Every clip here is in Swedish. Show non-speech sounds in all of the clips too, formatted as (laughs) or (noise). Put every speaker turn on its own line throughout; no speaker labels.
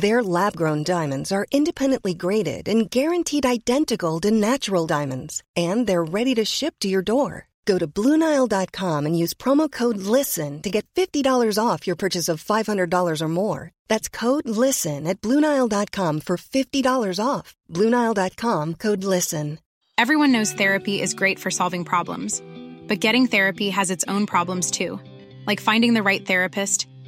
Their lab grown diamonds are independently graded and guaranteed identical to natural diamonds, and they're ready to ship to your door. Go to BlueNile.com and use promo code LISTEN to get $50 off your purchase of $500 or more. That's code LISTEN at BlueNile.com for $50 off. BlueNile.com code LISTEN.
Everyone knows therapy is great for solving problems, but getting therapy has its own problems too, like finding the right therapist,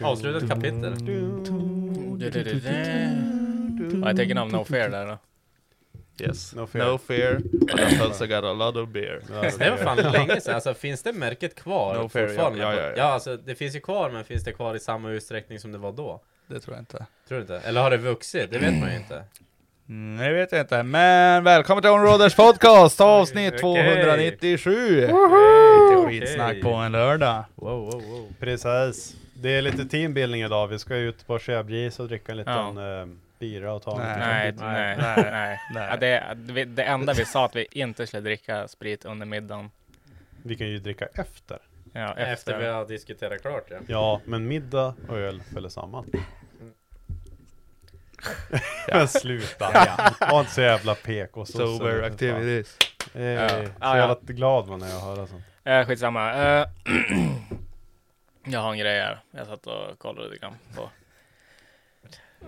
Avslutat kapitel.
Jag tänker namn No Fair där då.
Yes.
No
No
fear.
fear. And I felt I got a lot of beer.
okej.
Ja,
Ja.
Det var fan länge sedan, alltså finns det märket kvar?
No fair, ja.
fortfarande?
Ja, ja, ja.
alltså det finns ju kvar, men finns det kvar i samma utsträckning som det var då?
Det tror jag inte.
Tror du inte? Eller har det vuxit? Det vet man ju inte.
Mm, det vet jag inte. Men välkommen till Onroaders podcast avsnitt
Okej.
297.
Woho!
Lite skitsnack på en lördag.
Wow, wow, wow.
Precis. Det är lite teambuilding idag. Vi ska ut på Sjöbris och dricka en liten eh, bira och ta en
Nej.
liten
Nej,
kaffe.
nej,
Nej.
nej. nej.
Nej.
Ja, det, vi- det enda vi sa att vi inte skulle dricka sprit under middagen.
Vi kan ju dricka efter.
Ja, efter.
Efter vi har diskuterat klart ja.
Ja, men middag och öl följer samman. Men sluta! Var inte så jävla PK. Så
Sober activities.
Eh,
Ja.
Så
Ah,
jävla
ja.
glad man är att höra sånt.
Eh, skitsamma. Eh, (clears throat) jag har en grej här. Jag satt och kollade lite grann på.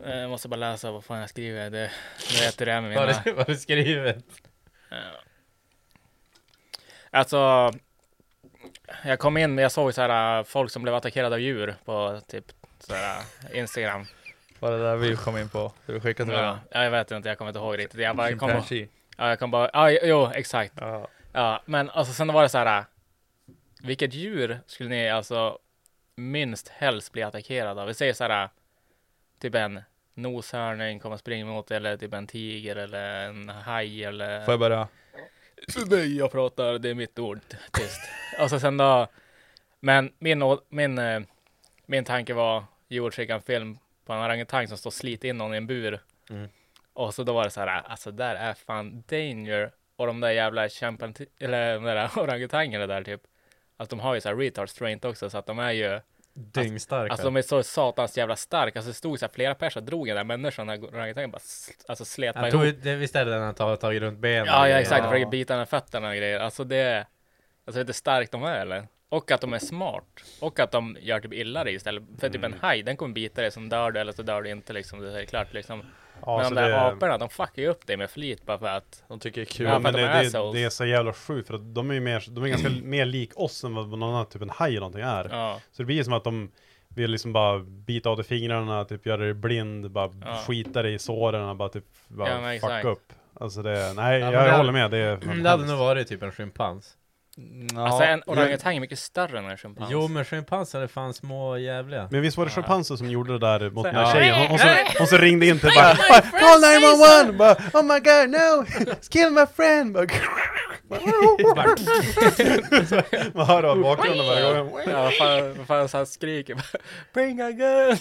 Eh, Jag måste bara läsa vad fan jag skriver. Det, du vet hur det är med
Vad
mina...
har du- vad har du skrivit?
Ja. Alltså, jag kom in, jag såg så här äh, folk som blev attackerade av djur på typ så här äh,
(laughs)
Instagram.
Var det där vi kom in på? Du skickade till
Ja, jag vet inte, jag kommer inte ihåg riktigt. Jag bara, jag kommer,
Chimpanzee.
ja, jag kommer bara, ja, jo, exakt.
Ja.
Ja, men alltså sen var det så här. äh, Vilket djur skulle ni alltså minst helst bli attackerad av? Vi säger så här. äh, Typ en noshörning kommer springa mot dig, eller typ en tiger eller en haj eller.
Får jag börja?
Nej, jag pratar, det är mitt ord. Tyst. Alltså sen då. Men min, å- min, eh, min tanke var, George skickade en film på en orangutang som står och sliter in någon i en bur.
Mm.
Och så då var det så här, alltså där är fan danger. Och de där jävla kämpan, eller de där (laughs) orangutangerna där typ. Att de har ju så här retard strength också, så att de är ju,
Dyngstarka.
alltså de är så satans jävla starka. Alltså det stod så här flera pers och drog den där människan, den där orangutangen bara, s- alltså slet
han
mig
tog, det, visst är det den han tar tagit runt benen?
Ja, ja exakt,
Ja.
försöker bita den i fötterna och grejer. Alltså det, alltså vet du hur starkt de är eller? Och att de är smart. Och att de gör typ illa dig istället. För typ en haj, den kommer bita dig, som dör du eller så dör du inte liksom. Det är klart liksom.
Ja,
Men
så
de där
det-
aporna, de fuckar ju upp dig med flit bara för att.
De tycker det är kul.
Ja,
Ja, för
men
att
det,
de är
det,
assholes.
det är så jävla sjukt för att de är ju mer, de är ganska mer lik oss än vad någon annan, typ en haj eller någonting är.
Ja,
Så det blir som att de vill liksom bara bita av dig fingrarna, typ göra dig blind, bara
Ja.
skita dig i såren och bara typ bara
Ja, men
fuck
exakt.
upp. Alltså det, nej
Ja, men
jag
det-
håller med,
(clears throat)
det är
Mm, Det hade nog varit typ en schimpans.
Ja.
alltså en orangutang är mycket större än en schimpans.
Jo, men schimpanser är fan små och jävliga.
Men visst var det schimpanser som gjorde det där mot den
Ja.
här tjejen? Hon, hon, som, hon som
(laughs)
ringde in till bara Call 911! Bara, oh my god no! Kill my friend!
(laughs)
Bara, (laughs) (laughs) Man hör det av bakgrunden varje gång.
Ja, vad fan, vad fan så han skriker bara, (laughs) Bring a gun!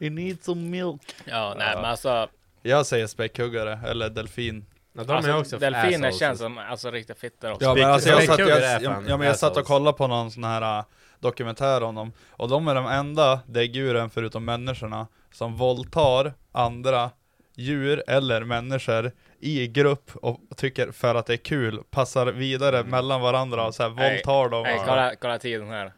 You need some milk.
Ja, nej men alltså.
Jag säger späckhuggare, eller delfin.
Ja, de är
alltså
också
delfiner
assholes.
känns som alltså riktiga fittor också.
Ja men alltså jag satt,
Späckhuggare är
jag,
fan
ja, men jag satt och
assholes.
kollade på någon sån här äh, dokumentär om dem, och de är de enda däggdjuren förutom människorna som våldtar andra djur eller människor i grupp och tycker för att det är kul, passar vidare mellan varandra och så här
Mm. Nej.
våldtar dem.
Nej, kolla, kolla tiden här.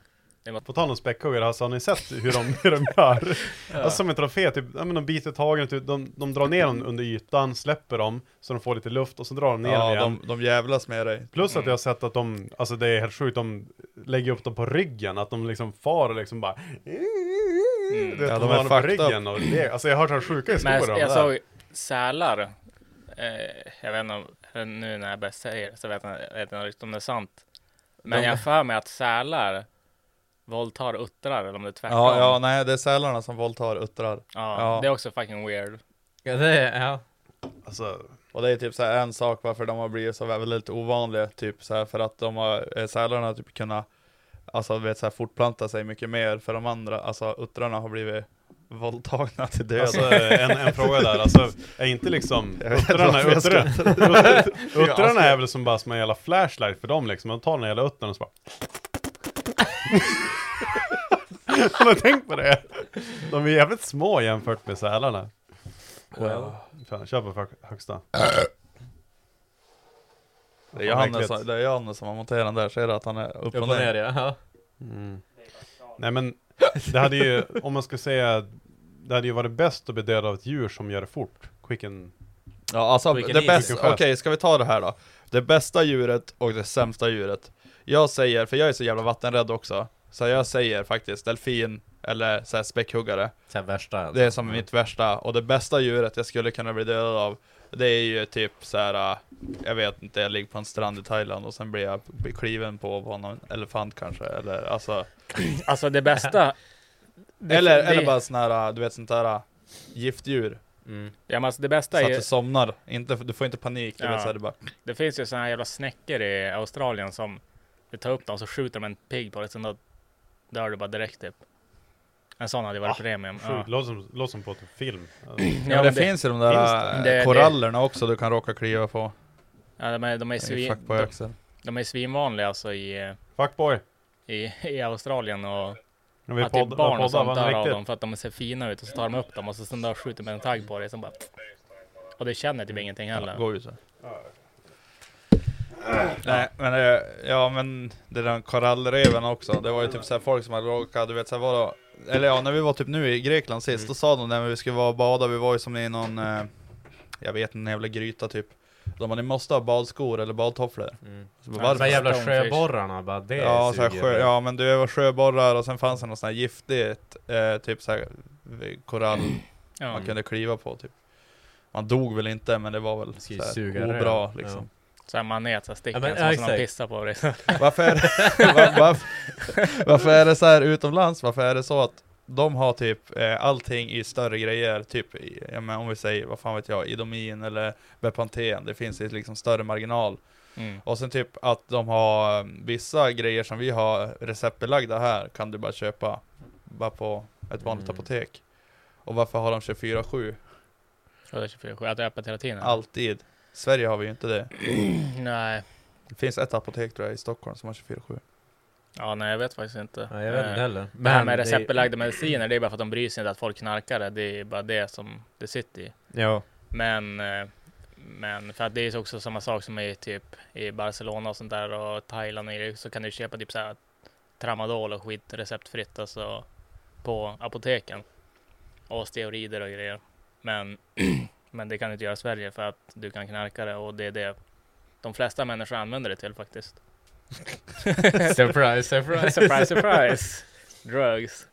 På tal om späckhuggare, alltså, har ni sett hur de, hur de
(laughs)
gör? Alltså som en trofé, typ, ja, men de biter tag i den, typ, de, de drar ner dem under ytan, släpper dem, så de får lite luft och så drar de ner dem
ja,
igen.
de, Mm. de jävlas med dig.
Plus att jag har sett att de, alltså det är helt sjukt, de lägger upp dem på ryggen, att de liksom far och liksom bara Du vet,
Mm. Ja,
ja,
de
de
är
har dem på
fucked up.
ryggen och le- Alltså jag har hört så här sjuka
Men
historier om
jag,
det
jag
här.
såg sälar. Eh, jag vet inte om, nu när jag börjar säga det så vet jag, jag vet inte riktigt om det är sant. Men
De-
jag har för mig att sälar våldtar uttrar eller om det är tvärtom.
Ja, ja, nej, det är sälarna som våldtar uttrar.
Ja,
Ja.
det är också fucking weird.
Ja, det är, ja.
Alltså,
Och det är typ så här en sak varför de har blivit så väldigt ovanliga, typ så här för att de har, eh, sälarna har typ kunnat, alltså vet så här fortplanta sig mycket mer för de andra, alltså uttrarna har blivit våldtagna till döden.
alltså en, en fråga där, alltså är inte liksom
(laughs) Jag vet inte
uttrarna,
varför jag
uttrarna, (laughs)
Alltså,
uttrarna är väl som bara som en jävla flashlight för dem liksom, de tar den jävla uttern och så bara (laughs) Har du tänkt på det? De är jävligt små jämfört med sälarna. Well. Fan, kör på för- högsta.
det, är Johannes,
äckligt.
som- det är Johannes som har monterat den där, ser du att han är upp
Upp
och
och ner
ner?
ja. ja.
Nej men, det hade ju, om man ska säga, det hade ju varit bäst att bli dödad av ett djur som gör det fort. Quick and...
Ja alltså
Vilken
det
liten
bästa, okej
sköt.
ska vi ta det här då? Det bästa djuret och det sämsta djuret. Jag säger, för jag är så jävla vattenrädd också, så jag säger faktiskt delfin eller så här späckhuggare.
Så här värsta alltså.
Det är som mitt värsta, och det bästa djuret jag skulle kunna bli dödad av Det är ju typ så här. äh, Jag vet inte, jag ligger på en strand i Thailand och sen blir jag kliven på av någon elefant kanske eller alltså
Alltså det
(laughs)
bästa. det-
Eller,
det-
eller bara sån här, äh, du vet sånt här äh, Giftdjur,
Mm,
Ja, men alltså det
så
bästa
att
är ju,
du somnar, inte, du får inte panik, du
Ja.
vet så här, du bara
det finns ju såna här jävla snäckor i Australien som du tar upp dem så skjuter de en pigg på dig, sen då dör du bara direkt typ. En sån hade ju varit premium.
Sjukt,
Ja.
låter som, låter som på typ film.
Ah,
Ja,
ja, men det,
men det-
finns ju de där
finns
äh,
det. Det- det-
korallerna också du kan råka kliva på
Ja, de är, de är,
I
svin,
Fuck på
de,
axeln
de är svinvanliga alltså i, eh,
Fuckboy!
i, i Australien och
När vi
att det är
podd,
typ barn
barn
och
poddar
sånt
var
dör av
riktigt.
dem för att de ser fina ut och så tar de upp dem och så sen där skjuter med en tagg på dig som bara och det känner typ ingenting heller.
Gå ut så. Nej men eh, ja men det där korallreven också, det var ju typ såhär folk som hade råkat, du vet såhär var det, Eller ja, när vi var typ nu i Grekland sist, då sa de när vi skulle vara och bada, vi var ju som i någon eh, Jag vet en jävla gryta typ De bara ni måste ha badskor eller badtofflor
Mm.
så bara,
De här
varför?
jävla
Stonefish.
sjöborrarna bara, det
Ja, så här
suger.
sjö, ja men du var sjöborrar och sen fanns det något sånt här giftigt eh, Typ såhär korall
Ja.
man kunde kliva på typ Man dog väl inte men det var väl
Ska ju
såhär,
suga röv.
obra liksom
Så här manet, så här sticken,
Ja, men-
så måste
ja,
någon
exakt.
pissa på dig. (laughs) Ja,
(laughs) Varför är, det, var, varför, varför är det så här utomlands? Varför är det så att de har typ eh, allting i större grejer, typ i- ja, men om vi säger, vad fan vet jag, Idomin eller Bepanthen, det finns ju liksom större marginal.
mm.
Och sen typ att de har eh, vissa grejer som vi har receptbelagda här, kan du bara köpa bara på ett vanligt
Mm.
apotek. Och varför har de 24-7?
Och det är 24 att det är öppet hela tiden.
Alltid. I Sverige har vi ju inte det.
(clears throat) Nej.
Det finns ett apotek tror jag i Stockholm som har 24-7.
Ja, nej, jag vet faktiskt inte.
Ja, jag vet inte
Eh,
heller.
det här
Men
med
det-
receptbelagda mediciner, det är bara för att de bryr sig inte att folk knarkar det. Det är bara det som det sitter i. (laughs)
Ja.
Men, eh, men för att det är också samma sak som i typ i Barcelona och sånt där och Thailand och grejer, så kan du köpa typ så här tramadol och skit receptfritt alltså på apoteken och steroider och grejer. Men, (clears throat) men det kan du inte göra i Sverige för att du kan knarka det och det är det de flesta människor använder det till faktiskt.
surprise, surprise.
(laughs)
(laughs)
surprise, surprise! Drugs.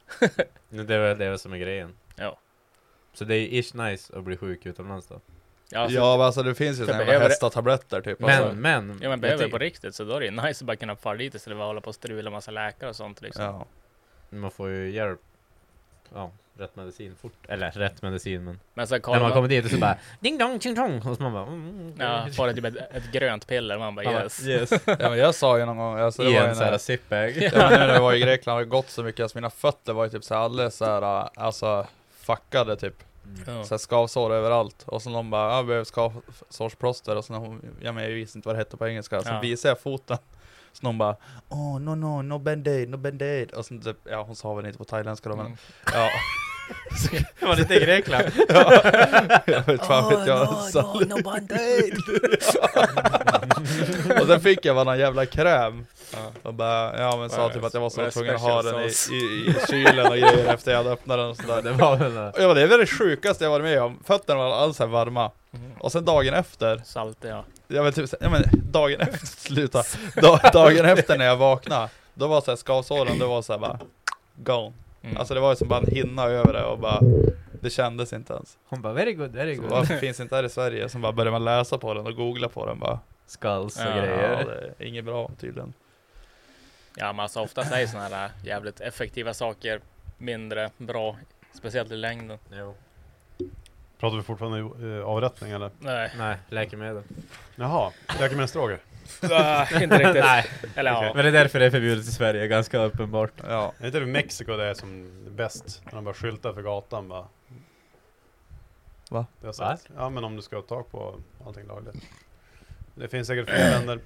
Nej, Det är väl det är väl som är grejen.
Ja.
Så det är ish nice att bli sjuk utomlands då.
Ja, alltså,
ja men alltså det finns ju
jag
sådana
behöver
jävla
det.
hästatabletter typ.
Men,
alltså.
men.
ja, men
jag
behöver det
tycker-
på riktigt så då är det ju nice att bara kunna fara dit istället för att hålla på och strula massa läkare och sånt liksom.
Ja.
Man får ju hjälp. Ja, rätt medicin fort. Eller rätt medicin men.
Men sen
När
kollar
man
man,
kommer dit och så bara ding dong ching chong. Och så man bara. Mm,
Ja,
okej. (laughs)
får det typ ett, ett grönt piller man bara
Man bara,
yes.
yes.
Ja, men jag sa ju någon gång, alltså, det
I
var
en
ju
sån här (laughs)
när,
zipbag.
ja, men nu när jag var i Grekland har det gått så mycket, alltså mina fötter var ju typ så här alldeles så här, alltså fuckade typ.
Ja.
Så här skavsår överallt. Och så någon bara, "Ah, jag behöver skavsårsplåster. Och så någon, ja men jag visste inte vad det hette på engelska. Så
Ja.
visade jag foten. Så någon bara,
(laughs)
oh no no, no band-aid, no band-aid. Och sen typ, ja hon sa väl inte på thailändska då men,
Mm.
ja.
Det var lite i Grekland.
Jag vet fan vet jag. Så-
no, no band-aid.
(laughs) Och sen fick jag bara någon jävla kräm. Och bara, (laughs) ja men sa
Vad är-
typ att jag var
vad
så
är
tvungen att ha
special
den i,
sauce?
i, i kylen och grejer efter jag hade öppnat den och sådär.
Det var väl det.
Och jag bara, det är väl det sjukaste jag varit med om. Fötterna var alls här varma. Och sen dagen efter,
Salt, ja.
jag vet typ så- ja men dagen efter, (laughs) sluta. Da, dagen efter när jag vaknade, då var såhär skavsåren, det var såhär bara, gone.
Mm.
Alltså det var ju som bara en hinna över det och bara, det kändes inte ens.
Hon bara very good, very
Så
good.
varför finns inte här i Sverige? Som bara börjar man läsa på den och googla på den bara,
Skulls och
Ja.
ja
grejer.
det är inget bra tydligen.
ja, men alltså ofta säger sådana här jävligt effektiva saker mindre bra. Speciellt i längden.
Jo.
Pratar vi fortfarande uh, avrättning eller?
(laughs)
Nej,
Nej, läkemedel.
Jaha, läkemedelsdroger.
äh, (laughs) inte riktigt.
Nej,
Eller ja.
men det är därför det är förbjudet i Sverige, ganska uppenbart.
Ja.
Är det inte det Mexiko det är som är bäst? När de bara skyltar för gatan bara.
Va?
Det har jag sett. Ja men om du ska ha tag på allting lagligt. Det finns säkert fler länder.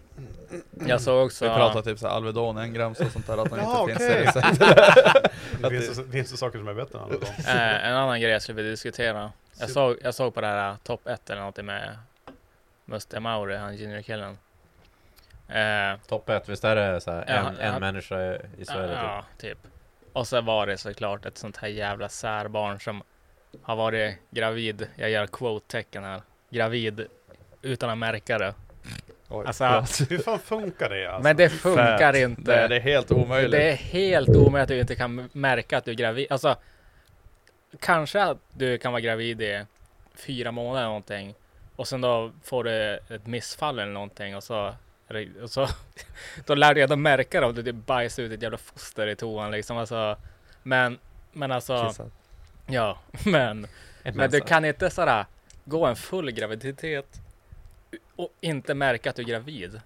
Jag såg också...
Vi pratar typ såhär Alvedon, engrams och sånt där, att de inte
Ja,
finns
okej.
i recept.
(laughs) Det finns, det finns det saker som är bättre än Alvedon.
Eh, en annan grej jag skulle vilja diskutera. Jag såg, jag såg på det här eh, Top 1 eller någonting med Musta Mauri, han juniorkillen. Eh,
Topp ett, visst är det så här,
Ja,
en, en
ja.
människa i Sverige typ?
ja, typ. Och så var det såklart ett sånt här jävla särbarn som har varit gravid, jag gör quote-tecken här, gravid utan att märka det.
Oj.
Alltså,
Hur fan funkar det alltså?
men det funkar
Fett.
inte.
Nej, det är helt omöjligt.
Det är helt omöjligt att du inte kan märka att du är gravid. Alltså, kanske att du kan vara gravid i fyra månader eller någonting. Och sen då får du ett missfall eller någonting och så, och så (laughs) då lär du ändå märka det om du bajsar ut ett jävla foster i toan liksom. Alltså, men, men alltså,
Kissat.
ja, (laughs) men, men du kan inte sådär gå en full graviditet och inte märka att du är gravid.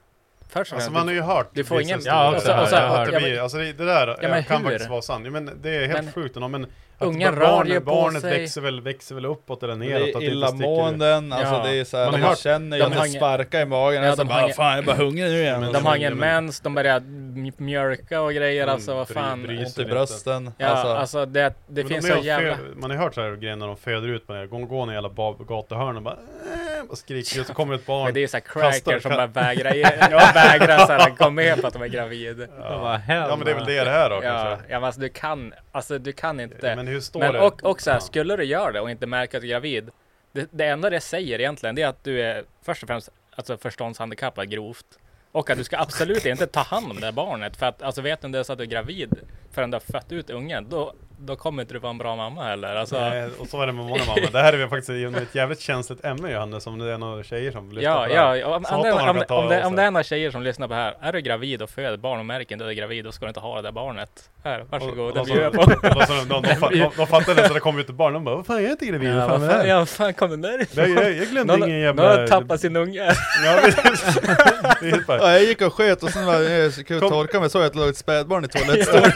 Först och
Alltså
främst,
man har ju hört
du får
vissa
ingen-
historier.
ja, och så- och så-
jag har hört
ja,
det
men-
blir- alltså det, det där
Ja, men
kan
hur?
faktiskt vara sant. Ja, men det är helt
Men-
sjukt. ändå, Men att
Ungar
bara
rör
barnet-
ju på
Barnet
sig.
växer väl, växer väl uppåt eller
Det
neråt.
är
att det inte sticker ut.
illamåenden, alltså
Ja.
det är såhär,
Man
man,
har hört-
känner ju
de
att det
har ingen-
sparkar i magen,
Ja,
och så
de
bara
har ingen-
fan jag är bara hungrig nu igen.
Men
Och
De
så
har ingen
Men-
mens, de börjar m- mjölka och grejer,
Mm,
alltså vad
bry-
fan.
bry
Ont i
sig
brösten,
Ja, alltså,
alltså.
det, det
Men de
finns
är
så
ju
jävla...
fö- Man har ju hört så här grejer när de föder ut på det. Gå, gå ner i alla ba- gatuhörn och bara, äh, och skriker ut. Så kommer ett
Men
barn.
det är ju såhär
Kastar-
cracker som
ka-
bara vägrar,
(laughs)
ja. vägrar såhär gå med på att de är gravida.
Vad
Ja men det är väl det det här då
Ja,
kanske.
ja men alltså du kan, alltså du kan inte.
Men hur står
Men
det?
och, och så här,
Ja.
skulle du göra det och inte märka att du är gravid. Det, det enda det säger egentligen det är att du är först och främst alltså förståndshandikappad grovt. Och att du ska absolut inte ta hand om det här barnet. För att alltså vet du inte ens att du är gravid förrän du har fött ut ungen. Då, då kommer inte du vara en bra mamma heller. Alltså,
Nej, och så är det med många mamma. Det här är väl faktiskt genom ett jävligt känsligt ämne Johannes, om det är några tjejer som lyssnar
Ja,
på det här.
ja, ja, om,
Så
om,
hatar man
det,
att
om,
de
det-
tar
om, det,
av
om
sig.
det är några tjejer som lyssnar på det här. Är du gravid och föder barn och märker inte att du är gravid, då ska du inte ha det där barnet. Här, varsågod, det
de,
bjuder
de,
jag på.
de, de, de,
(laughs)
fa- de, de fattar nästan när det kom ut ett barn, de bara Vad fan jag är inte gravid,
Ja,
vad fan
vad
är det
fan,
här?
ja, vad fan kom den där
Jag, jag, jag glömde
Någon,
ingen
någon
jävla...
har tappat sin
(laughs)
unge.
Ja, precis. Det är helt bara-
Ja, jag gick och sket och sen var jag skulle jag
Kom.
torka mig, såg jag att det låg ett spädbarn i toalettstolen.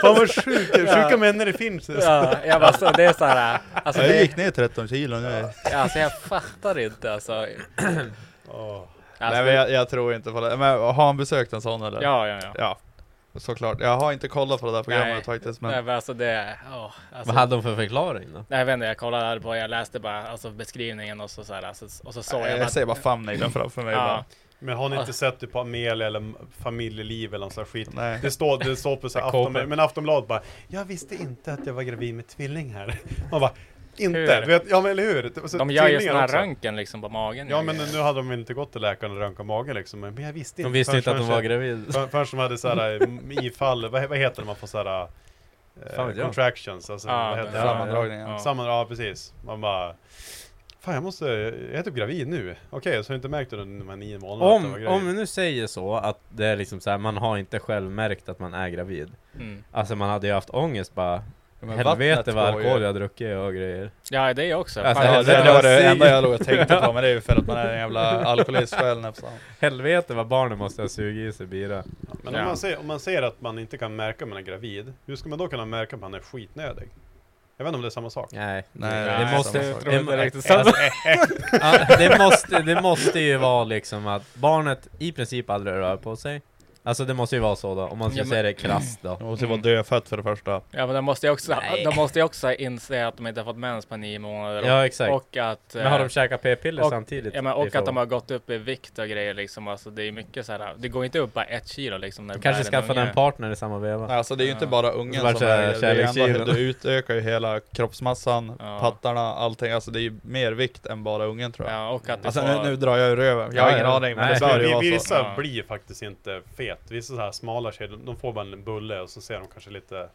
Fan vad sjuka, sjuka män när det finns!
Ja, jag bara, så, det är så här. Alltså,
Jag
det,
gick ner 13 kilo nu. är jag-
alltså jag fattar inte alltså. alltså
Åh.
Nej men jag, jag tror inte på det. Men har han besökt en sån eller?
Ja, ja, ja.
Ja, såklart. Jag har inte kollat på det där programmet
Nej.
faktiskt
Nej,
men
men alltså det, åh, alltså,
Vad hade hon för förklaring då?
Nej, jag vet inte, jag kollade här på, jag läste bara alltså, beskrivningen och så, så här, alltså, och så såg jag
jag
bara,
ser bara thumbnailen framför mig
ja,
bara.
Men har ni inte sett typ på Amelia eller familjeliv eller någon sån här skit?
Nej.
Det står, det står på så här
Jag kommer.
Aftonbladet, men Aftonbladet bara Jag visste inte att jag var gravid med tvilling här. (laughs) Man bara Inte?
Hur?
Du vet, ja men eller hur? Så
de gör ju
tvillingar
sådana här
också.
röntgen liksom på magen.
Ja men nu hade de inte gått till läkaren och röntgat magen liksom. Men jag visste inte.
De visste
förrän-
inte att hon var
förrän-
gravid.
för- Förrän de hade såhär eh, ifall, vad, vad heter det man får såhär
Fan
eh,
vet jag.
contractions, alltså
Ah,
Ja,
vad heter
men-
det?
ja,
Sammandragningen.
ja.
Samman, ja precis. Man bara Fan jag måste, jag är typ gravid nu. Okej, så har du inte märkt under de här nio månaderna att jag var
(laughs) Om,
gravid?
om vi nu säger så att det är liksom så här, man har inte själv märkt att man är gravid.
Mm.
Alltså man hade ju haft ångest bara.
Men
Helvete
vattnet
vad
går ju-
alkohol jag har druckit och grejer.
Ja, det är också.
Alltså,
Fan,
Ja,
Helvete,
det, det var det
vad
enda
synd.
jag låg och tänkte på, men det är ju för att man är en jävla alkoholist själv nästan.
Helvete vad barnen måste ha sugit i sig bira.
Men
Ja.
om, man säger, om man säger att man inte kan märka om man är gravid, hur ska man då kunna märka om man är skitnödig? Jag vet inte om det är samma sak.
Nej,
Nej,
det,
det är
måste,
samma sak.
det, (laughs) alltså, ja, det, måste, det måste ju vara liksom att barnet i princip aldrig rör på sig. Alltså det måste ju vara så då, om man ska
Ja, men-
säga det krasst då.
Det måste ju vara dödfött för det första.
Ja men de måste ju också,
Nej.
de måste ju också inse att de inte har fått mens på nio månader. Och,
Ja exakt.
och att...
men har
eh,
de käkat p-piller
och-
samtidigt?
Ja men
Det är
och att de
frågan.
har gått upp i vikt och grejer liksom. Alltså det är mycket så här. Det går inte upp bara ett kilo liksom. När
Du
det
kanske
bär en
skaffade
unge.
en partner i samma veva?
Nej, Alltså det är ju inte bara ungen
Det var
som
så
är
här
det är
kärleksgiven.
ändå, Du utökar ju hela kroppsmassan,
Ja.
pattarna, allting. Alltså det är ju mer vikt än bara ungen tror jag.
Ja och att du
Alltså
får...
nu, nu drar jag ur röven, jag
Ja,
har ingen
ja.
aning men
Nej.
det bör ju
Vi,
vara så.
vissa
alltså- Ja.
blir faktiskt inte fet. Vissa så här smala tjejer, de, de får bara en bulle och så ser de kanske lite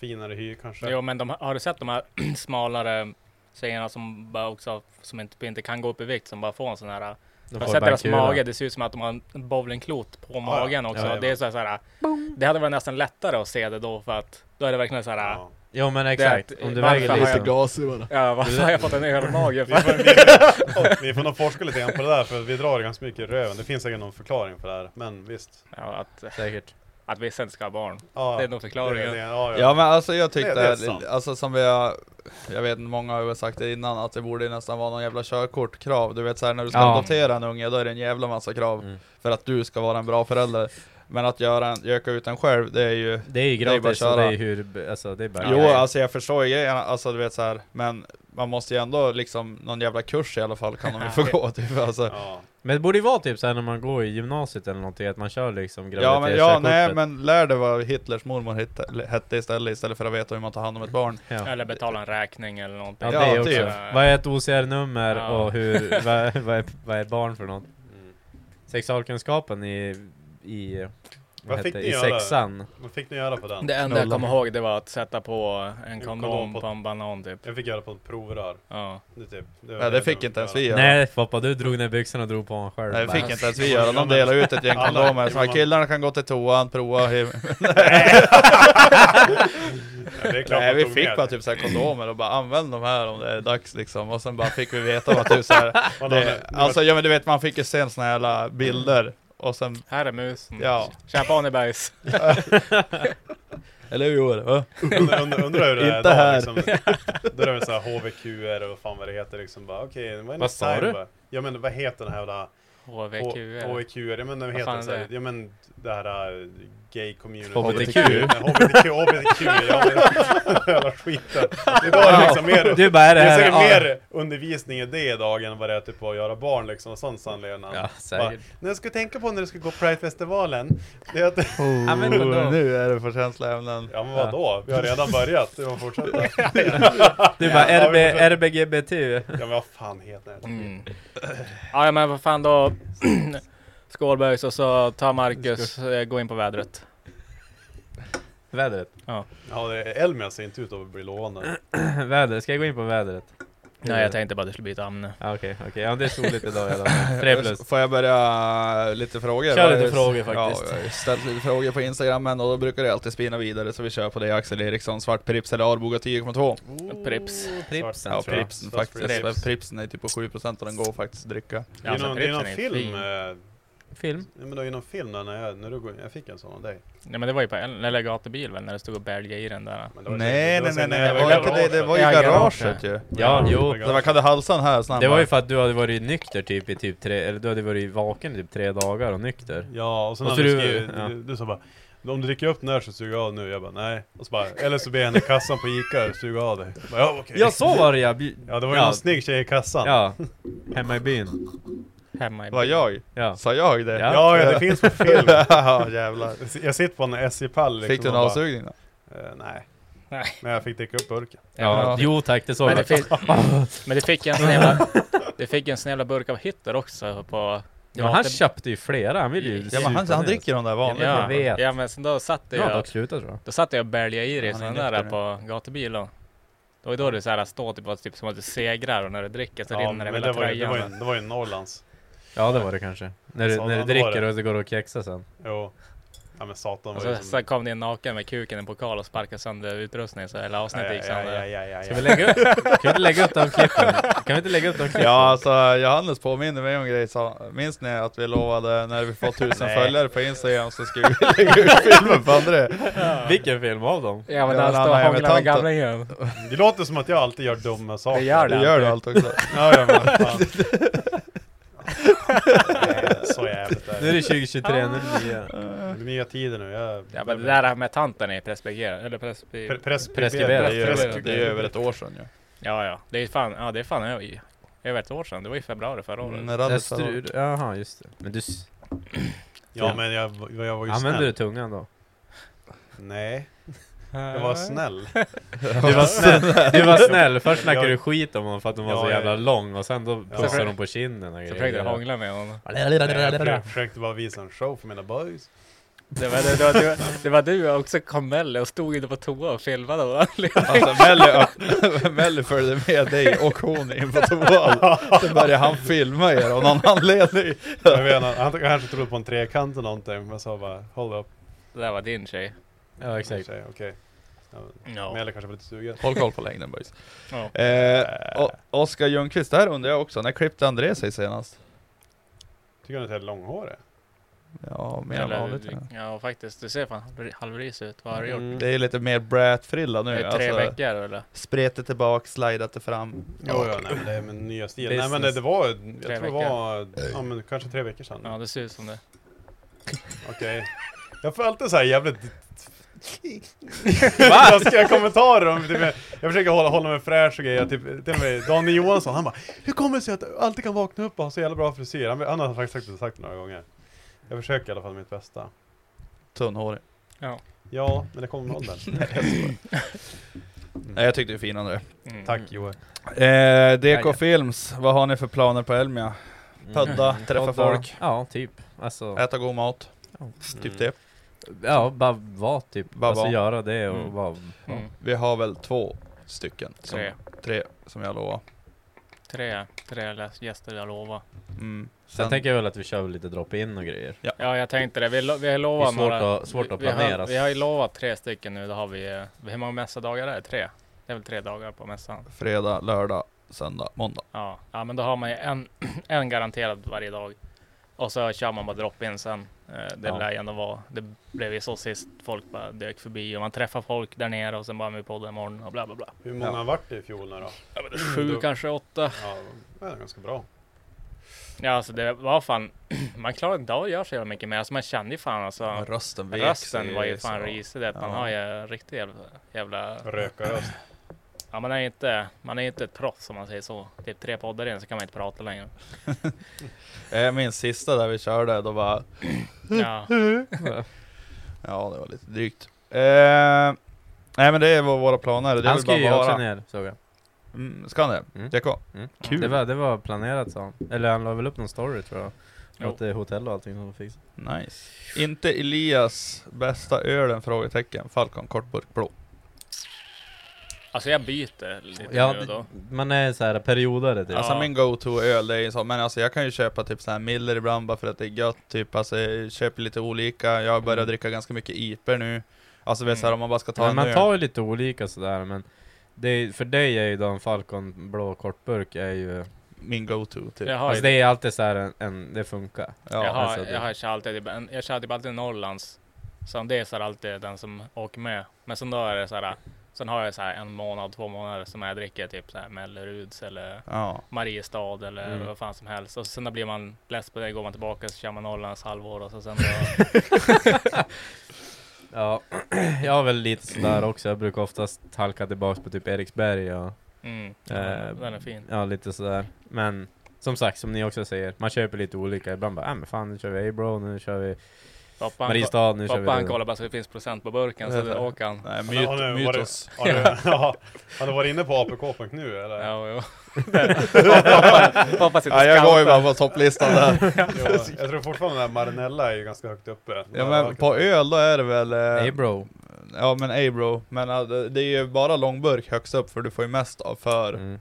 finare hy kanske.
Jo men de, har du sett de här (clears throat) smalare tjejerna som bara också, som inte, inte kan gå upp i vikt, som bara får en sån här
De
Jag
får
har sett deras
bakhjula.
mage, det ser ut som att de har en bowlingklot på magen också.
Ja, ja.
det är så här, så här, det hade varit nästan lättare att se det då för att då är det verkligen så här.
Ja.
Jo men exakt,
att-
om du liksom-
varför
väger
har
lite.
jag-
gasig bara.
Ja, varför har jag fått en
(laughs)
ölmage?
Vi, får,
För? (laughs)
vi, vi får nog forska lite grann på det där för vi drar ganska mycket i röven. Det finns säkert någon förklaring på det här, men visst.
Ja, att,
Säkert.
att vissa inte ska ha barn.
Ja,
Det är nog förklaringen.
det- det- ja, ja.
Ja men alltså jag tyckte,
Det- det är sant.
alltså som vi har, jag vet inte, många har ju sagt det innan, att det borde ju nästan vara någon jävla körkortkrav. Du vet såhär när du ska
Ja.
adoptera en unge, då är det en jävla massa krav
Mm.
för att du ska vara en bra förälder. Men att göra en, göka ut en själv, det är ju
Det är ju
bara
gratis och
köra.
det är ju hur, alltså det är bara...
Jo,
Ja,
alltså jag förstår ju grejerna, alltså du vet så här, men man måste ju ändå liksom, någon jävla kurs i alla fall kan
(laughs)
de ju få gå typ alltså.
Ja.
Men det borde ju vara typ såhär när man går i gymnasiet eller någonting, att man kör liksom
Ja men, ja, nej,
graviditetskortet.
men lär dig vad Hitlers mormor hitte- hette istället, istället för att veta hur man tar hand om ett barn.
Ja.
Eller betala en räkning eller någonting.
Ja,
Ja,
det är
det är
också.
ju-
Vad är ett OCR-nummer
Ja.
och hur, vad, vad, är, vad är ett barn för något?
Mm.
Sexualkunskapen i, i,
Vad
vad
fick
hette,
ni
i
göra?
sexan.
Vad fick ni göra på den?
Det enda jag
Knulla.
kommer ihåg det var att sätta på en kondom
på-
på en banan typ.
Jag fick göra på ett provrör.
Ja.
Det, typ, det, var
Nej det
jag
fick
fick
inte ens
göra.
vi göra.
Nej Foppa, du drog ner byxorna och drog på honom själv.
Nej det
Bara,
fick inte ens vi göra, de delade ut ett gäng
Alla-
kondomer, så här,
Ja.
killarna kan gå till toan, prova hem-
Ja, det är
(laughs)
klart
Nej
man
vi
tog
fick
med
bara
det.
typ så här kondomer och bara använd de här om det är dags liksom, och sen bara fick vi veta vad typ så
(laughs)
här,
Man hade-
det, alltså ja men du vet man fick ju se såna här jävla bilder, och sen,
Här är
Mm.
musen.
ja,
(laughs)
Champagnebergs.
eller hur Joel? va?
(laughs) Undrar undra, undra hur det är
Inte
idag,
här.
(laughs)
Liksom, då är det väl såhär HVQR och vad fan vad det heter liksom bara okej, vad är
Vad
nästa
sa
time,
du?
bara? Ja men vad heter den här jävla
HVQ. eller?
HVQR, ja men den
Vad
heter
fan är
så här,
det?
ja men det här äh, gay community
HBTQ.
Nej, HBTQ, HBTQ, ja men (laughs) jävla skiten Idag är det liksom mer,
Du bara, är
det
det
är
här...
säkert
ja.
mer undervisning i det idag än vad det är typ att göra barn liksom och sånt samlevnad
Ja, säkert.
Bara, Nu ska du tänka på när du ska gå Pride-festivalen det är att,
Ja, men vadå?
Nu är det för känsliga ämnen.
Ja men vadå? Vi har redan börjat, det var fortsätta
Du bara,
Ja,
RB,
vi får-
RBGBT.
Ja men vad fan heter den?
Mm. Ja, ja, men vad fan då. (clears throat) Skålbergs och så tar Marcus, eh, gå in på vädret.
(laughs) Vädret. (clears throat)
Ja, det är Elmia ser inte ut att bli lovande.
Vädret, ska jag gå in på vädret?
Mm.
Nej, jag tänkte bara att du skulle byta ämne.
Ja, Okej, okej. Ja, det är soligt idag i alla
(laughs)
fall. Tre plus.
Får jag börja lite frågor?
Kör lite
Jag-
frågor faktiskt.
Ja, jag har ju ställt lite frågor på instagrammen och då brukar det alltid spinna vidare så vi kör på det Axel Eriksson, Svart Prips eller Arboga 10,2
Prips.
Pripsen
Ja
tror jag.
Pripsen
Svart
faktiskt,
Prips.
Prips. Pripsen är typ på 7% och den går faktiskt att dricka
Det är
alltså,
någon, det är
Pripsen
någon
är
film,
fin.
eh,
Film.
ja, men det är ju någon film där när jag, när du, går- jag fick en sån av dig.
Nej men det var ju på en eller gatubil väl när det stod och bälgade i den där.
Men det var-
Nej
det
nej
var
nej,
sen
nej,
när
det
jag
var inte det, det var ju
Ja,
garaget,
garaget.
ju
Ja, jo.
Det var kade halsen här snabbt
Det var ju för att du hade varit nykter typ i typ tre, eller du hade varit vaken i typ tre dagar och nykter.
Ja, och sen
Och
när
så
du,
du-
skrev,
ja.
du, du sa bara om du dricker upp den här så suger jag av nu, jag bara nej. Och så bara, eller så ber jag henne i kassan på Ica suga av dig. Jag Bara, ja okej.
Ja, (laughs) så var det ja! Bi-
Ja det var ju någon snygg tjej i kassan. Ja,
Ja. Hemma i byn.
Hemma i
Var jag?
Ja.
Sa jag det?
Ja.
ja, det finns på film.
(laughs) ja jävlar
Jag sitter på en SJ-pall liksom,
Fick du en
och bara,
avsugning då?
eh, Nej.
Nej.
Men jag fick dricka upp burken.
Ja. Jo tack, det såg
Men det,
jag.
fick, men det fick en sån
(laughs)
jävla, det fick en sån jävla burk av Hitler också på...
Ja, men han köpte ju flera, han ville ju
Ja men han,
supa
han
ner.
dricker de där vanliga
jag
ja,
vet.
ja men sen då satt
Nu har han
jag,
dock slutat tror jag.
då satt jag och bälgade i det
Han är
sån där
nykter nu.
på gatubil och då är då du såhär står typ, och typ som att du segrar och när du dricker så
Ja,
rinner det väl
men det
av
var, ju, det, var ju,
tröjan.
det var ju Norrlands.
Ja det var det kanske. När du,
Så,
när du
då var
dricker
det.
och så går du och kexar sen.
Jo. Ja men satan
Och
var ju
så,
som...
så kom det en naken med kuken i en pokal och sparkade sönder utrustningen så hela avsnittet gick
ja, ja,
sönder.
ja, ja,
Ska vi lägga upp? Kan vi inte lägga upp de klippen? Kan vi inte lägga upp de klippen?
Ja alltså Johannes påminner mig om en grej, sa, minns ni att vi lovade när vi får tusen
Nej.
följare på Instagram så skulle vi lägga ut filmen på André?
Vilken film av dem?
Ja men
Ja,
han
men han
står och
är med
hånglar med
tanten.
gamlingen.
Det låter som att jag alltid gör dumma saker.
Det gör
Det gör du allt också.
Ja, ja, men fan. Nej, Så jävligt är
Nu är det 2023, nu är det nya.
Det blir nya tider nu. Jag,
Ja, men det där med tanten är preskriberad. Eller preskri...
Pre- pres-
preskriberat.
Det är ju över,
Preskriberat.
det är ju över ett år sedan ju.
Ja, ja. Det är fan, ja, det är fan över, över ett år sedan. Det var i februari förra året.
Mm,
Det är
Radisson.
strul. Jaha, just det. Men du s-
Ja men jag, jag, jag var ju
använder du
snäll.
tungan då?
Nej, jag Mm, var snäll.
(laughs)
Du var snäll, du var snäll. först snackade
Jag-
du skit om honom för att hon var
Ja,
så
ja,
jävla
ja.
lång och sen då pussade
försökte-
hon på kinden och
Så försökte jag hångla med honom.
Jag försökte- försökte bara visa en show för mina boys.
Det var, det, var, det, var, det var du och också Kamelle och stod inne på toa och filmade. Och
Alltså Melly, ö- (laughs) Melly följde med dig och hon in på toan. Sen började han filma er av någon anledning.
Jag vet, inte, han kanske trodde på en trekant eller någonting men jag sa bara hold up.
det där var din tjej.
Ja exakt.
Tjej, Okej. Ja,
Ja.
Men eller kanske var lite sugen.
Håll koll på längden boys.
Ja.
Eh, o- Oskar Ljungqvist, det här undrar jag också, när klippte André sig senast?
Tycker han att jag är långhårig?
Ja, mer än
Eller-
vanligt. ja.
Ja, faktiskt. Du ser fan halv- halvris ut. Vad har du gjort?
Det är lite mer brat-frilla
Det
nu.
är tre
Alltså,
veckor eller?
spretigt tillbaka, slidat det fram.
Jo, ja, nej, men det är min nya stil. Nej men det,
Business.
det var, jag
Tre
tror det var, ja men kanske tre veckor sedan.
Ja, det ser ut som det.
Okej. Jag får alltid så här jävligt... (laughs) jag ska göra kommentarer om typ, jag försöker hålla, hålla mig fräsch och grejer, typ, till och med Daniel Johansson, han bara Hur kommer det sig att du alltid kan vakna upp och ha så jävla bra frisyr? Han, han har faktiskt sagt det, sagt det några gånger. Jag försöker i alla fall mitt bästa.
Tunnhårig.
Ja, men det kommer med åldern.
Nej, jag tyckte det var fin André.
Mm.
Tack Joel.
Eh,
ja.
DK Films, vad har ni för planer på Elmia? Pudda, träffa
Podda.
folk.
Mm. Ja, typ. Alltså,
Äta god mat, typ det.
ja, bara vara typ.
Bara
alltså
vara.
göra det och
Mm.
vara.
Mm.
Vi har väl två stycken. Som,
Tre.
tre, som jag lovar.
Tre, tre läs- gäster, jag lovar.
Mm.
Sen
Sen-
tänker jag väl att vi kör lite drop-in och grejer.
Ja, jag tänkte det. Vi, lo- vi har
Det
lovat
är svårt
några...
att- svårt att
vi- vi har-
planera.
Vi har ju lovat tre stycken nu. Då har vi... eh, Hur många mässadagar är det? Tre? Det är väl tre dagar på mässan?
fredag, lördag, söndag, måndag.
Ja, ja men då har man ju en, (clears throat) en garanterad varje dag. Och så kör man bara drop-in sen. Eh, Det
Ja.
lär ju ändå vara. Det blev ju så sist. Folk bara dök förbi och man träffar folk där nere och sen bara med podden imorgon och bla bla bla.
Hur många
Ja.
vart det i fjol nu då?
Sju,
då-
kanske åtta.
Ja, det är ganska bra.
Ja, alltså det var fan. (clears throat) Man klarar inte av att göra så jävla mycket mer. Alltså man kände ju fan alltså.
Rösten
Rösten var ju fan risig. det. Man
Ja.
har ju en riktig jävla, jävla...
Rökaröst.
Ja, man är ju inte, man är ju inte ett proffs om man säger så. Typ tre poddar in så kan man inte
(laughs)
prata längre.
Jag minns Eh, sista där vi körde, då bara...
Ja,
Ja, det var lite drygt. Eh, nej men det är vad våra planer. Det är
Han
väl
ska ju
bara
också
vara...
ner såg jag.
Mm, ska han det?
Mm.
DK?
Mm.
Kul.
Det var, det var planerat sa han. Eller han la väl upp någon story tror jag.
Jo.
Att det är hotell och allting som fixat.
Nice. Inte Elias bästa ölen? Frågetecken. Falcon kortburk blå.
alltså jag byter lite
Ja,
nu och då.
det- man är så här periodare typ.
Alltså
Ja.
min go-to-öl, det är ju så, men alltså jag kan ju köpa typ sån här Miller ibland bara för att det är gött, typ alltså jag köper lite olika, jag börjar
Mm.
dricka ganska mycket IPer nu. Alltså vet så här,
Mm.
om man bara ska ta
Men
en
man
öl.
tar ju lite olika sådär men det är, för dig är ju då en Falcon blå kortburk är ju...
min go-to typ.
Jag har ju
Alltså det är alltid såhär en, en, det funkar.
Ja,
jag, har,
alltså det-
jag, har kört alltid, typ en- jag kör typ alltid Norrlands. Som det är så här alltid den som åker med. Men sen då är det så här. Sen har jag så här en månad, två månader som jag dricker typ så här Melleruds eller
Ja.
Mariestad eller
Mm.
vad fan som helst. Och sen då blir man less på det, går man tillbaka så kör man Norrlands halvår och så sen då.
Ja, (clears throat) jag har väl lite sådär också. Jag brukar oftast halka tillbaks på typ Eriksberg och
Mm,
Eh,
den är fin.
ja, lite sådär. Men som sagt, som ni också säger, man köper lite olika. Ibland bara, äh, men fan nu kör vi A-Bro, nu kör vi
Pappa, han,
Mariestad, nu kör vi...
pappa han kollar bara så det finns procent på burken så
Eller?
det åker han.
Nej,
Har du- har
myt,
du- har du-
mytos. (laughs)
(laughs) har du- ja, Har du varit inne på apk.nu eller?
Ja, jo. (laughs) pappa, pappa sitter
Ja,
och
jag går
scoutar.
ju bara på topplistan
(laughs)
där.
Ja, jag tror fortfarande att Marinella är ju ganska högt uppe.
Ja men på öl då är det väl... eh,
A-Bro.
Ja men A-bro. Men eh, det- det är ju bara långburk högst upp för du får ju mest av för
Mm.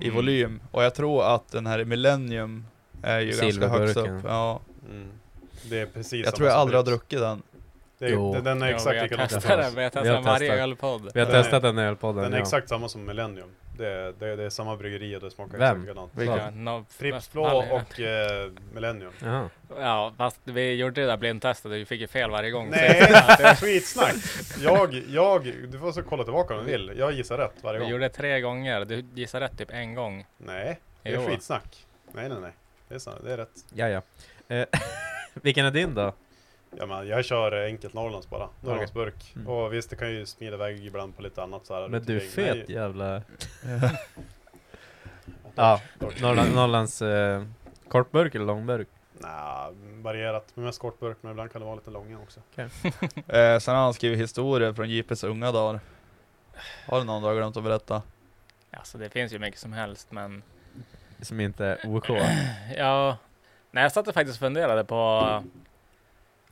i volym. Och jag tror att den här i Millennium är ju ganska högst
Silverburken.
upp. Ja.
Mm. Det är precis
Jag
samma
tror jag
som
aldrig har
Pripps.
druckit den.
Det är,
Jo.
den, den är
Ja,
exakt
vi har
likadan.
testat den, vi har testat
testat.
varje ölpodd.
Vi har
Den är-
testat den ölpodden.
Den är
ja.
exakt samma som Millennium. Det, det, det är samma bryggeri och det smakar
Vem?
exakt likadant.
Ja,
Vilken?
no,
Pripps blå
fan, ja.
och eh, Millennium.
Jaha.
Ja, fast vi gjorde det där blindtestet och vi fick ju fel varje gång. (laughs)
Nej, det är skitsnack! Jag, jag, du får så kolla tillbaka om du vill. Jag gissar rätt varje
Vi
gång.
gjorde det tre gånger. Du gissade rätt typ en gång.
Nej, det är
Jo.
skitsnack. Nej, nej, nej. Det är, sant, det är rätt.
Ja, ja. Eh, (laughs) Vilken är din då?
Ja, men jag kör eh, enkelt Norrlands bara. Norrlandsburk.
Mm.
Och visst, det kan ju smida iväg ibland på lite annat så här.
Men
runt
du
omkring.
fet
Nej,
jävla... Ja, Norrland, Norrlands eh, kortburk eller långburk?
Nja, varierat. Men mest kortburk, men ibland kan det vara lite långa också.
Eh, sen har han skrivit historier från JP's unga dagar. Har du någon dag glömt att berätta?
Alltså det finns ju mycket som helst men
Som inte är OK.
(laughs)
ja. Nej jag satt och faktiskt funderade på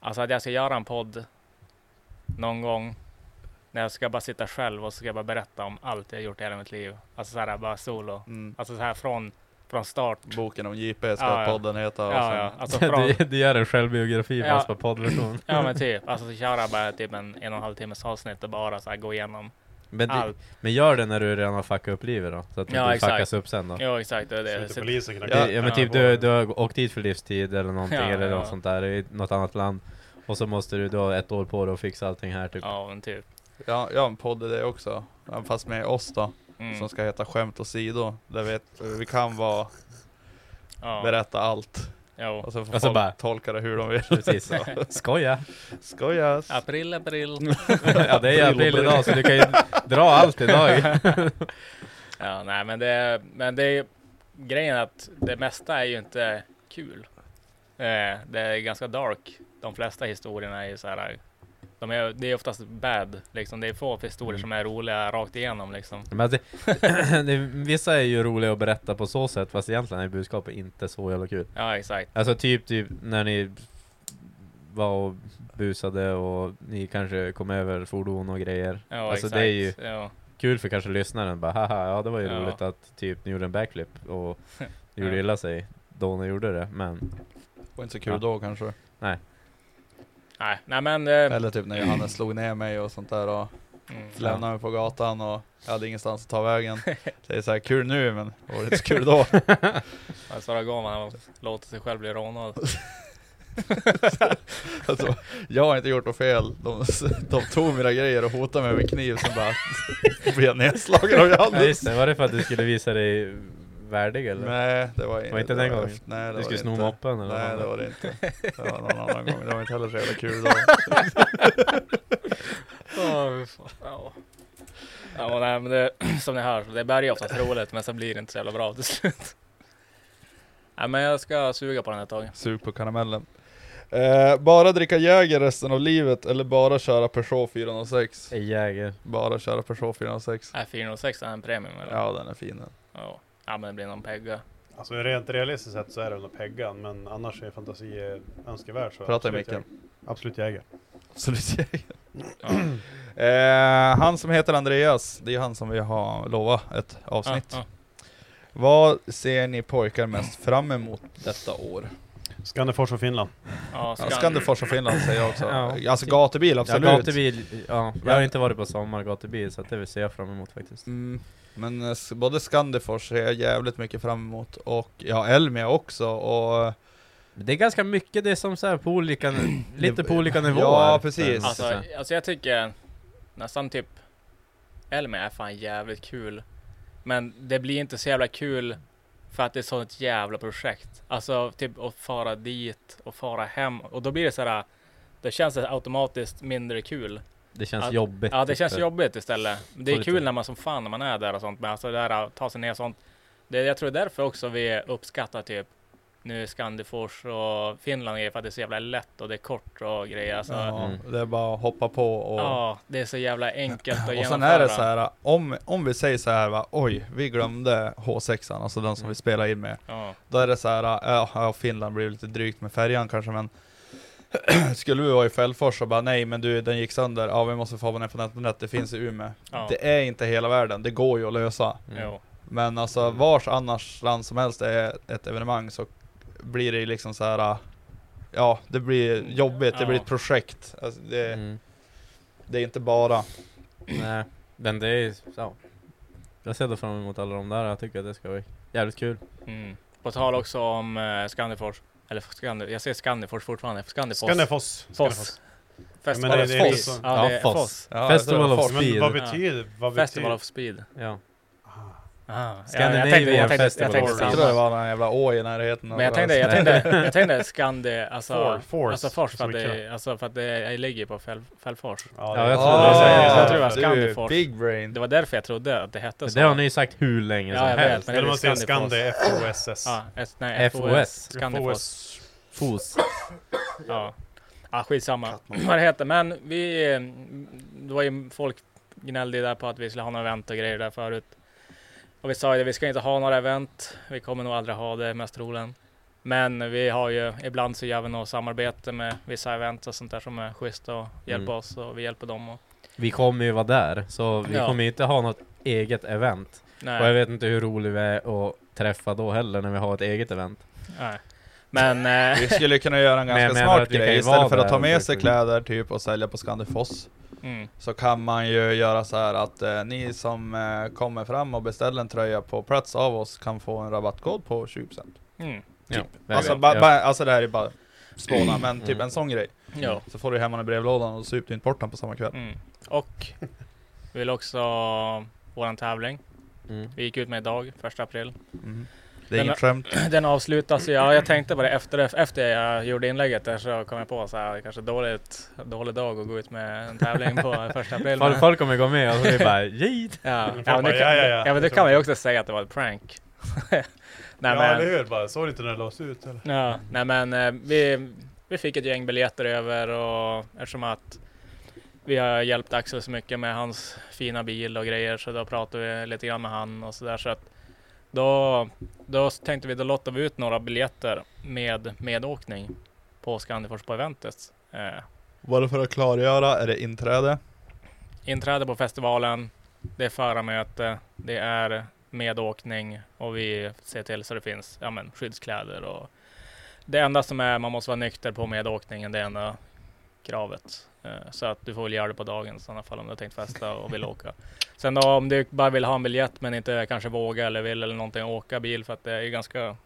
alltså att jag ska göra en podd någon gång när jag ska bara sitta själv och så ska jag bara berätta om allt jag gjort i hela mitt liv. Alltså så här bara solo.
Mm.
Alltså så här från, från start.
Boken om JP ska
Ja, ja.
podden heta. och
Ja,
sen-
ja. Alltså
(laughs)
från,
(laughs) Du, du gör en självbiografi
Ja.
fast på poddversion.
ja men typ. Alltså så köra bara typ en en och en halv timmes avsnitt och bara så här gå igenom
Men, du,
allt.
men gör det när du redan har fuckat upp livet då? Så att du
Ja,
inte
exakt.
fuckas upp sen då?
Ja exakt. Det, är det.
Sitter
Så-
polisen och knackar
Ja,
på
men typ
dörren.
du, du har åkt dit för livstid eller någonting
Ja,
eller
ja.
något sånt där i något annat land. Och så måste du, du har ett år på dig att fixa allting här typ.
Ja men typ.
Ja, jag har en podd i det också. Ja, Fast med oss då.
Mm.
Som ska heta Skämt och sidor. Där vi, vi kan bara
Ja.
berätta allt.
Jo.
Och så får
Och så
folk
bara-
tolka det hur de vill. (laughs)
Precis. (laughs)
(laughs)
Skoja!
Skojas!
April, april.
Ja det är ju april idag så du kan ju dra allt
(laughs)
idag.
(laughs) Ja, nej, men det, men det är ju- grejen är att det mesta är ju inte kul. Eh, det är ganska dark. De flesta historierna är ju så här. De är, det är oftast bad, liksom. Det är få historier som är roliga rakt igenom, liksom.
Men alltså, (clears throat) det, vissa är ju roliga att berätta på så sätt fast egentligen är budskapet inte så jävla kul.
Ja, exakt.
Alltså typ, typ när ni var och busade och ni kanske kom över fordon och grejer.
Ja,
alltså
exakt.
det är ju
Ja,
kul för kanske lyssnaren bara haha, ja det var ju
Ja.
roligt att typ ni gjorde en backflip och ni
Ja.
gjorde illa sig då ni gjorde det. Men
Det var inte så kul
Ja.
då kanske.
nej, nej, men... Eh,
Eller typ när Johannes slog ner mig och sånt där och
mm,
lämnade mig på gatan och jag hade ingenstans att
(laughs)
ta vägen. Det är så här kul nu men det var inte så kul då.
vad Sara Gorman, han låter sig själv bli
(laughs)
rånad.
Alltså, jag har inte gjort något fel. De, (laughs) de tog mina grejer och hotade mig med kniv sen bara (laughs) blev jag nedslagen av
ja,
Johannes.
just det, var det för att du skulle visa dig värdig eller?
Nej det var inte.
Var inte
det
den
var-
gången?
Nej, det var
du skulle
det
sno
inte.
moppen eller
Nej
vad?
det var
(laughs)
det inte. Det var någon annan gång. Det var inte heller så jävla kul då.
(laughs) Ja. Ja, men, nej, men det, (clears throat) som ni hör, det börjar ju oftast roligt men sen blir det inte så jävla bra till slut. Nej, men jag ska suga på den ett tag.
Sug på karamellen. Eh, bara dricka Jäger resten av livet eller bara köra Peugeot 406?
En Jäger.
Bara köra Peugeot 406.
Är 406 en premium eller?
Ja den är fin den.
Ja. Ja, men det blir någon
(clears throat)
pegga.
Alltså rent realistiskt sett så är det under peggan, men annars är fantasi eh, önskevärd. så
Prata i
absolut
micken.
jäger. Absolut jäger.
Absolut Jäger. eh, han som heter Andreas, det är han som vi har lovat ett
Ja,
avsnitt.
ja.
Vad ser ni pojkar mest fram emot detta år?
Skandefors och Finland.
Ja,
Ja,
Scan-
Skandefors och Finland säger jag också.
Ja.
Alltså gatubil,
Ja,
absolut.
gatubil, ja. Jag har
Men-
inte varit på sommargatubil så att det ser jag fram emot faktiskt.
Mm. Men eh, s- både Skandefors ser jag jävligt mycket fram emot och ja, Elmia också och...
Det är ganska mycket det är som så här på olika, lite på olika nivåer.
Ja, precis.
Så-
Alltså, alltså jag tycker nästan typ Elmia är fan jävligt kul. Men det blir inte så jävla kul för att det är sånt jävla projekt. Alltså typ att fara dit och fara hem och då blir det så här. Då känns det automatiskt mindre kul.
Det känns
att-
jobbigt.
Ja, det känns
typ.
jobbigt istället. Det är
Får lite-
kul när man som fan när man är där och sånt, men alltså det där att ta sig ner och sånt. Det, jag tror det är därför också vi uppskattar typ nu Skandifors och Finland är för att det är så jävla lätt och det är kort och grejer. Alltså, ja.
Ja,
Mm.
det är bara att hoppa på och...
det är så jävla enkelt att
(laughs) Och
genomföra.
sen är det så här, om, om vi säger så här va, oj, vi glömde H6, an alltså den som vi spelar in med.
Ja,
Då är det så här, äh, ja, ja, Finland blir lite drygt med färjan kanske men (clears throat) Skulle vi vara i Fällfors och bara nej men du den gick sönder, ja vi måste få den på nätet, det finns i Umeå.
ja,
Det är inte hela världen, det går ju att lösa.
Mm.
jo,
Men alltså
Mm.
vars annars land som helst det är ett evenemang så blir det ju liksom så här. Ja, det blir jobbigt, det
Ja.
blir ett projekt. Alltså, det,
Mm.
det är inte bara.
Nej, men det är ju- ja. Jag ser då fram emot alla de där, jag tycker att det ska bli jävligt kul.
Mm. På tal också om eh, Skandifors, eller Skandif jag säger Skandifors fortfarande, Skandifors.
Skandefors.
Foss.
Ja, men det- det är inte
Foss.
så-
Ja,
Ja,
det är
Foss.
Foss.
Ja,
Festival
jag tror
of
folk-
Men vad
speed.
betyder... Vad
Festival
betyder...
of Speed.
Ja.
Ah, ja,
Scandinavian
jag tänkte, jag tänkte,
Festival
jag tänkte
Awards.
Jag
samma.
tror det var någon jävla å i närheten.
Men jag tänkte, jag tänkte, jag tänkte Skandi, alltså,
For- force,
alltså Fors, för
som
att,
vi
det, alltså för att det jag ligger på Fäll- Fällfors.
Ja,
Ja, jag tror det.
Så jag tror det var
Ah, du
Scandifors.
är big brain.
Det var därför jag trodde att det hette så.
Det har ni ju sagt hur länge
Ja,
som
jag vet,
helst.
men
Eller man säger
Scandifos.
Scandi FOSS.
Ja, S, nej, FOS.
FOS.
Scandifos.
Fos.
Ja. ja, Ah, skitsamma (clears throat) vad det heter. Men vi, eh, det var ju folk gnällde ju där på att vi skulle ha några event och grejer där förut. Och vi sa ju det, vi ska inte ha några event. Vi kommer nog aldrig ha det mest troligen. Men vi har ju, ibland så gör vi något samarbete med vissa event och sånt där som är schysst och hjälper
Mm.
oss och vi hjälper dem. Och,
Vi kommer ju vara där, så vi
Ja.
kommer ju inte ha något eget event. Och jag
nej,
vet inte hur rolig vi är att träffa då heller när vi har ett eget event.
nej. Men eh, (laughs)
Vi skulle kunna göra en
Men jag
ganska
menar
smart
att vi kan
grej.
ju vara
Istället för att ta
där
med
under
sig
sju.
kläder typ och sälja på Scandifoss.
mm,
Så kan man ju göra så här att eh, ni som eh, kommer fram och beställer en tröja på plats av oss kan få en rabattkod på 20%.
mm,
Ja. Typ, Jag
Alltså,
vet,
ba,
ja.
ba, alltså det här är bara spåna, men typ
Mm.
en sån grej.
ja.
Så får du hem den i brevlådan och så upp du inte bort den på samma kväll.
Mm. Och vi vill också våran tävling.
Mm.
Vi gick ut med idag, första april.
Mm. Det är
Men-
inget skämt.
(clears throat) Den avslutas, ja jag tänkte på det efter, efter jag gjorde inlägget där så kom jag på så här, kanske dåligt, dålig dag att gå ut med en tävling på första april.
Folk-
men-
Folk kommer gå med och så vi
(laughs)
bara Jid!
ja.
Folk
Ja, men
bara,
det
ja,
kan-
ja, ja.
ja men det kan man ju också säga att det var ett prank. (laughs) nej,
ja,
men,
eller hur? Bara, såg du inte när det lades ut eller?
Ja, nej men eh, vi, vi fick ett gäng biljetter över och eftersom att vi har hjälpt Axel så mycket med hans fina bil och grejer så då pratade vi lite grann med han och sådär så att då, då tänkte vi då lottar vi ut några biljetter med medåkning på Skandifors på eventet. Eh,
Bara för att klargöra, är det inträde?
inträde på festivalen, det är förarmöte, det är medåkning och vi ser till så det finns ja, men, skyddskläder och det enda som är man måste vara nykter på medåkningen, det är enda kravet. Eh, Så att du får väl göra det på dagen i sådana fall om du har tänkt festa och vill åka. Sen då, om du bara vill ha en biljett men inte kanske våga eller vill eller någonting åka bil för att det är ju ganska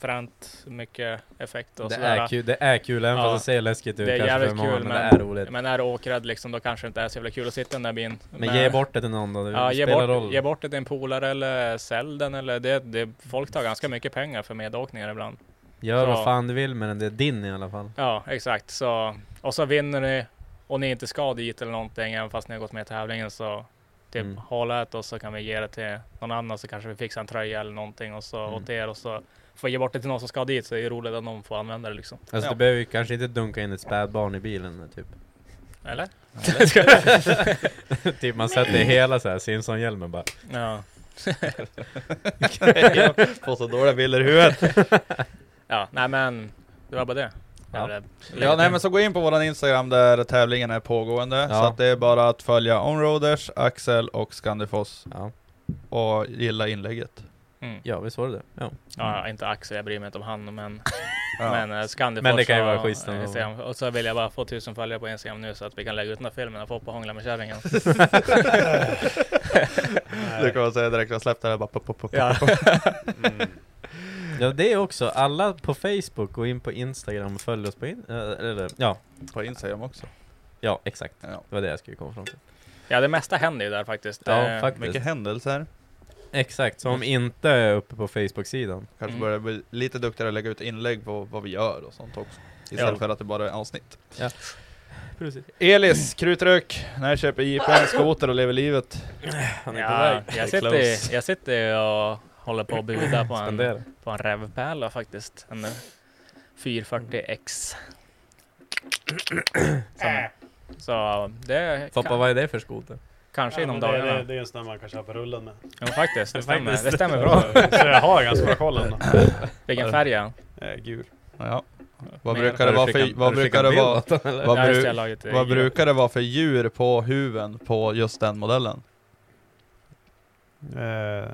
fränt, mycket effekt och
Det
sådär.
är, kul, det är kul, även
Ja.
fast det ser läskigt ut
Det är
kanske
jävligt
för många,
kul,
men,
men-
det är roligt.
Men är du åkrädd liksom, då kanske det inte är så jävla kul att sitta i den där bilen.
Men ge bort det till någon då, det
Ja, ge
spelar
bort,
roll.
ge bort det till en polare eller sälj den eller det, det, folk tar ganska mycket pengar för medåkningar ibland.
Gör
Så.
vad fan du vill men den är din i alla fall.
Ja, exakt. Så, och så vinner ni och ni inte ska dit eller någonting, även fast ni har gått med i tävlingen så typ
Mm.
håll ett och så kan vi ge det till någon annan så kanske vi fixar en tröja eller någonting och så
Mm.
åt er och så får vi ge bort det till någon som ska dit så är det roligt att någon får använda det liksom.
Alltså
Ja.
du behöver ju kanske inte dunka in ett spädbarn i bilen
(laughs)
typ.
Eller?
typ man sätter hela så här Simpson-hjälmen
(laughs)
bara.
Ja.
Får så dåliga bilder i huvudet.
ja, nej men det var bara det.
Ja.
Eller-
Ja, nej men så gå in på våran Instagram där tävlingen är pågående.
Ja.
Så att det är bara att följa Onroaders, Axel och Scandifoss
Ja,
och gilla inlägget.
Mm.
(laughs) ja visst var det det? Ja.
Ja, inte Axel, jag bryr mig inte om han, men
Ja. (laughs)
Men eh, Scandifors
Men det kan ju
och
vara schysst ändå.
Instagram. Och så vill jag bara få tusen följare på Instagram nu så att vi kan lägga ut den här filmen och få på hångla
(laughs)
med kärringen.
Det kan man säga direkt, jag släppte det här bara pop, pop, pop,
Ja.
pop.
Mm.
Ja det är också, alla på Facebook, gå in på Instagram och följ oss på in... eh, Eller, ja,
på Instagram också.
ja exakt.
Ja.
Det var det jag skulle komma fram till.
ja, det mesta händer ju där faktiskt.
Ja
Eh,
faktiskt.
Mycket händelser.
Exakt, som
Mm.
inte är uppe på Facebook-sidan.
Kanske
Mm.
börja bli lite duktigare att lägga ut inlägg på vad vi gör och sånt också. Istället
Ja.
för att det bara är avsnitt.
Precis.
Elis, krutrök, när köper JP en skoter och lever livet?
Han är på
ja,
väg.
jag, sitter, jag sitter och håller på att buda på en,
Spendera.
på en revpärla faktiskt. En eh, 440X.
Äh.
Som, så det
Foppa, vad är det för skoter?
kanske
Ja,
inom
men det,
dagarna.
det, det är en sån där man kanske har på rullen med.
Ja, faktiskt,
(laughs)
det stämmer.
Faktiskt.
Det stämmer bra.
(laughs)
Så jag har ganska bra koll ändå.
Vilken färg är han?
Eh, gul.
Ja. Vad
Men-
brukar
Har
det
du
vara
skickat-
för,
har
vad
du
brukar
skickat
det
bild
vara,
åt honom, eller?
vad,
Ja, just det,
bru-
jag la ut det i
vad
gruppen.
brukar det vara för djur på huven på just den modellen?
Eh,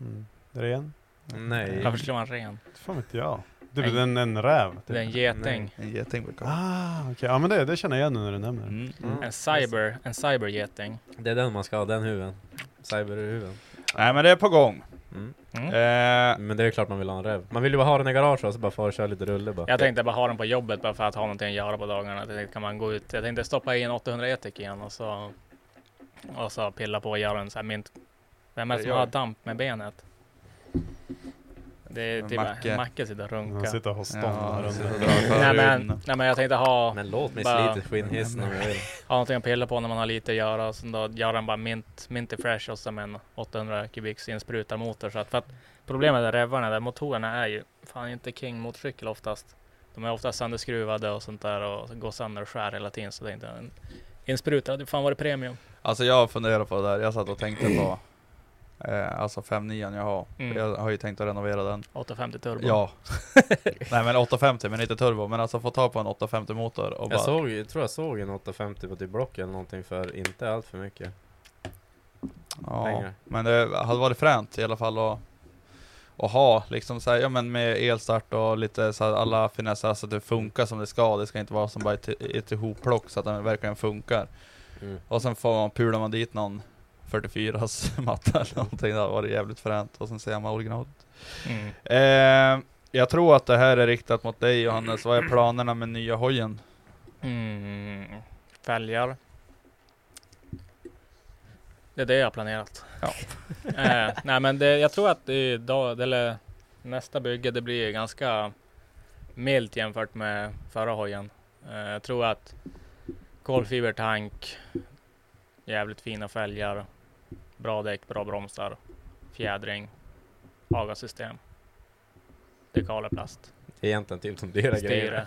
mm. Ren?
Nej.
Varför skulle man ren?
Fan vet jag. Du, en, en räv? typ.
Det är en geting.
En geting brukar vara.
Ah, okej. Ja men det, det känner jag igen nu när du nämner det.
Mm.
Mm.
En cyber, en cybergeting.
Det är den man ska ha, den huven. Cyber i huven.
Nej men det är på gång.
Mm.
Mm.
Eh,
Men det är klart man vill ha en räv. Man vill ju bara ha den i garaget och så bara fara och köra lite rulle bara.
Jag tänkte bara ha den på jobbet bara för att ha någonting att göra på dagarna. Jag tänkte, kan man gå ut? Jag tänkte stoppa i en 800 etik igen och så och så pilla på och göra en sån här mint Vem är det
Det
som
gör
har
det.
damp med benet? Det är typ
Macke.
Macke. Macke sitter och
Han
runkar.
sitter och har stånd
Ja,
här
sitter och
under.
drar
Nej
förhuden.
men, nej men jag tänkte ha,
Men låt mig
Bara-
slita skinnhissen om jag
(laughs)
vill.
ha någonting att pilla på när man har lite att göra och sen då gör den bara mint, minty fresh och sen med en 800 kubiks insprutarmotor. Så att, för att problemet med revarna där, motorerna är ju fan inte king motorcykel oftast. De är ofta sönderskruvade och sånt där och går sönder och skär hela tiden så det är inte en insprutad, det fan var det premium.
Alltså jag funderar på det där, jag satt och tänkte på eh, Alltså 5-9 jag har,
Mm.
jag har ju tänkt att renovera den
850 turbo.
Ja Nej men 850 men inte turbo, men alltså få tag på en 850 motor och bara
Jag, såg, jag tror jag såg en 850 på typ Block eller någonting för inte allt för mycket.
ja,
pengar.
Men det hade varit fränt i alla fall att att ha liksom så här, ja men med elstart och lite så här, alla finesser, alltså att det funkar som det ska. Det ska inte vara som bara ett, ett ihopplock så att den verkligen funkar.
Mm.
Och sen får man, pular man dit någon 44s matta eller någonting, det hade varit jävligt fränt. Och sen ser man originalet.
(laughs) Mm.
Eh, jag tror att det här är riktat mot dig Johannes. Vad är planerna med nya hojen?
Mm. Fälgar. Det är det jag har planerat.
Ja.
(laughs) eh, nej men det, jag tror att det idag, eller nästa bygge, det blir ganska milt jämfört med förra hojen. Eh, jag tror att kolfibertank, jävligt fina fälgar, bra däck, bra bromsar, fjädring, agasystem, dekaleplast.
Det är egentligen typ de dyra
Styre. (laughs)
grejerna.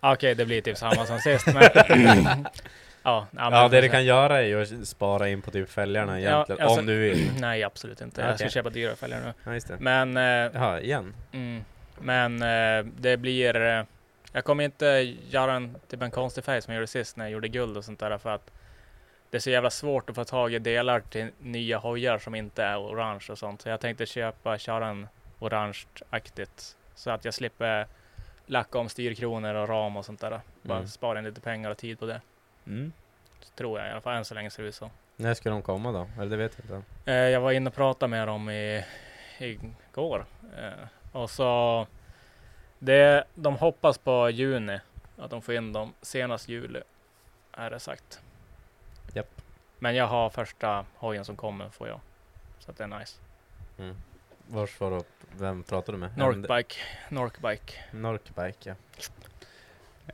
Okej, det blir typ samma som
(laughs)
sist. Men... ja, men
Ja, det du kan göra är ju att spara in på typ fälgarna egentligen,
alltså-
om du vill.
Nej, absolut inte. Jag ska
Okej.
köpa dyra fälgar nu.
Ja, just det.
Men, eh,
Jaha, igen.
mm, men eh, det blir... Eh, jag kommer inte göra en, typ en konstig färg som jag gjorde sist när jag gjorde guld och sånt där. För att det är så jävla svårt att få tag i delar till nya hojar som inte är orange och sånt. Så jag tänkte köpa, köra en orange-aktigt. Så att jag slipper lacka om styrkronor och ram och sånt där. Bara
Mm.
spara in lite pengar och tid på det. Tror jag i alla fall, än så länge ser det ut så.
När ska de komma då? Eller det vet jag inte.
Eh, jag var inne och pratade med dem i, igår. Eh, och så, det, de hoppas på juni, att de får in dem senast juli, är det sagt.
Japp.
Men jag har första hojen som kommer, får jag. Så att det är nice.
Vars var då? Vem pratade du med?
Norkbike, Norkbike.
Norkbike, ja.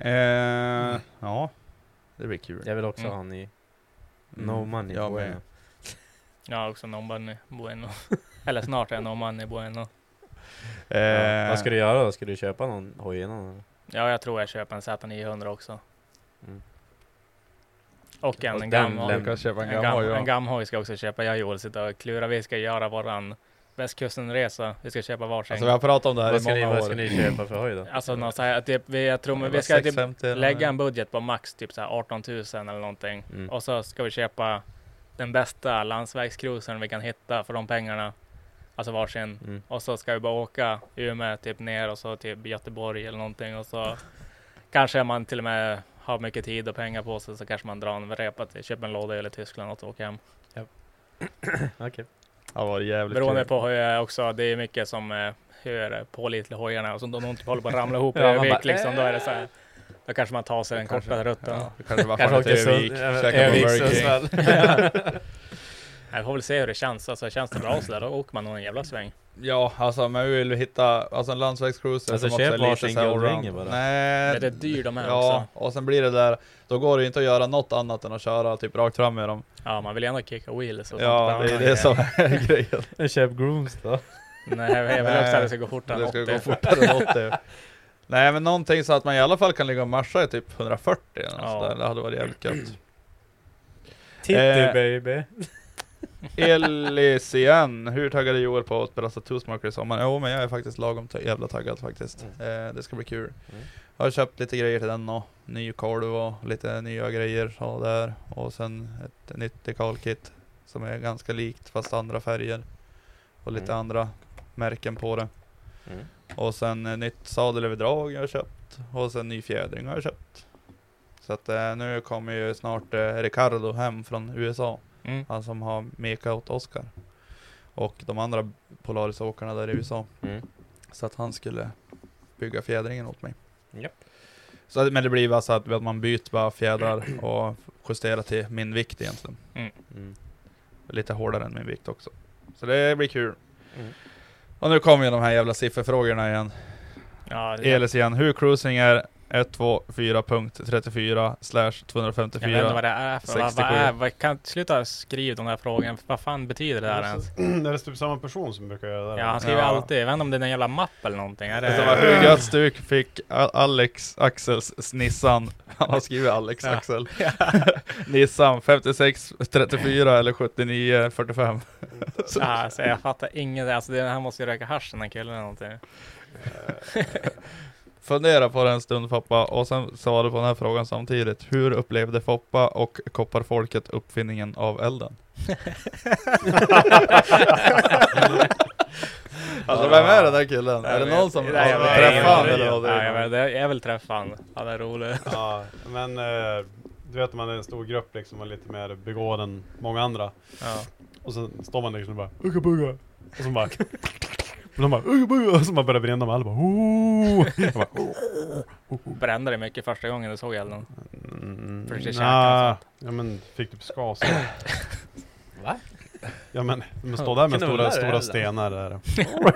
Mm.
Eh, ja, det blir kul.
Jag vill också
Mm.
ha en ny. No
Mm,
money.
jag
bueno.
med.
Jag har också Nomani
(laughs)
Bueno. Eller snart är Nomani Bueno.
Ja.
Eh,
Vad ska du göra då? Ska du köpa någon hoj innan? eller?
Ja, jag tror jag köper en Z900 också.
Mm.
Och en,
Och den
en gammal.
lämnar
du kan köpa en
En,
gammal
gam,
ja.
en gamhoj ska jag också köpa. Jag och Joel sitter och klurar. Vi ska göra våran västkustenresa. Vi ska köpa varsin.
Alltså vi har pratat om det här
Vad ska,
i
ni,
många
vad
år.
ska ni köpa för hoj då?
(clears throat) Alltså någon så här, typ, vi, jag tror vi
Det var
ska typ
650 eller
lägga en
något.
budget på max typ så här 18 000 eller någonting.
Mm.
Och så ska vi köpa den bästa landsvägscruisern vi kan hitta för de pengarna. Alltså varsin.
Mm.
Och så ska vi bara åka Umeå typ ner och så typ Göteborg eller någonting och så kanske man till och med har mycket tid och pengar på sig så kanske man drar en repa till, köper en låda eller Tyskland och åker hem.
Okej.
Ja, var jävligt typ.
Beroende
kul.
på hur jag är också, det är mycket som eh, hur eh, pålitlig hojarna och sånt. Om de inte håller på att ramla
(laughs)
ihop i
Ja, man
övervikt
bara,
liksom, då är det så här. Då kanske man tar sig den korta rutten. (laughs)
"Äh!" Ja, du kanske
(laughs)
bara
Kanske
far
åkte
till
till
Örnsköldsvik,
Sund-
käkar på
Örnsköldsvik,
Burger King.
Sundsvall.
Jag får väl se hur det känns. Alltså, känns det bra så där, då åker man nog en jävla sväng.
Ja, alltså men vi vill hitta alltså en landsvägscruiser
Alltså,
som också är
köp
lite
varsin
såhär
guldringe
allround.
bara.
Nej,
Men det är dyrt de här
ja,
också.
och sen blir det där, då går det ju inte att göra något annat än att köra typ rakt fram med dem.
Ja, man vill ju ändå kicka wheels och
Ja,
sånt
det
där.
är
(laughs)
det som är grejen.
Köp grooms då.
Nej, jag vill också att det ska gå fortare
Det
än 80.
ska gå fortare än 80. Nej men någonting så att man i alla fall kan ligga och marscha i typ 140 eller något
Ja.
sådär. Det hade varit jävligt gött.
Titty
Eh,
baby.
Elicien, hur taggad är Joel på att belasta Toastmaker i sommar? Jo men jag är faktiskt lagom ta- jävla taggad faktiskt. Eh, det ska bli kul.
Mm.
Jag har köpt lite grejer till den och ny kolv och lite nya grejer och där. Och sen ett nytt dekalkit som är ganska likt fast andra färger. Och lite
Mm.
andra märken på det.
Mm.
Och sen eh, nytt sadelöverdrag jag har köpt. Och sen ny fjädring har jag köpt. Så att eh, nu kommer ju snart eh, Ricardo hem från USA.
Mm.
Han som har mekat åt Oscar. Och de andra Polaris-åkarna där i USA.
Mm.
Så att han skulle bygga fjädringen åt mig.
Japp.
Så, att- men det blir bara så att att man byter bara fjädrar och justerar till min vikt egentligen.
Mm.
Lite hårdare än min vikt också. Så det blir kul.
Mm.
Och nu kommer ju de här jävla sifferfrågorna igen.
Ja, det,
Elis igen. Hur cruising är 124.34 slash
jag vet inte vad
254.
det är för. Vad, vad
67.
är, vad, kan sluta skriva den där frågan. Vad fan betyder det där ens?
Det (clears throat) är typ samma person som brukar göra det.
Ja, han skriver
Ja.
alltid. Jag vet inte om det är en jävla mapp eller någonting. Är
Det var
det,
Alltså, hur gött stuk fick A- Alex Axels Nissan. (laughs) Han har skrivit Alex
Ja.
Axel. Nissan 56 34 eller
(laughs)
79 45.
ja, så jag fattar inget. Alltså, det, han måste ju röka hasch den här killen eller någonting.
Fundera på det en stund Foppa och sen svara på den här frågan samtidigt. Hur upplevde Foppa och kopparfolket uppfinningen av elden? alltså vem är den där killen? Är det någon som
Nej, jag vet-
träffade
jag
han
vet-
eller vad?
Ja, jag,
det är?
vet, det- jag vill träffa han. Han är rolig.
Ja, men eh, du vet man är en stor grupp liksom och lite mer begåvad än många andra.
Ja.
Och sen står man liksom och bara Ugga bugga. Och så bara (laughs) och de bara Ugga bugga. Och så man börjar brinna med alla bara "Ooh." Jag bara, "Ooh."
Brände dig mycket första gången du såg elden.
Mm,
Försökte
nja.
käka
Ja men fick typ skas.
Va?
Ja men de står där med
Knullar
stora,
du,
stora
eller?
stenar där.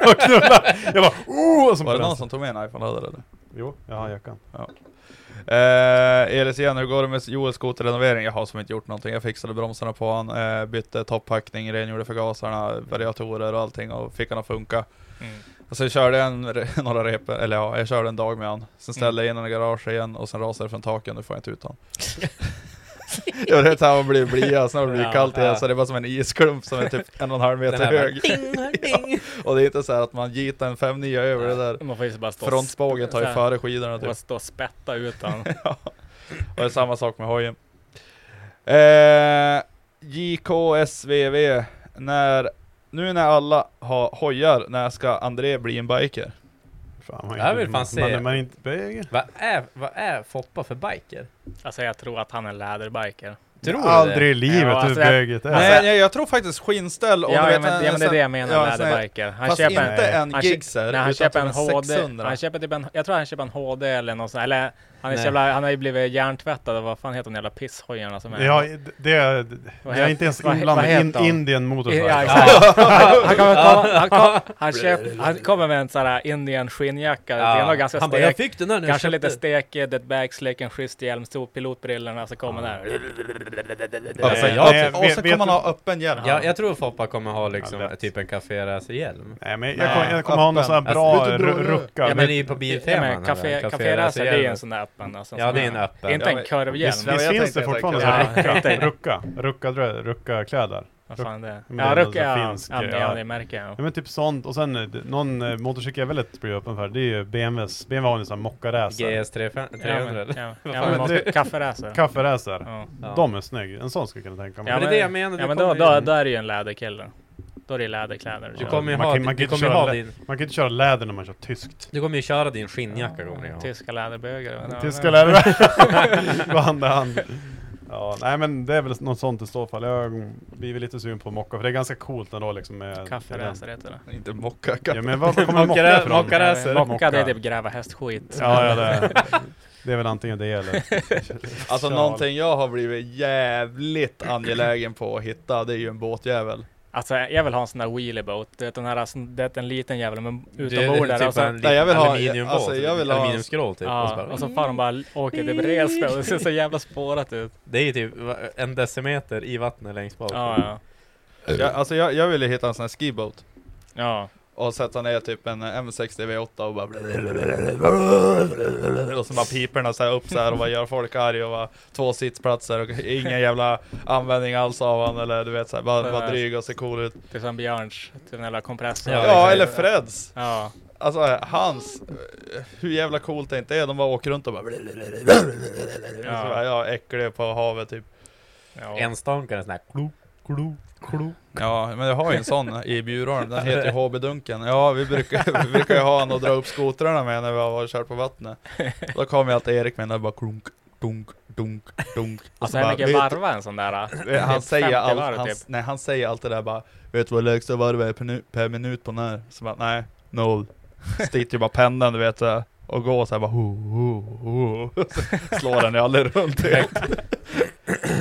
Jag knullar. Jag bara oh! Och så
Var det
bara-
någon som tog med en iPhone laddare eller?
Jo, jag har jackan.
Eh, Elis igen, hur går det med Joels skoterrenovering? Jag har som inte gjort någonting. Jag fixade bromsarna på han, eh, bytte topphackning, rengjorde förgasarna, variatorer och allting och fick han att funka.
Mm.
Och sen körde jag en, re- (laughs) några rep, eller ja, jag körde en dag med han. Sen ställde jag in honom i garaget igen och sen rasade det från taket, nu får jag inte ut honom. jag vet inte, han blir blia, snart blir det
Ja,
kallt igen,
ja.
så det är bara som en isklump som är typ en och en halv meter
Den här
hög. ja, och det är inte så här att man gitar en fem nya över det där.
Man får ju bara stå
Frontspagen tar ju
så här,
före skidorna typ.
och stå och spätta ut han.
Ja. Och det är samma sak med hojen. Eh, JKSVV, när, nu när alla har hojar, när ska André bli en biker?
Fan, man
Det här vill fan se.
Man, man, man är inte böger.
Vad är, vad är Foppa för biker?
Alltså jag tror att han är läderbiker.
Tror du
Aldrig i
Ja,
livet
alltså
hur
det-
böget är.
Nej, jag, jag tror faktiskt skinnställ och
Ja,
du
ja,
vet,
men,
en-
ja men det är det jag menar,
ja, en sån här-
läderbiker. Han
Fast
köper
inte en
han kö-
gigser,
Nej, han köper en
typ
HD.
600.
Han köper typ en, jag tror han köper en HD eller något sånt. Eller han, är så
Nej.
jävla, han har ju blivit hjärntvättad. Vad fan heter de jävla pisshojarna som är?
Ja, det, det, jag är
heter-
inte ens
vad he-
inblandad.
vad heter
In,
han?
Indien motorcykel.
Ja,
Ja,
(laughs)
exakt. Han- Han kommer komma- han kom- han köp- han kommer med en sån här Indian skinnjacka. Det är nog ganska
Han bara, jag
stek.
fick den där nu.
Kanske
jag köpte
lite stekig, det backslick, en schysst hjälm, stor pilotbrillorna, så kommer där.
Alltså,
Nej,
jag,
nej,
och
vet-
sen
vet
kommer man
du-
ha öppen hjälm.
den. Ja, jag tror Foppa kommer ha liksom
Ja, lätt.
typ en caféresehjälm.
Nej, men jag kommer jag kommer ha någon
öppen.
sån här bra
Alltså,
ru- rucka.
Ja men i på
Ja,
bilteman.
men Café, café Racer, det är ju en sån där öppen. Alltså,
Ja,
som
det är en öppen.
Inte
Ja,
en kurvhjälm.
men
Visst
jag
finns
tänkte
det
jag
fortfarande
tänkte-
sån här
Ja,
rucka,
jag tänkte-
rucka, rucka, drö- rucka kläder?
Vad fan det är.
Men
Ja,
det är
rucka,
alltså
ja,
finsk,
ja, men-
ja.
ja, det märker jag.
Ja men typ sånt, och sen eh, d- någon eh, motorcykel jag väldigt blir öppen för, det är ju BMWs, BMW har ju en sån här mockaracer.
GS 300
Ja, men-
eller?
ja,
Vad
ja,
fan
men
är
måste-
det?
Kafferacer.
Kafferacer.
Ja.
Ja.
De är snygg, en sån skulle jag kunna tänka mig.
Ja,
Men det är det jag menar.
Ja,
du
men då,
kommer
då,
ju-
då är det ju en läderkille. Då är det läderkläder.
Du
kör.
kommer ju
Man
ha,
kan- man kan
du
inte
kommer ju
köra
ha
lä-
din,
Man kan inte köra läder när man kör tyskt.
du kommer ju köra din skinnjacka kommer du ha.
Tyska läderbögar. men- (laughs)
Tyska läder. Gå hand i hand. Ja, nej men det är väl något sånt i så fall. Jag har blivit lite sugen på mocka, för det är ganska coolt ändå liksom med...
Kafferacer heter det.
Inte mocka
Ja
kaffe.
men var kommer mocka ifrån?
Mockaracer.
Mocka, det är
Mocka.
typ gräva hästskit.
Ja, ja det, det är väl antingen det eller...
(laughs)
Alltså
Kör.
någonting jag har blivit jävligt angelägen på att hitta, det är ju en båtjävel.
Alltså jag vill ha en sån där wheelie boat. Du vet den här, alltså, det är en liten jävel men
Det är
utombordare.
typ
och så-
en liten
Nej, jag vill ha-
aluminiumbåt,
alltså, jag vill ha-
aluminiumskrål typ. och så
alltså. Ja, alltså-
bara-
och så far de bara åker typ res med och det ser så jävla
(laughs)
spårat ut.
Det är ju typ va- en decimeter i vattnet längst bak.
Ja, ja.
Jag, alltså jag, jag ville hitta en sån här skiboat.
Ja,
Och sätta ner typ en M60 V8 och bara Och så bara piperna så här upp så här och bara gör folk arg och bara Två sittplatser och ingen jävla användning alls av han eller du vet såhär bara, bara dryg och ser cool ut
det är som Björns, typ den där kompressorn.
Ja,
Ja
exakt.
eller Freds!
Ja,
Alltså hans eh, Hur jävla coolt det inte är, de bara åker runt och bara Så bara, ja äckliga på havet typ
ja.
Enstankaren sån här. Klo, klo, klo.
Ja, men jag har ju en sån i Bjurholm,
(laughs)
den heter ju HB-dunken. Ja, vi brukar, (laughs) vi brukar ju ha en och dra upp skotrarna med när vi har varit och kört på vattnet. Då kommer ju alltid Erik med den där bara klunk, dunk, dunk,
(laughs)
dunk. Och
Alltså
så bara,
hur mycket
vet-
varva en sån där?
vet- Han
Typ
säger,
50
all,
varv,
han,
typ.
nej, han säger alltid det där bara, vet du vad lägsta varvet är per, nu, per minut på den här? Så bara, nej, noll. Sticker ju bara pendeln du vet så här, och går så här bara, ho, ho, ho. (laughs) Så Slår den ju aldrig runt helt.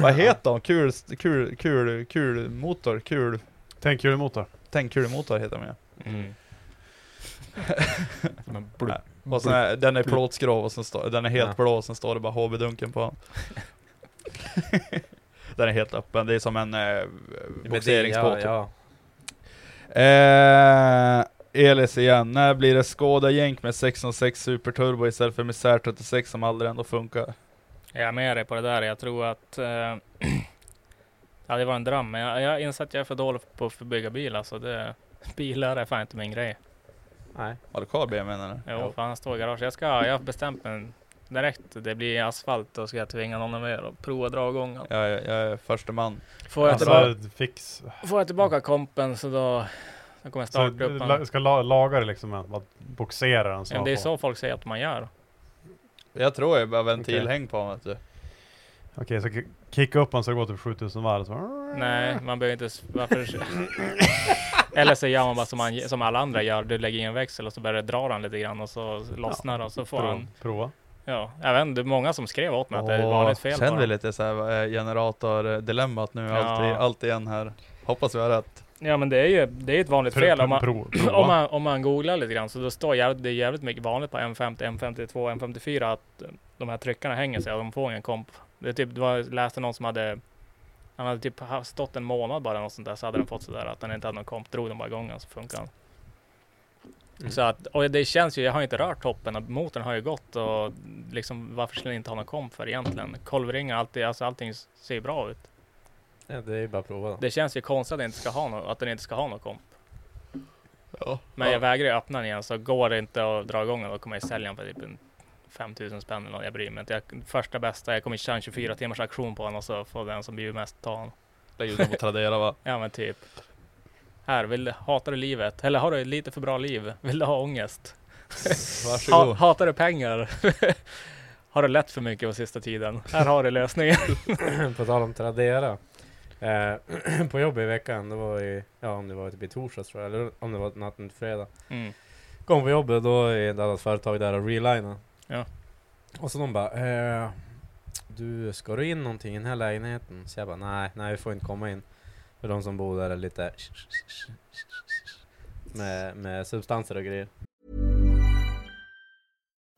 Vad heter de? Kul, kul, kul, kul motor, kul
Tänk kul motor.
tändkulemotor heter den ju.
Mm.
Men blub.
Och sen är, den är plåtskrov och sen står, den är helt
Ja.
blå och sen står det bara HB-dunken på
(laughs)
den. den är helt öppen, det är som en eh, boxeringsbåt. typ.
Ja,
Eh, Elis igen, när blir det Skoda jänk med 606 superturbo istället för Misär 36 som aldrig ändå funkar?
Jag är med dig på det där. Jag tror att eh, (clears throat) ja, det var en dröm, men jag, jag inser att jag är för dålig på att bygga bilar. Så det, (laughs) bilar är fan inte min grej.
ja. Nej.
Har du kvar BMWn eller?
Jo, fan han står i garaget. Jag ska, jag har bestämt mig direkt. Det blir asfalt, då ska jag tvinga någon med och prova dragången.
Jag, är- jag är första man.
Får jag,
Alltså,
tillbaka,
fix.
får jag tillbaka kompen så då, då kommer jag
Så,
starta upp
alltså, la-
honom.
ska la, laga det liksom, att att boxera den så.
Ja, men det är
på.
så folk säger att man gör.
Jag tror jag bara ventilhäng på honom vet du.
Okej, så ki- kicka upp den så det går typ 7000 varv. Så.
Nej,
Mm.
man behöver inte... s- Varför? (laughs) Eller så gör man bara som, man, som alla andra gör. Du lägger in en växel och så börjar du dra den lite grann och så lossnar den och så får
Prova.
han...
prova.
Ja, jag vet inte. Det är många som skrev åt mig att det är
Åh,
vanligt fel
Känner vi
bara.
lite såhär generator-dilemmat nu,
Ja.
allt, i, allt igen här. Hoppas vi har rätt.
Ja, men det är ju det är ett vanligt fel. Om man, (clears throat) (laughs)
Pro-
om,
prova.
man, om man googlar lite grann så då står jävligt, det är jävligt mycket vanligt på M50, M52, M54 att eh, de här tryckarna hänger sig och de får ingen komp. Det är typ, det var, jag läste någon som hade han hade typ haft- stått en månad bara något sånt där så hade den fått sådär att den inte hade någon komp, drog den bara igång den så funkar den.
Mm.
Så att, och det känns ju, jag har inte rört toppen och motorn har ju gått och liksom varför skulle den inte ha någon komp för egentligen? Kolvringar, alltid, alltså allting ser ju bra ut.
Ja, det är ju bara att prova.
Det känns ju konstigt att den inte ska ha någon, att den inte ska ha någon komp.
Ja.
Men jag vägrar ju öppna den igen så går det inte att dra igång den då kommer jag sälja den för typ en 5000 spänn eller något. Jag bryr mig inte. Jag, första bästa, jag kommer köra en 24
Mm.
timmars auktion på den och så får den som bjuder mest ta den.
Lägg ut dem på Tradera (laughs) va?
Ja men typ. Här, vill du, hatar du livet? Eller har du lite för bra liv? Vill du ha ångest? Ha,
Varsågod.
hatar du pengar? (laughs) har du lätt för mycket på sista tiden? Här har du lösningen.
(clears throat) på tal om Tradera. Eh, (clears throat) på jobbet i veckan, det var i, ja om det var typ i torsdags tror jag, eller om det var natten till fredag.
Mm.
Kom på jobbet då är ett annat företag där och relina.
Ja.
Och så de bara eh, Du, ska du in någonting i den här lägenheten? Så jag bara nej, nej vi får inte komma in. För de som bor där är lite med, med substanser och grejer.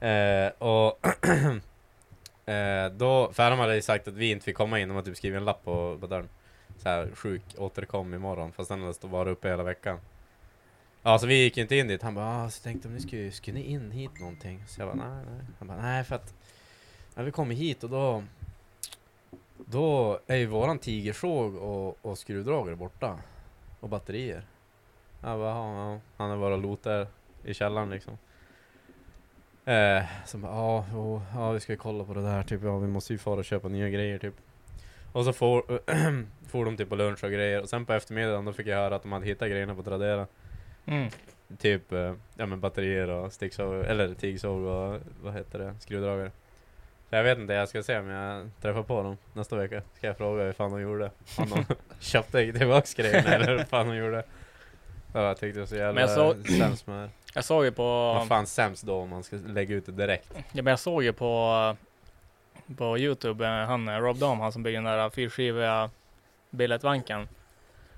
Eh, och (clears throat) eh, då, för de hade ju sagt att vi inte fick komma in, de hade typ skrivit en lapp på, på dörren. Så här, sjuk, återkom imorgon. Fast den hade stått bara uppe hela veckan. Ja, så vi gick ju inte in dit. Han bara, ah, så tänkte om ni skulle, skulle ni in hit någonting? Så jag bara, nej, nej. Han bara, nej för att när vi kommer hit och då då är ju våran tigersåg och, och skruvdragare borta. Och batterier. Jag bara, ja, ja. Han har varit och lotat där i källaren liksom. Eh, som bara, ja, jo, ja, vi ska ju kolla på det där, typ, ja, vi måste ju fara och köpa nya grejer, typ. Och så (clears throat) for, for de typ på lunch och grejer, och sen på eftermiddagen då fick jag höra att de hade hittat grejerna på Tradera.
Mm.
Typ, eh, ja men batterier och sticksåg, eller tigsåg och vad heter det, skruvdragare. Så jag vet inte, jag ska se om jag träffar på dem nästa vecka. Ska jag fråga hur fan de gjorde? Om de (laughs) köpte tillbaks grejerna eller hur fan de gjorde? Ja, jag tyckte det var så jävla
Men jag såg-
sämst med det.
Jag såg ju på...
Vad fan sämst då om man ska lägga ut det direkt?
Ja, men jag såg ju på, på Youtube, eh, han eh, Rob Dam, han som bygger den där fyrskiviga Billetbanken.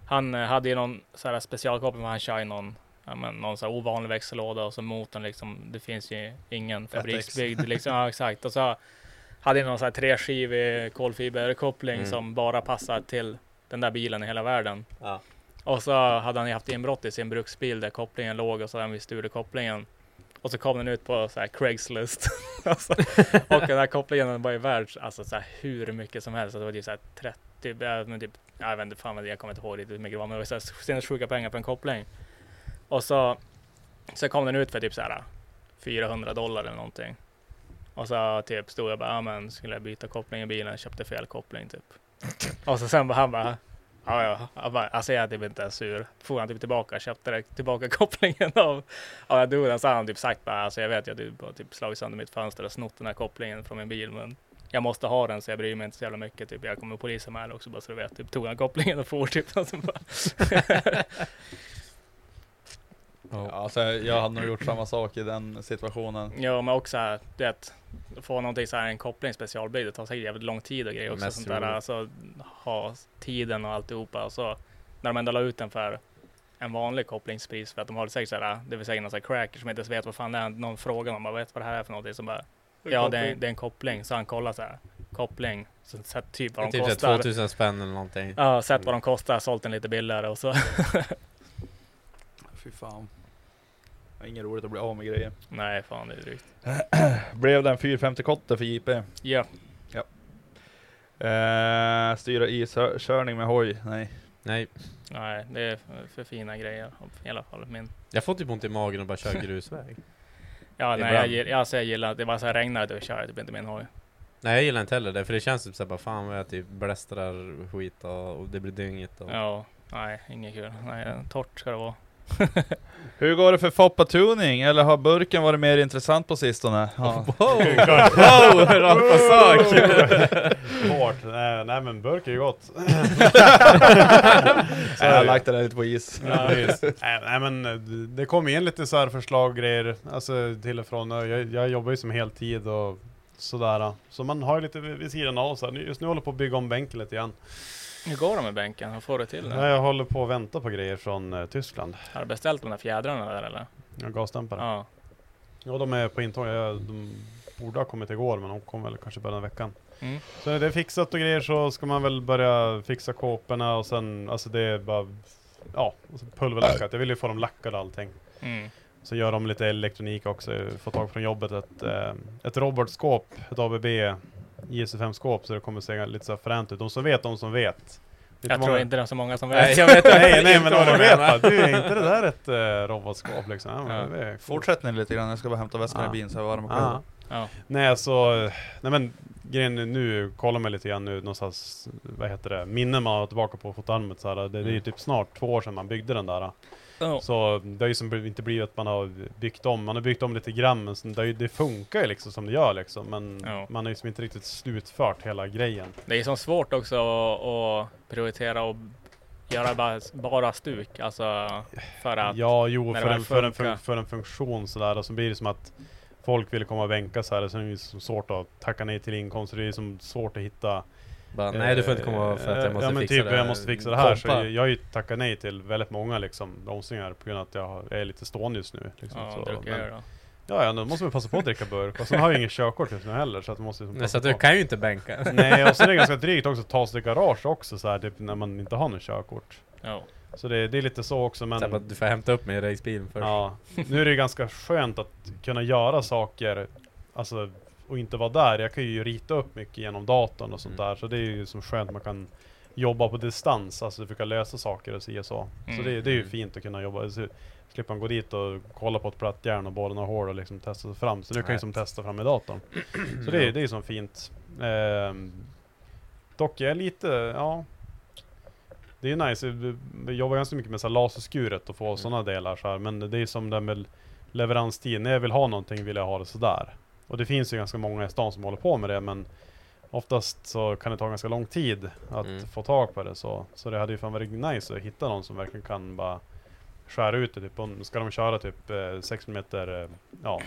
Han eh, hade ju någon så här specialkoppling, men han kör ju någon, ja, men, någon så här ovanlig växellåda och så motorn liksom, det finns ju ingen fabriksbyggd liksom. Ja, exakt. Och så hade ju någon så här treskivig kolfiberkoppling
Mm.
som bara passar till den där bilen i hela världen.
Ja.
Och så hade han ju haft inbrott i sin bruksbil där kopplingen låg och så hade han vi stulit kopplingen. Och så kom den ut på så här Craigslist. (laughs) alltså, och den här kopplingen den var ju värd alltså, så här, hur mycket som helst. Alltså, det var typ så här 30, ja, men typ, jag vet inte, fan, vad det- jag kommer inte ihåg riktigt hur mycket det var, men det var så här sinnessjuka pengar på en koppling. Och så, så kom den ut för typ så här 400 dollar eller någonting. Och så typ stod jag bara, ja men skulle jag byta koppling i bilen, köpte fel koppling typ. Och så sen bara, han bara, ja ja, jag bara, alltså jag är typ inte ens sur. Får han typ tillbaka, köpte direkt tillbaka (laughs) kopplingen av, av jag dog den. Så hade han typ sagt bara, alltså jag vet jag du har typ slagit sönder mitt fönster och snott den här kopplingen från min bil, men jag måste ha den så jag bryr mig inte så jävla mycket. Typ. Jag kommer polisanmäla också bara så du vet. Typ, tog han kopplingen och for typ. Alltså, bara.
Ja, alltså, jag hade nog gjort samma sak i den situationen.
ja men också här, du vet, få någonting så här, en koppling specialbyggd. Det tar säkert jävligt lång tid och grejer också.
Mest
sånt där.
roligt.
Alltså ha tiden och alltihopa. Och så när de ändå la ut den för en vanlig kopplingspris för att de har säkert så här, det vill säga någon sån här cracker som inte ens vet vad fan det är. Någon frågar man bara vet vad det här är för någonting. Som bara,
En
ja det är,
koppling.
det är en koppling. Så han kollar så här, koppling. Så, så här, typ vad de
Typ så här
kostar.
2000 spänn eller någonting.
Ja, sett vad de kostar, sålt den lite billigare och så. (laughs)
Fy fan. Det är Inget roligt att bli av med grejer.
Nej, fan det är drygt.
Blev den 450 kotte för JP?
Ja,
Eh, styra iskörning med hoj? Nej.
Nej,
nej, det är för- för fina grejer i alla fall. Min.
jag får typ ont i magen och bara
(laughs)
kör grusväg.
Ja,
Det är
nej,
bra.
jag, gill- alltså, jag gillar att det bara så här regnar och jag kör typ inte min hoj.
Nej jag gillar inte heller det, för det känns typ såhär bara fan vad jag typ blästrar skit och, och det blir dyngigt (laughs) och...
Ja, nej, inget kul. Nej, eh, torrt ska det vara.
Hur går det för Foppa Tuning? Eller har burken varit mer intressant på sistone? Ja.
Wow!
(laughs) Wow, rannsakan.
(laughs) Hårt. Nej, nej men burk är
(laughs)
ju gott.
Så jag har lagt det där lite på is.
Ja, visst. nej, nej men eh, det kom in lite så här förslag och grejer, alltså till och från. Jag, jag jobbar ju som heltid och sådär. Så man har ju lite vid vid sidan av så här. Just nu håller jag på att bygga om bänken lite grann.
Hur går de med bänken? Hur får du till
Ja,
den?
jag håller på att vänta på grejer från eh, Tyskland.
Har du beställt de där fjädrarna där eller?
Jag gasdämpare. Ja.
Ja,
de är på intåg. Jag, de borde ha kommit igår men de kom väl kanske början av veckan.
Mm.
Så när det är fixat och grejer så ska man väl börja fixa kåporna och sen, alltså det är bara, ja, och så pulverlackat. Jag vill ju få dem lackade och allting.
mm.
Så gör de lite elektronik också, Jag får tag från jobbet ett, eh, ett robotskåp, ett ABB JS5-skåp så det kommer se lite så här fränt ut. De som vet, de som vet. Det är
Jag tror
många-
inte det är så många som
Nej
vet.
jag vet
(laughs)
inte
(laughs) Nej, nej men
vad du
om de vet
menar.
att du är inte det där ett eh, robotskåp liksom. Ja, men det är coolt.
Fortsätt ni lite grann, jag ska bara hämta väskan
Ja.
i bilen så jag är varm och
Ja.
kall.
Ja.
Nej så, eh, nej men grejen är nu, kollar man lite grann nu någonstans, vad heter det, minnen man har tillbaka på fotarmet så här, det,
Mm.
det är ju typ snart två år sedan man byggde den där.
(laughs) Ja.
Så det har ju som inte blivit att man har byggt om, man har byggt om lite grann men sen det, har ju- det funkar ju liksom som det gör liksom men
Ja.
man har ju som inte riktigt slutfört hela grejen.
Det är som svårt också att- att prioritera och göra bara, bara stuk. Alltså för att...
Ja, jo,
när
för
det
en,
väl
för, en,
funkar.
fun- för en funktion sådär och så blir det som att folk vill komma och bänka så här och sen är det ju som svårt att tacka nej till inkomster, det är ju som svårt att hitta
Bara, nej du får inte komma för
Eh,
att jag måste
eh, ja, men
fixa
typ,
det
jag måste fixa det här. Så
Kompa.
jag, jag har ju tackat nej till väldigt många liksom, bromsningar på grund av att jag har- är lite stående just nu. Liksom,
Ja,
så,
det brukar jag
men,
göra.
ja, ja, då måste man passa på att dricka burk. Och sen har jag ju ingen körkort just nu heller. Så att man måste liksom
Nej, så
passa
att du
på.
kan ju inte
(laughs)
bänka.
Nej, och sen är det ganska drygt också att ta sig till garage också så här, typ, när man inte har något körkort.
Ja.
Så det, det är lite så också men...
Så att du får hämta upp mig i racebilen först.
Ja, nu är det ju ganska skönt att kunna göra saker, alltså och inte vara där. Jag kan ju rita upp mycket genom datorn och sånt
Mm.
där, så det är ju som skönt man kan jobba på distans, alltså försöka lösa saker och si och så. Så
Mm.
det, det är ju
Mm.
fint att kunna jobba, så slipper man gå dit och kolla på ett platt järn och borra några hål och liksom testa sig fram. Så nu kan jag ju
Nej.
som testa fram i datorn. Så det, är- det är ju som fint. Ehm, dock, jag är lite, ja. Det är ju nice, Vi- vi jobbar ganska mycket med så här laserskuret och få sådana delar så här. Men det är ju som det här med leveranstid. När jag vill ha någonting vill jag ha det sådär. Och det finns ju ganska många i stan som håller på med det men oftast så kan det ta ganska lång tid att
Mm.
få tag på det. Så, så det hade ju fan varit nice att hitta någon som verkligen kan bara skära ut det. Typ, om, ska de köra typ eh, 6 mm eh, ja,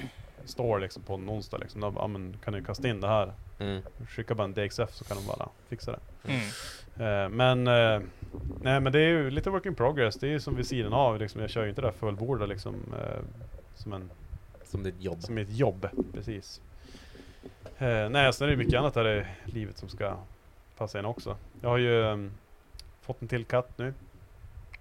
står liksom på en onsdag liksom, då, ja, men, kan du kasta in det här?
Mm.
Skicka bara en DXF så kan de bara fixa det.
Mm.
Eh, men, eh, nej men det är ju lite work in progress, det är ju som vid sidan av liksom, jag kör ju inte det här fullbordat liksom. Eh, som en...
Som ditt jobb.
Som ett jobb, precis. Eh, nej, sen är det mycket annat här i livet som ska passa in också. Jag har ju eh, fått en till katt nu,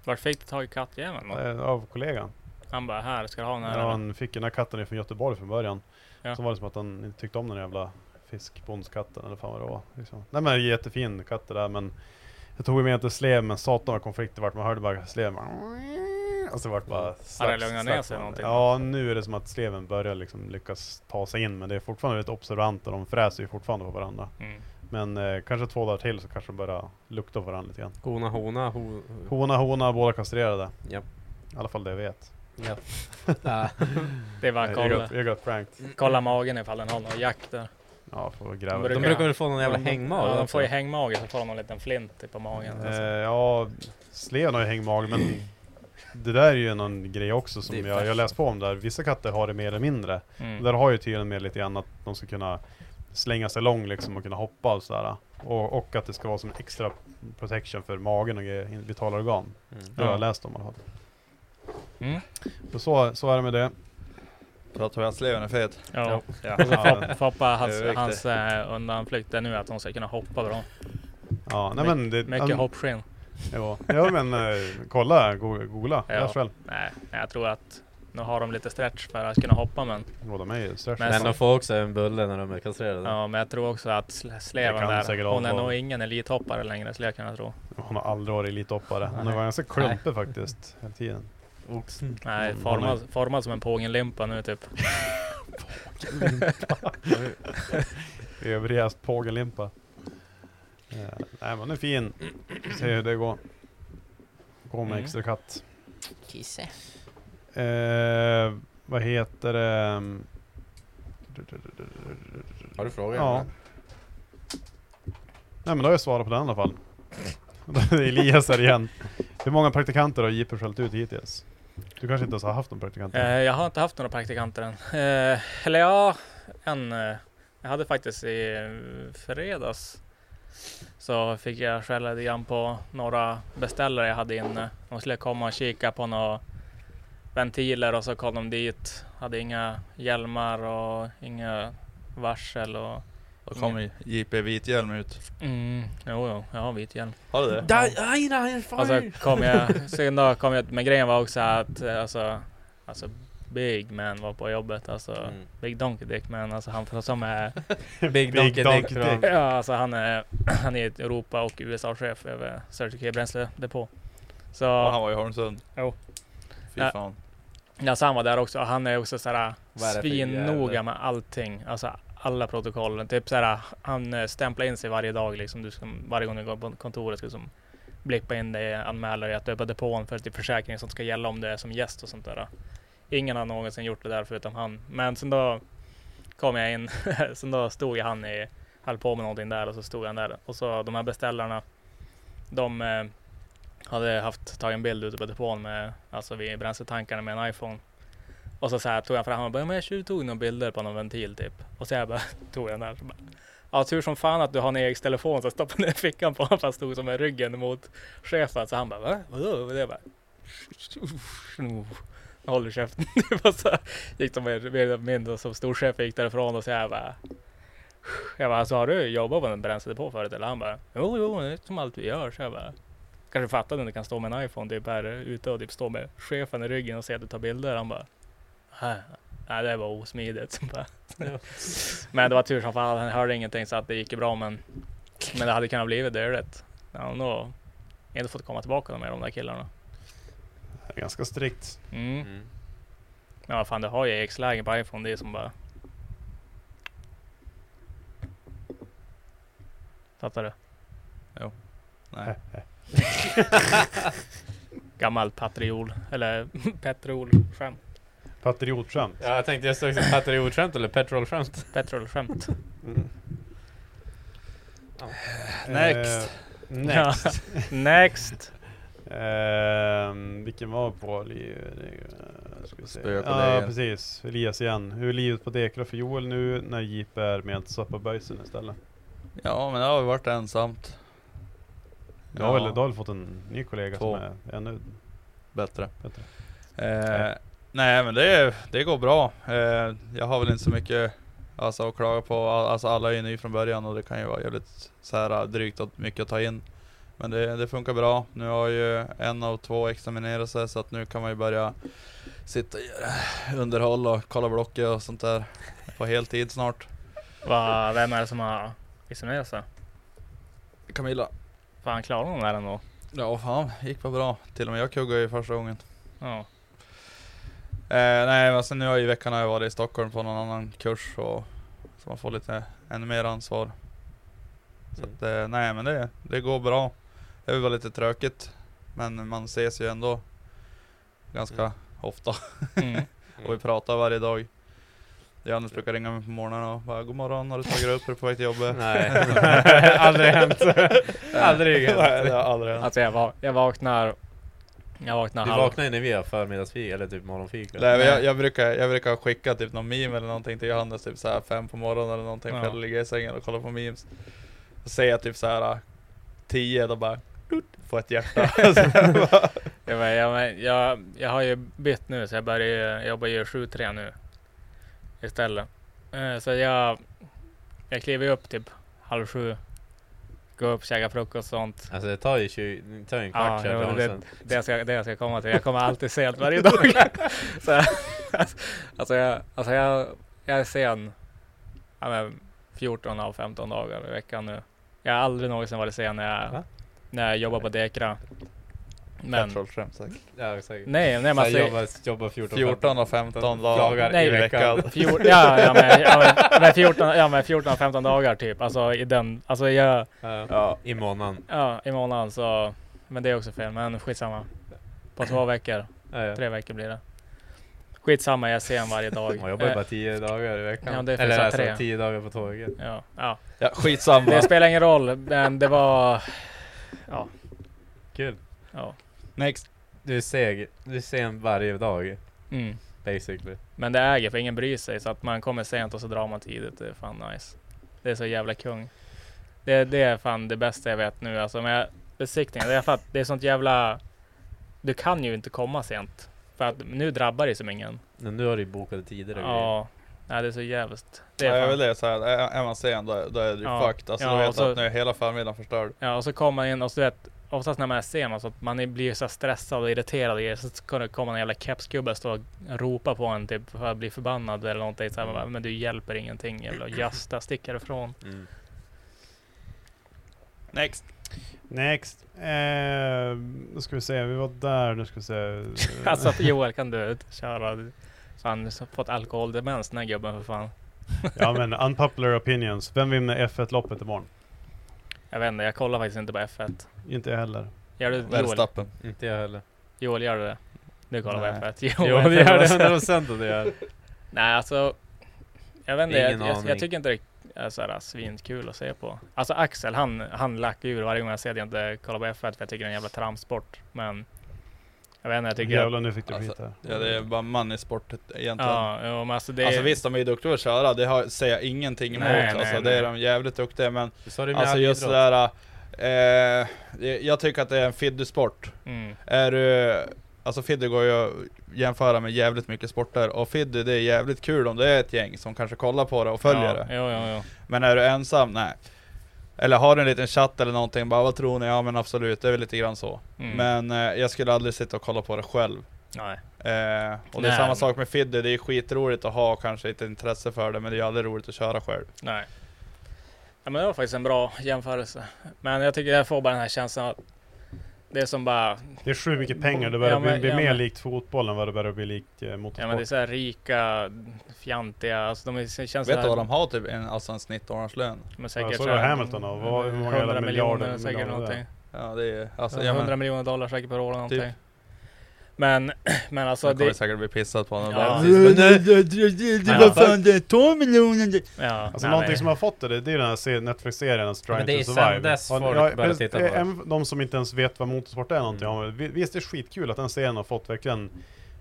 Vart fick du tag i kattjäveln då?
eh, av kollegan.
Han bara, här ska du ha den här.
Ja,
eller?"
han fick ju den här katten från Göteborg från början.
Ja.
Så var det som att han inte tyckte om den jävla fiskbondskatten eller fan vad det var. Liksom. Nej men jättefin katt det där men jag tog ju med inte slev men satan vad konflikter vart. Man hörde bara sleven bara... Och så vart det bara...
Har det
slags-
lugnat ner
slags-
sig någonting?
Ja nu är det som att sleven börjar liksom lyckas ta sig in men det är fortfarande väldigt observant och de fräser ju fortfarande på varandra.
Mm.
Men eh, kanske två dagar till så kanske de börjar lukta på varandra lite grann.
Hona, hona, ho...
Hona hona, båda kastrerade.
Japp.
I alla fall det jag vet.
(laughs) Ja.
Det är bara att
Jag
kolla.
got, jag got pranked.
Kolla magen ifall den har någon jack där.
Ja, får gräva.
De brukar väl få någon jävla hängmage
Ja, de
också?
får ju hängmage så får de någon liten flint typ på alltså. Mm. magen.
Eh, ja, sleven har ju hängmage men det där är ju någon grej också som
Det är
jag, jag
fashion.
läst på om där. Vissa katter har det mer eller mindre.
Mm.
Där har ju tydligen med lite grann att de ska kunna slänga sig lång liksom och kunna hoppa och sådär. Och, och att det ska vara som extra protection för magen och grejer, in- vitala organ. Det har jag läst om i alla fall.
Mm.
Och så, så är det med det.
Pratar vi att sleven är fet?
Ja.
Ja.
Och så
Eh,
Fop- Foppa,
Det
hans,
är riktigt.
hans eh, undanflykt är nu att hon ska kunna hoppa bra.
Ja,
(laughs)
nej men det...
Mycket
ja,
hoppskinn.
Jo, ja, men eh, kolla, go- googla,
Ja.
läs själv.
Nej, nej, jag tror att nu har de lite stretch för att kunna hoppa men.
Råda mig stretch.
Men
Men de får också en bulle när de är kastrerade.
Ja, men jag tror också att sl-
Det
Sleven
kan
där,
säkert
hon är
vara.
nog ingen elithoppare längre skulle jag kunna tro.
Hon har aldrig varit elithoppare. Hon har
Nej.
varit ganska klumpig faktiskt, hela tiden.
Oxen.
Nej,
Mm,
formad,
hon
formad som en pågenlimpa nu typ.
Överjäst pågelimpa. Eh, nej men hon är fin. Vi ser hur det går. Gå med
Mm.
extra katt.
Kisse.
Eh, vad heter det?
Har du frågat?
Ja. Nej men då har jag svarat på den i alla fall. Det är Elias här igen. Hur många praktikanter har JP skällt ut hittills? Du kanske inte ens har haft någon praktikant?
Eh, jag har inte haft några praktikanter än. Eh, eller ja, en. Eh, jag hade faktiskt i eh, fredags så fick jag skälla lite grann på några beställare jag hade inne. De skulle komma och kika på några ventiler och så kom de dit. Hade inga hjälmar och inga varsel och...
Då kommer JP Vithjälm ut.
Mm, jo, jo, jag har vit hjälm.
Har du det?
aj, nej,
Alltså kom jag, sen då kom jag, men grejen var också att eh, alltså, alltså Big Man var på jobbet alltså.
Mm.
(laughs) Big Donkey Dick Man, alltså han som är,
Big Donkey
Donkey
Dick.
Dick.
från-
ja, alltså han är, (clears throat) han är ett Europa och USA-chef över Certificate bränsledepå. Så,
Ja, han var i Holmsund.
Jo.
Fy
Ja.
fan.
alltså han var där också, och han är också såhär
Vad är det för jävel?
svinnoga med allting, alltså alla protokollen. Typ såhär, han eh, stämplar in sig varje dag liksom, du ska, varje gång du går på kontoret ska du som blippa in dig, anmäla dig att du är på depån för att det är försäkringen som ska gälla om du är som gäst och sånt där. Ingen har någonsin gjort det där förutom han. Men sen då kom jag in, (laughs) sen då stod jag han i, höll på med någonting där och så stod han där. Och så de här beställarna, de eh, hade haft, tagit en bild ute på depån med, alltså vid bränsletankarna med en iPhone. Och så, så här, tog jag fram och bara, men jag tjuvtog några bilder på någon ventil typ. Och så jag bara, (laughs) tog jag den där. Så bara, ja tur som fan att du har en egen telefon så jag stoppade ner i fickan på honom för han stod som med ryggen mot chefen. Så han bara, va? Vadå? Och jag bara, (laughs) "Nu håller käften. (laughs) Typ. och så gick de mer mer eller mindre som storchefen gick därifrån och så jag bara, jag bara, alltså har du jobbat på en bränsledepå förut? Eller han bara, jo, jo, det är som allt vi gör. Så jag bara, kanske fattar att du kan stå med en iPhone typ här ute och typ stå med chefen i ryggen och se att du tar bilder. Han bara, "Hä? nej det var osmidigt. Så bara, (laughs) men det var tur som fan, han hörde ingenting så att det gick ju bra men Men det hade kunnat blivit dödligt. Han har nog inte fått komma tillbaka med de där killarna.
Det är Ganska strikt.
Mm.
Mm.
Men vad fan, det har ju X-lägen på iPhone, det är som bara... Fattar du?
Nej.
Gammal patriol, eller (laughs) petrol skämt.
Patriotskämt.
Ja, jag tänkte just också patriotskämt eller petrolskämt.
Petrol skämt.
Mm.
Next.
Eh, next.
(laughs) Next!
Ehm, vilken var på? li- eh, ska vi se.
Spöa på
Ja,
dig.
precis. Elias igen. Hur är livet på Dekra för Joel nu när Jeep är med Sappabergsen istället?
Ja men det har ju varit ensamt.
Du har, väl, du har väl fått en ny kollega
Två.
som är ännu
bättre.
bättre?
Eh, nej men det, det går bra. Eh, jag har väl inte så mycket alltså, att klaga på. Al- Alltså, alla är ju ny från början och det kan ju vara jävligt så här, eh, drygt och mycket att ta in. Men det, det funkar bra. Nu har ju en av två examinerat sig så att nu kan man ju börja sitta och göra underhåll och kolla blocket och sånt där på heltid snart.
Va, vem är det som har examinerat sig?
Camilla.
Fan, klarar hon det här ändå?
Ja fan, gick bara bra. Till och med jag kuggade ju första gången.
Ja.
Eh, nej men sen nu har jag i veckan har jag varit i Stockholm på någon annan kurs och så man får lite ännu mer ansvar. Så att, eh, nej men det, det går bra. Det är väl lite tråkigt men man ses ju ändå ganska ofta. (laughs)
Mm.
och vi pratar varje dag. Johannes brukar ringa mig på morgonen och bara God morgon, har du tagit dig upp? Är du på väg till jobbet?
(laughs) Nej.
(laughs) aldrig
(laughs)
hänt.
Nej.
aldrig hänt.
(laughs) Nej, det har aldrig hänt.
Alltså jag, va- jag vaknar... Jag vaknar
Du
halv...
vaknar ju när vi har förmiddagsfika eller typ morgonfika.
Nej, men jag, jag, brukar, jag brukar skicka typ någon meme eller någonting till Johannes typ såhär fem på morgonen eller någonting
Ja.
för jag ligger i sängen och kollar på memes. Så säger jag typ såhär tio då bara tut, får
(laughs)
ett hjärta. (laughs) Sen bara-
Jag, bara, jag, men- jag, jag har ju bytt nu så jag börjar ju- jag jobbar ju 7-3 nu istället. Eh, Så jag, jag kliver ju upp typ halv sju. Går upp, käkar frukost och sånt.
Alltså det tar ju 20, det tar ju en
Ja,
kvart
jo,
ja,
det, det, det, jag ska, det jag ska komma till. Jag kommer alltid sent varje dag.
(laughs)
Så, jag- (laughs) alltså jag, alltså jag, jag är sen ja, men 14 av 15 dagar i veckan nu. Jag har aldrig någonsin varit sen när jag,
Va?
när jag jobbar på Dekra. Men
Trollskämt säkert.
Ja, säkert.
nej, nej, man
Så
säger,
jobbar, jobbar 14,
14 och 15
dagar
dagar
Nej,
i veckan. (laughs)
Fjor, ja, ja, men, ja, men, men 14, ja, men 14, 15 dagar typ. Alltså i den, alltså jag,
Ja.
Ja.
I månaden.
ja, i månaden så, men det är också fel, men skitsamma. På två veckor,
Ja, ja.
tre veckor blir det. Skitsamma, jag ser en varje dag.
Man jobbar ju
Eh,
bara 10 dagar i veckan.
ja, det är för
eller
så här
alltså
tre.
10 dagar på tåget.
Eh, ja, ja.
Ja, skitsamma.
Det spelar ingen roll, men det var, ja,
Kul.
ja.
Next.
Du är seg. Du är sen varje dag
Mm.
basically.
Men det äger, för ingen bryr sig, så att man kommer sent och så drar man tidigt. Det är fan nice. Det är så jävla kung. Det, det är fan det bästa jag vet nu alltså. Med besiktningen, det är för att det är sånt jävla... Du kan ju inte komma sent. För att nu drabbar det som ingen.
Men nu har du ju bokade tider och grejer.
Ja. Nej, det är så jävligt. Det
Det
är
är
fan.
väl det såhär, är är man sen då, då är du
Ja.
fucked. Alltså
Ja,
då
och
vet
så-
du att nu är hela förmiddagen förstörd.
Ja, och så kommer man in och så vet, oftast när man är sen, alltså, att man är- blir ju så här stressad och irriterad och grejer, så kommer det komma en jävla kepsgubbe och stå och ropa på en typ för att bli förbannad eller någonting. Så här, man bara, men du hjälper ingenting.
(laughs)
Eller jasta, stick härifrån.
Mm.
Next.
Next! Eh, nu ska vi se, vi var där, nu ska vi se.
(laughs) Alltså Joel kan du ut- köra. Han har fått alkoholdemens den här gubben för fan.
ja men unpopular opinions. Vem vinner F1-loppet imorgon?
Jag vet inte, jag kollar faktiskt inte på F1.
Inte jag heller.
Gör du Joel?
Verstappen.
Inte jag heller.
Joel, gör du det? Du kollar
Nej.
på
(laughs)
F1?
Jo, det gör det. 100 procent att det gör.
Nej alltså. Jag vet inte, jag,
Ingen
jag,
aning.
jag tycker inte det är såhär svinkul att se på. Alltså Axel, han, han lackar ur varje gång jag ser det. Jag inte kollar på F1 för jag tycker det är en jävla tramsport. Men jag vet inte, jag tycker...
Jävlar nu fick du
Alltså,
skit här.
Ja det är bara man i sportet egentligen.
ja, jo, men alltså det...
Alltså visst, de är ju duktiga på att köra, det har, säger jag ingenting emot.
Nej,
alltså,
nej,
det är
nej.
de jävligt duktiga men
Så är det med
Alltså
all
just
idrott.
sådär, eh, jag tycker att det är en fiddy-sport.
mm,
Är du, alltså fiddy går ju att jämföra med jävligt mycket sporter, och fiddy det är jävligt kul om det är ett gäng som kanske kollar på det och följer
ja,
det.
Jo, jo, jo.
Men är du ensam, nej. Eller har du en liten chatt eller någonting, bara vad tror ni? Ja men absolut, det är väl lite grann så.
Mm.
Men eh, jag skulle aldrig sitta och kolla på det själv.
Nej.
Eh, och det
Nej.
är samma sak med fiddy, det är skitroligt att ha kanske ett intresse för det, men det är ju aldrig roligt att köra själv.
Nej. Ja, men det var faktiskt en bra jämförelse. Men jag tycker jag får bara den här känslan att det är som bara,
Det är sju mycket pengar, det börjar
Ja, men-
bli, bli
ja,
mer
men-
likt fotboll än vad det börjar bli likt eh, motorsport.
ja men det är så här rika, fjantiga, alltså de är, det känns
Vet du vad de har typ, en, alltså en snittårslön?
De är
Ja,
säkert
så är det Hamilton då. Vad- hur många jävla
100 miljoner
miljarder-
säkert
miljarder
någonting.
Ja det är alltså, jag
100
menar,
miljoner dollar säkert per år någonting.
Typ.
Men, (clears throat) men alltså
jag kommer
det,
säkert bli pissad på honom.
Ja.
Ja.
Ja.
Vad fan det är 12 miljoner!
ja.
Alltså
nej,
någonting
nej.
som har fått det, det det är den här se- Netflix-serien Trying
men det är
to
sen
Survive.
dess
Har-
folk
ja, eh,
börjar
precis,
titta på det.
även de som inte ens vet vad motorsport är någonting. Mm. Visst det är skitkul att den serien har fått verkligen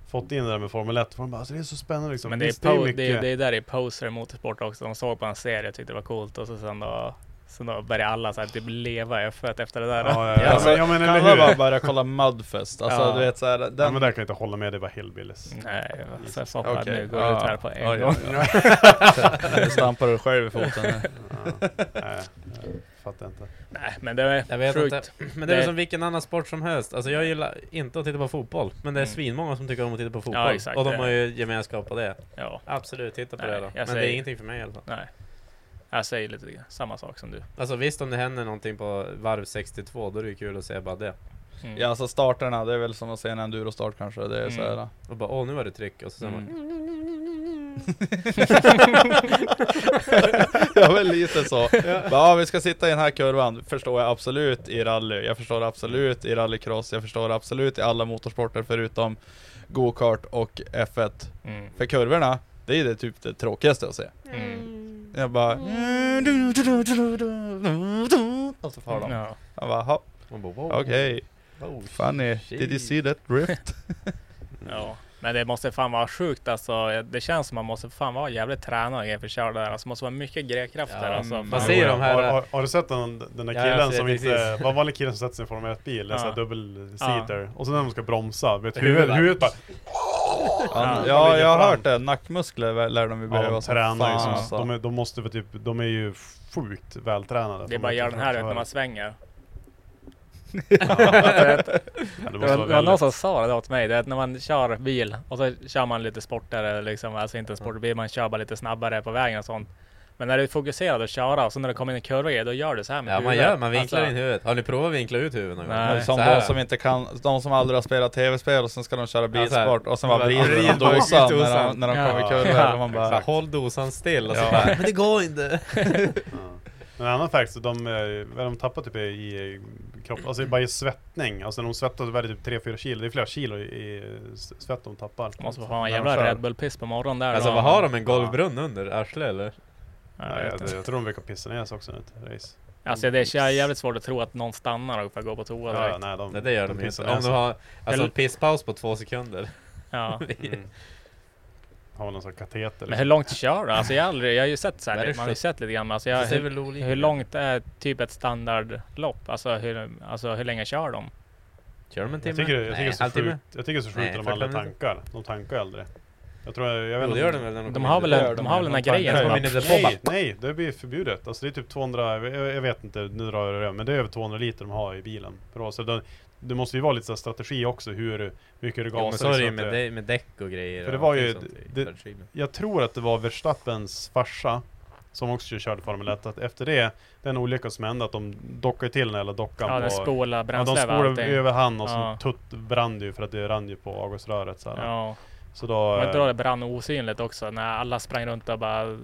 fått in det där med Formel 1, var de bara, alltså, det är så spännande liksom.
Men det är,
Visst,
po- det, är, det är där det är poser motorsport också. De såg på en serie och tyckte det var coolt och så sen då Sen då började alla så här, typ leva i F1 efter det där.
Alltså, kan man bara börja kolla Mudfest? Alltså
Ja.
du vet såhär, den...
Ja men där kan jag inte hålla med, det var hillbillies.
Nej, alltså,
Jesus.
fuck att
Okej,
nu går
ja.
ut här på en
Ja, ja,
gång.
ja. Nu stampar du själv i foten.
(laughs)
Ja, nej, jag fattar inte.
Nej, men det är
Jag vet
sjukt.
inte. Men det är väl som vilken annan sport som helst. Alltså jag gillar inte att titta på fotboll, men det är
Mm.
svinmånga som tycker om att titta på fotboll.
Ja, exakt,
och de
det-
har ju gemenskap på det.
Ja,
Absolut, titta på
Nej,
det då.
jag
Men det
säger-
är ingenting för mig i alla fall.
nej. Jag säger lite samma sak som du.
Alltså visst om det händer någonting på varv 62, då är det ju kul att se bara det.
Mm.
Ja alltså starterna, det är väl som att se en endurostart kanske. Det är
Mm.
såhär...
Och bara åh nu var det tryck och så sen bara,
(laughs) ja men lite så. Ja vi ska sitta i den här kurvan, förstår jag absolut i rally. Jag förstår absolut i rallycross, jag förstår absolut i alla motorsporter förutom go-kart och F1.
(laughs) Mm.
För kurvorna, det är ju det typ det tråkigaste att se.
Mm.
Jag bara... "Mm." Och så far de.
Ja.
Jag bara, "Jaha,
man bara wow.
okej.
wow,
Funny,
shit."
did you see that drift?
ja. Men det måste fan vara sjukt alltså. Det känns som man måste fan vara jävligt tränad och grejer för att köra det där. Alltså måste vara mycket grejkrafter
Ja,
alltså.
Vad
Fan.
säger de
Har,
här?
har, har du sett den, den där
Ja, jag
killen
ser
som
precis.
inte, vad var den killen som sätter sig i en Formel 1 bil, en sån här
Ja.
dubbel-seater. Och så när de ska bromsa, vet du,
Huvudet
huvudet,
bara-
huvudet bara,
Ja,
de
ja
ligger
jag har
fram.
hört det, nackmuskler lär- lär de ju
ja,
behöva
de
som
tränar ju
fan.
som,
alltså.
de, är, de måste vara typ, de är ju sjukt vältränade.
Det är bara att göra den här vet, när man (laughs) svänger.
Ja, det
Det var,
måste vara
det var någon
väldigt...
som sa det åt mig, det är att när man kör bil och så kör man lite sportare, liksom, alltså inte en
Mm.
sportbil, man kör bara lite snabbare på vägen och sånt. Men när du är fokuserad att köra och så när du kommer in i kurvor, då gör du så här med
Ja man
huvudet.
gör, man vinklar
Alltså,
in huvudet. Har ni provat att vinkla ut huvudet någon gång?
Nej.
Som
Så här.
de som inte kan, de som aldrig har spelat tv-spel och sen ska de köra
Ja, så här.
bilsport och sen bara
Bara
vrider de
vrider de
dosan när de,
dosan.
när de kommer i
Ja.
(laughs)
kurvor och man
Så här,
bara
Håll dosan still och så
Ja.
bara, men det går inte.
Ja. Men en annan faktor, de, eh, vad de tappar typ i, i kropp, alltså bara i svettning. Alltså när de svettas så väger det typ 3-4 kilo, det är flera kilo i, i s- svett de tappar.
Måste vara en
När de
jävla
kör.
Red Bull-piss på morgonen där.
Alltså
då.
vad har de? En golvbrunn under arslet eller?
Ja,
Ja,
jag
jag,
vet inte.
jag tror de brukar pissa ner sig också nu till race.
Alltså det är jävligt svårt att tro att någon stannar och får gå på toa
Ja, ja,
direkt.
nej, de,
Nej det gör de ju
pissar
inte.
ner
Om de
sig.
har, alltså
Eller-
en pisspaus på två sekunder.
Ja.
Mm. Har väl någon sån kateter. liksom?
Men hur långt kör du? Alltså jag, har aldrig, jag har ju sett så
Vad
här,
är det
man har ju
för-
sett lite grann. men Alltså jag,
Så det är
hur,
väl olika.
hur långt är typ ett standardlopp? Alltså hur, alltså hur länge kör de?
Kör de en timme?
jag, tycker, det- jag, tycker det är så
halvtimme.
sjukt, jag tycker det är så sjukt
Nej,
att de aldrig
40
tankar. De tankar aldrig. Jag tror, jag, jag vet
Jo, det
inte.
gör de väl när
De
kommer
har
in i
väl,
depån.
en, de har väl den här grejen?
de
som
kommer
man-
in i depån bara.
Nej, nej, det blir förbjudet. Alltså det är typ 200, jag, jag vet inte, nu drar jag det över, men det är över 200 liter de har i bilen. Bra, så det, det måste ju vara lite så här strategi också, hur mycket du gasar.
Jo men så är det ju
liksom,
med,
att
dä- med däck och grejer.
För det
och
var ju-
allting sånt i
det-
Bergsjön.
Jag tror att det var Verstappens farsa, som också körde Formel 1, att efter det, den olyckan som hände, att de dockade till den eller dockan
Ja, den
på-
spolar
Ja,
bränsle
de
över
spolade
allting.
över han och så
Ja.
tutt brann det ju för att det rann ju på avgasröret så här.
Ja,
Så då...
man
eh,
drar det brann osynligt också när alla sprang runt och bara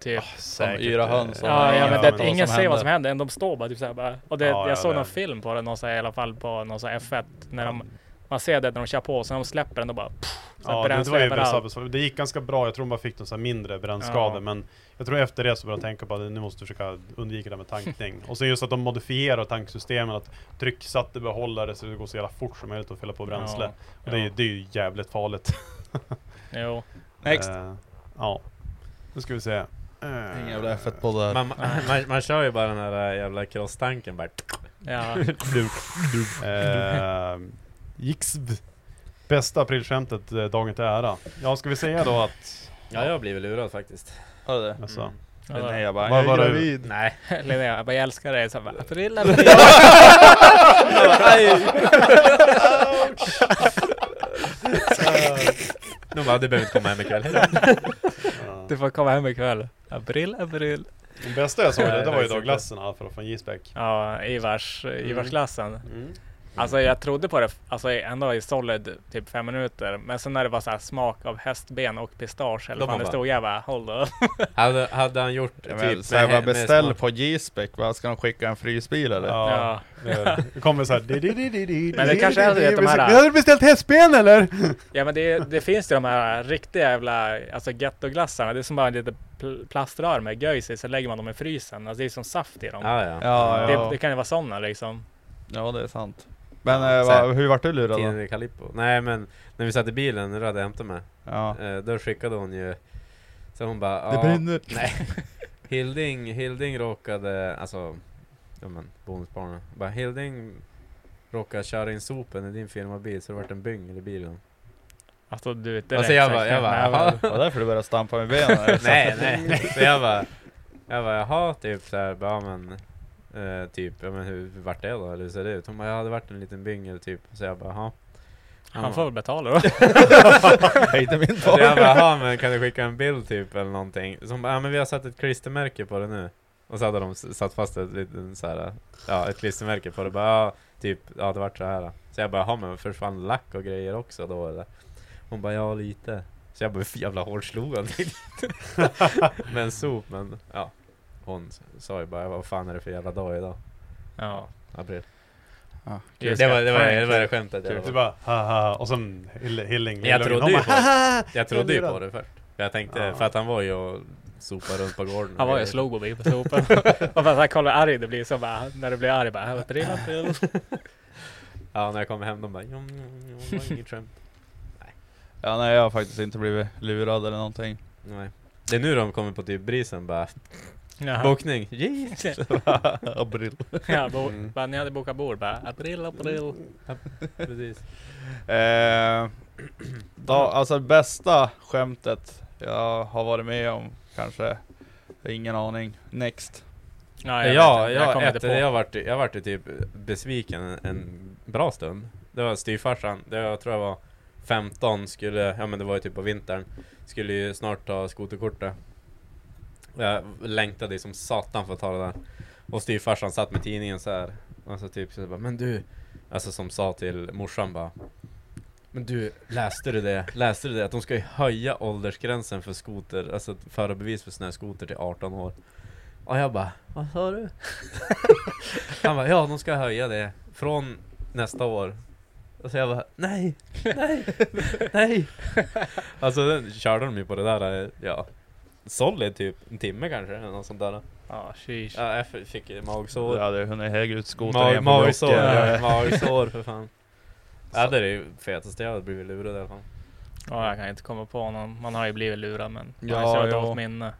typ.
som
säkert,
yra
eh,
höns. och-
ja, jag
ja,
vet
men
att
vad
ingen
som
ser vad
händer.
som händer. De står bara typ så här bara. Och det,
Ja, ja,
jag såg
det-
någon film på det, någon så här, i alla fall på någon så här F1. När de, man ser det när de kör på, sen när de släpper den då bara. Pff, så här
Ja, det, det,
bränsle
var ju
överallt.
Verstappens fel. det gick ganska bra, jag tror de bara fick någon så här mindre brännskador
Ja.
men Jag tror efter det så började jag tänka på att nu måste du försöka undvika det här
(laughs)
med tankning Och sen just att de modifierar tanksystemen, att trycksatte behållare så det går så jävla fort som möjligt att fylla på bränsle
Ja,
Och det, är-
ja.
det är ju jävligt farligt
Jo.
Next!
Eh, Ja Nu ska vi se Eh,
Ingen jävla F1-podd här.
Man, man, man kör ju bara den här jävla crosstanken bara.
Ja.
(laughs) Eh, Jixb. Bästa aprilskämtet eh, dagen till ära. Ja, ska vi säga då att...
Ja, jag blir väl lurad faktiskt.
Hörde det?
Alltså,
Mm.
Linnea jag bara,
Vad
jag är
var det?
gravid.
Nej.
(laughs)
Linnea, jag bara jag älskar dig. Så jag bara, april, april.
(laughs)
(laughs) De bara, du behöver inte komma hem ikväll.
Du får komma hem ikväll. April, april.
Den bästa jag såg det, det var ju
Nej,
då glassen Alfred från Gisbeck.
Ja, Ivars, Ivarsklassen.
Mm.
Alltså jag trodde på det, alltså ändå i solid typ fem minuter. Men sen när det var så här smak av hästben och pistage eller
Då
vad
man
fan det
bara-
stod, jag bara hold up.
Hade, hade han gjort
Jag
typ...
vill säga, bara beställ
smak-
på G-spec, vad ska de skicka en frysbil eller?
Ja,
Ja.
Det, det kommer såhär... Men
Men det kanske är det, de här-
Vi hade beställt hästben eller?
Ja men det, det finns ju de här riktiga jävla alltså gettoglassarna. Det är som bara lite pl- plaströr med göjs i, sen lägger man dem i frysen. Alltså det är som saft i dem.
Ja, ja.
Ja, ja.
Det, det kan ju vara sådana liksom.
ja det är sant. Men eh,
Så här,
va, hur vart du lurad
Tiden
då?
i Calippo. Nej men, när vi satt i bilen när du hade hämtat mig.
Ja.
Eh, då skickade hon ju... Så hon bara...
Det
"Ja,
brinner."
Nej. Hilding, Hilding råkade, alltså... Ja men, bonusbarnen. Bara Hilding råkade köra in sopen i din firmabil så det vart en byngel i
(laughs)
bilen.
Alltså du vet
Alltså jag bara, jag bara, jaha.
Det var därför du började stampa med benen. eller?
(laughs) nej, nej. Så jag bara, jag bara jaha, typ såhär, ja men, eh, typ, ja men hur vart det då? Eller hur ser det ut? Hon bara, ja det vart en liten byngel typ. Så jag bara, jaha.
Han får väl betala då.
(laughs) Nej, inte min
Så
far.
jag bara, jaha men kan du skicka en bild typ eller någonting? Så hon bara, ja men vi har satt ett klistermärke på det nu. Och så hade de s- satt fast ett liten så här, ja ett klistermärke på det. Bara, ja, typ, ja det vart så här. Så jag bara, jaha men försvann lack och grejer också då eller? Hon bara, ja lite. Så jag bara, "Hur jävla hårt slog han till? (laughs) med en sop men, ja. Hon sa ju bara, vad fan är det för jävla dag idag?
Ja.
April.
Ja.
Det, var, det, var, det var det skämtet
Typ,
jag
Du
var-
Typ bara haha, och sen Hill-
Jag
Hilling Lillungen,
trodde
hon
ju
bara,
på det.
"Haha!"
Jag trodde ju
lurad.
på det först. Jag tänkte,
Ja.
för att han var ju och sopade runt på gården. och
Han var ju
grejer.
slowbobil
(laughs)
på sopen. och bara såhär, kolla hur arg det blir. Så bara, när du blir arg bara, "Vad driver han till?"
Ja, när jag kom hem de bara jom, jom, jom, det var inget skämt.
Ja, nej, jag har faktiskt inte blivit lurad eller någonting.
Nej. Det är nu de kommer på typ brisen bara
Jaha.
Bokning!
(laughs)
Yes!
April.
Ja, bo-
Mm.
bara, ni hade bokat bord bara, april, april.
Precis.
Eh, då, alltså bästa skämtet jag har varit med om kanske. Ingen aning. Next.
Jag,
Ja, vet
jag,
inte.
jag,
kommer inte
efter
på.
det, jag vart, jag vart ju typ besviken en, en bra stund. Det var styvfarsan, det var, jag tror jag var 15, skulle, ja men det var ju typ på vintern. Skulle ju snart ta skoterkortet. Och Jag längtade ju som satan för att ta det där. Och styvfarsan satt med tidningen så här. Och så typ så bara, men du. Alltså som sa till morsan bara. Men du, läste du det? Läste du det? Att de ska ju höja åldersgränsen för skoter, alltså förarbevis för snöskoter till 18 år. Och jag bara, vad sa du? (laughs) Han bara, ja de ska höja det från nästa år. Och så jag bara, nej, nej, nej. (laughs) Alltså den körde de ju på det där, eh, ja. Solid typ, en timme kanske, eller något sånt där.
Ja, sheesh.
Ja, jag f- fick ju magsår.
Du hade hunnit hög ut skotern
Mag-
igen på
magsår,
blocken.
ja, magsår för fan. Ja det är ju fetaste jag hade blivit lurad i alla fall.
Ja, jag kan inte komma på någon. Man har ju blivit lurad men man
Ja,
har ju så
jo.
dåligt minne.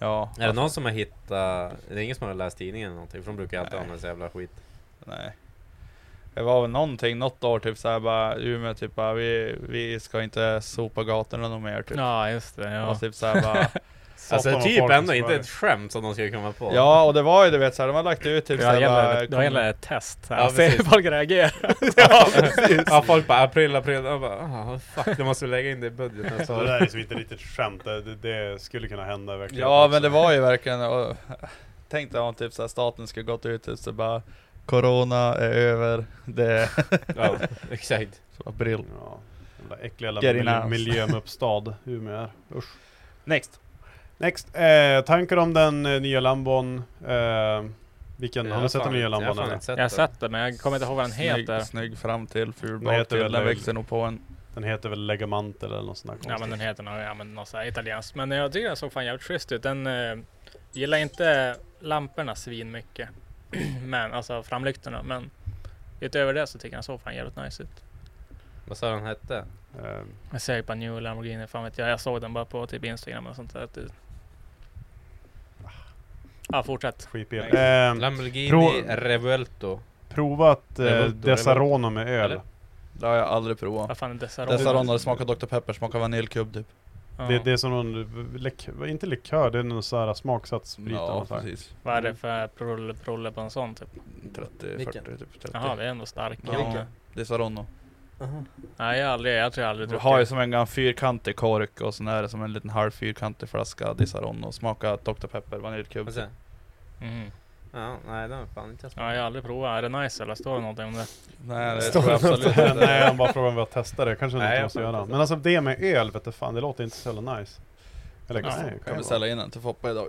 Ja.
Är det någon som har hittat, det är ingen som har läst tidningen eller någonting för de brukar ju alltid
Nej.
ha med sig jävla skit.
Nej. Det var väl någonting, något år typ såhär bara, Umeå typ bara, vi, vi ska inte sopa gatorna något mer typ.
Ja, just det. Ja.
Och typ
(laughs)
såhär bara,
Alltså
Satan, vad
typ
folk
ändå
som
inte
smörjer.
ett skämt som de skulle komma på.
ja och det var ju du vet såhär, de har lagt ut typ
Det var
såhär
hela,
bara,
det var hela ett test. Så här.
Ja,
Se hur
precis.
folk reagerar.
(laughs) ja, ja folk bara april, april. Jag bara ah, fuck, de måste lägga in det i budgeten.
Så det
Så.
där är liksom inte riktigt ett skämt, det, det- det skulle kunna hända i verkligheten
ja
också.
men det var ju verkligen, och, tänk dig om typ såhär staten skulle gått ut typ så bara, Corona är över, det
Ja, exakt.
så april.
Ja, den där äckliga jävla
Get in
miljö,
house.
miljömuppstad Umeå är. Usch.
Next.
Next, eh, tankar om den eh, nya Lambon? Eh, vilken? Har
Jag
du sett
fan
den nya
inte- jag
Lambon
fan
eller?
inte sett
Jag har
den.
sett det men jag kommer inte ihåg vad den
Snygg,
heter.
snygg fram till ful
Vad heter
bak till,
väl
den
det?
växer nog på en.
Den heter väl Legamantel eller något sånt där
Ja
konstigt.
men den heter nog, ja men något sånt här italienskt. Men jag tycker den såg fan jävligt schysst ut. Den eh, gillar inte lamporna svin mycket. (clears throat) men alltså framlyktorna. Men utöver det så tycker jag den såg fan jävligt nice ut.
Vad sa den hette?
Eh,
Jag ser ju på New Lamborghini, fan vet jag. Jag såg den bara på typ Instagram och sånt där. Typ. Ja fortsätt.
skitbil.
Nej.
Eh,
Lamborghini
Pro-
Revuelto.
provat
Det
eh,
var-
Desarono med öl.
Eller?
Det har jag aldrig provat.
Vad fan är Desaron?
Dessa rondar smakar Dr Pepper, smakar vaniljkubb typ.
Ja.
Det, det är som någon, lik, inte likör, det är någon sån här smaksatt sprit eller
Ja
något sånt här.
precis.
Vad är det för prolle, prolle på en sån typ?
30,
Vilken?
40 typ. 30.
Jaha, det är ändå starkt.
Ja.
Ja.
Det är Saronno.
Nej, jag har aldrig, jag tror jag aldrig
Du
druckit.
har ju som en gammal fyrkantig kork och sen är det som en liten halv fyrkantig flaska Disaronno. Smaka Dr Pepper, vaniljkubb.
Vad
typ.
sa jag?
Mhm.
Ja, nej den har fan inte jag sett.
Ja, jag har aldrig provat. Är det nice eller står det någonting om det?
Nej det
Står
tror jag
det
absolut
något där? (laughs) Nej,
inte.
han bara frågar om vi har testat det. Kanske
Nej,
något
jag
måste
har inte
göra.
testat.
Men alltså det med öl vet du fan, det låter inte så jävla nice. Eller
Ja,
nej,
Kan
kan
vi
vara.
ställa in den till Foppa idag.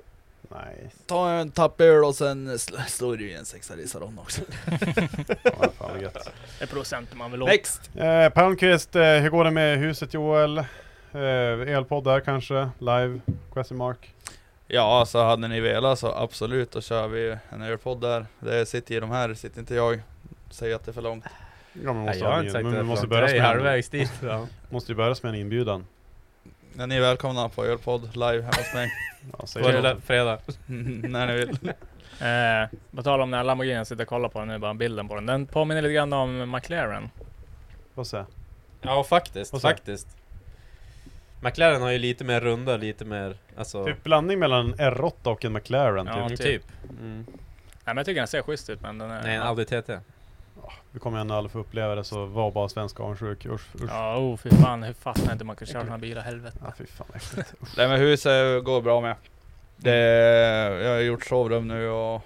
Nej,
Ta en tappöl och sen sl- (laughs) slår du i en sexa Disaronno (laughs) också.
fan, fan vad gött.
Det är procenten man vill åt.
Next!
Eh, Palmqvist, eh, hur går det med huset Joel? Eh, elpodd där kanske? Live? Question mark?
Ja alltså hade ni velat så absolut, då kör vi en ölpodd där. Det sitter ju de här, sitter inte jag. Säger att det är för långt.
Ja, men
Nej,
måste
jag har
ha
inte
en,
sagt
men
det
man måste
efteråt. Jag
börja
är
med en-
halvvägs dit.
(laughs)
Ja.
Måste ju börja med en inbjudan.
Ja, ni är välkomna på Ölpodd live hemma hos mig. (laughs)
säg På det. lilla
fredag.
När ni vill.
Eh, på tal om den här Lamborghini, jag sitter och kollar på den nu, bara bilden på den. Den påminner lite grann om McLaren.
Vad säger
Ja, faktiskt.
Vad sa jag?
Faktiskt. McLaren har ju lite mer runda, lite mer... Alltså...
Typ blandning mellan en R8 och en McLaren.
Ja,
typ.
typ. Nej, men jag tycker den ser schysst ut, men den är...
Mm. Nej, en Audi TT.
Vi kommer ändå aldrig få uppleva det, så var bara svensk avundsjuk. Usch, usch.
Ja, oh, fy fan. Hur fattar inte man kan köra den här bilen? Helvete.
Ja, fy fan vad äckligt.
Nej men huset går bra med. Det, jag har gjort sovrum nu och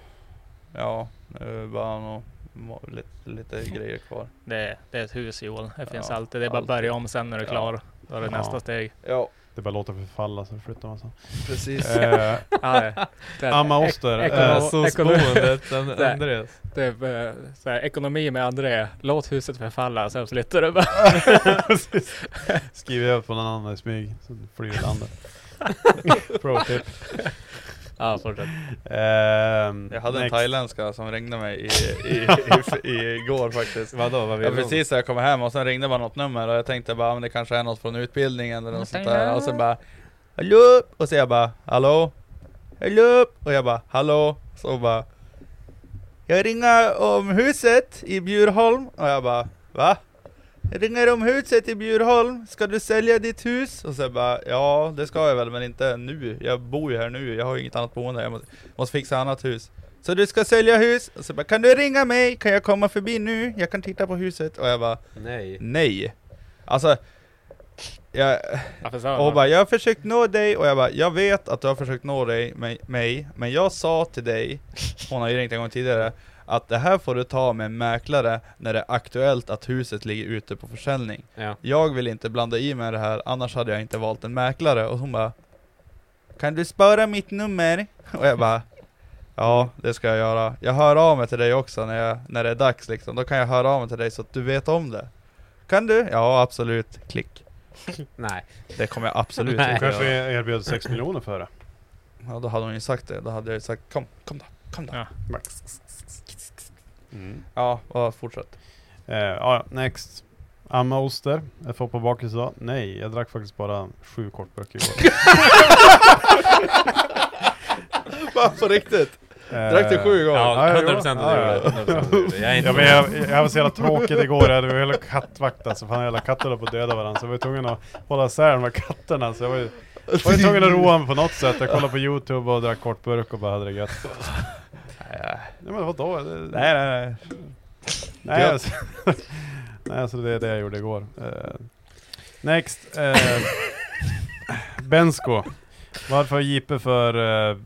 ja, nu är det bara nå- må- lite, lite grejer kvar.
Det, det är ett hus Joel. Det finns
Ja,
alltid. Det är bara att börja om sen när du är
Ja.
klar. Då är det
Ja.
nästa
(laughs)
steg.
Ja,
Det är bara att låta förfalla, så flyttar man sen.
precis.
Eh,
Ja, det är-
Amma Oster.
ek-
eh,
ekonom- (laughs)
Boendet, (laughs)
Det-
en- Andreas.
Det är eh, så här, ekonomi med André. Låt huset förfalla, sen flyttar du bara. (laughs)
Precis. Skriver över på någon annan i smyg, så flyr det landet. (laughs) Pro tip.
ja, fortsätt.
Ehm,
Jag hade en
next.
thailändska som ringde mig i, (laughs) i, i, i, igår faktiskt.
Vadå, vad vill
Ja,
hon?
precis när jag kom hem och sen ringde bara något nummer och jag tänkte bara men det kanske är något från utbildningen eller något sånt där och sen bara Hallå! Och så jag bara Hallå? Hallå? Och jag bara Hallå? Så bara Jag ringer om huset i Bjurholm och jag bara Va? Jag ringer om huset i Bjurholm, ska du sälja ditt hus? Och så jag bara Ja det ska jag väl men inte nu, jag bor ju här nu, jag har ju inget annat boende, jag måste, måste fixa annat hus så du ska sälja hus? Och så bara, kan du ringa mig? Kan jag komma förbi nu? Jag kan titta på huset. Och jag bara,
Nej.
nej. Alltså, jag,
Varför sa
och hon
hon
bara, jag har försökt nå dig. Och jag bara, jag vet att du har försökt nå dig, mig, mig. Men jag sa till dig, (laughs) hon har ju ringt en gång tidigare, att det här får du ta med en mäklare när det är aktuellt att huset ligger ute på försäljning.
Ja.
Jag vill inte blanda i mig i det här, annars hade jag inte valt en mäklare. Och hon bara, kan du spara mitt nummer? (laughs) Och jag bara, ja det ska jag göra. Jag hör av mig till dig också när, jag, när det är dags liksom. Då kan jag höra av mig till dig så att du vet om det. Kan du? Ja absolut, klick.
Nej.
Det kommer jag absolut
Nej.
Hon
inte
kanske
göra.
erbjöd 6 miljoner för det.
Ja då hade hon ju sagt det, då hade jag ju sagt kom, kom då, kom då.
Ja.
Ja,
Mm.
och (laughs) fortsätt.
Eh, ja, ja, next. Amma Oster. Jag får på bakis idag. Nej, jag drack faktiskt bara sju
(laughs)
kortböcker igår.
Va, på riktigt?
Eh,
Drack du sju gånger?
Ja,
Ja,
100% procent
ja, ja.
Jag är
Ja,
inte
men jag, jag var så jävla tråkigt igår, jag hade hela kattvakt alltså, fan hela katter höll på att döda varandra så jag var ju tvungen att hålla isär de här katterna så jag var ju, var ju tvungen att roa mig på något sätt. Jag kollade på youtube och drack kortburk och bara hade det gött. Nej men vadå? Det,
Nej nej nej.
nej,
gött.
alltså, (laughs) nej alltså det är det jag gjorde igår. Eh, next. eh, (laughs) Bensko. Varför har JP för, eh,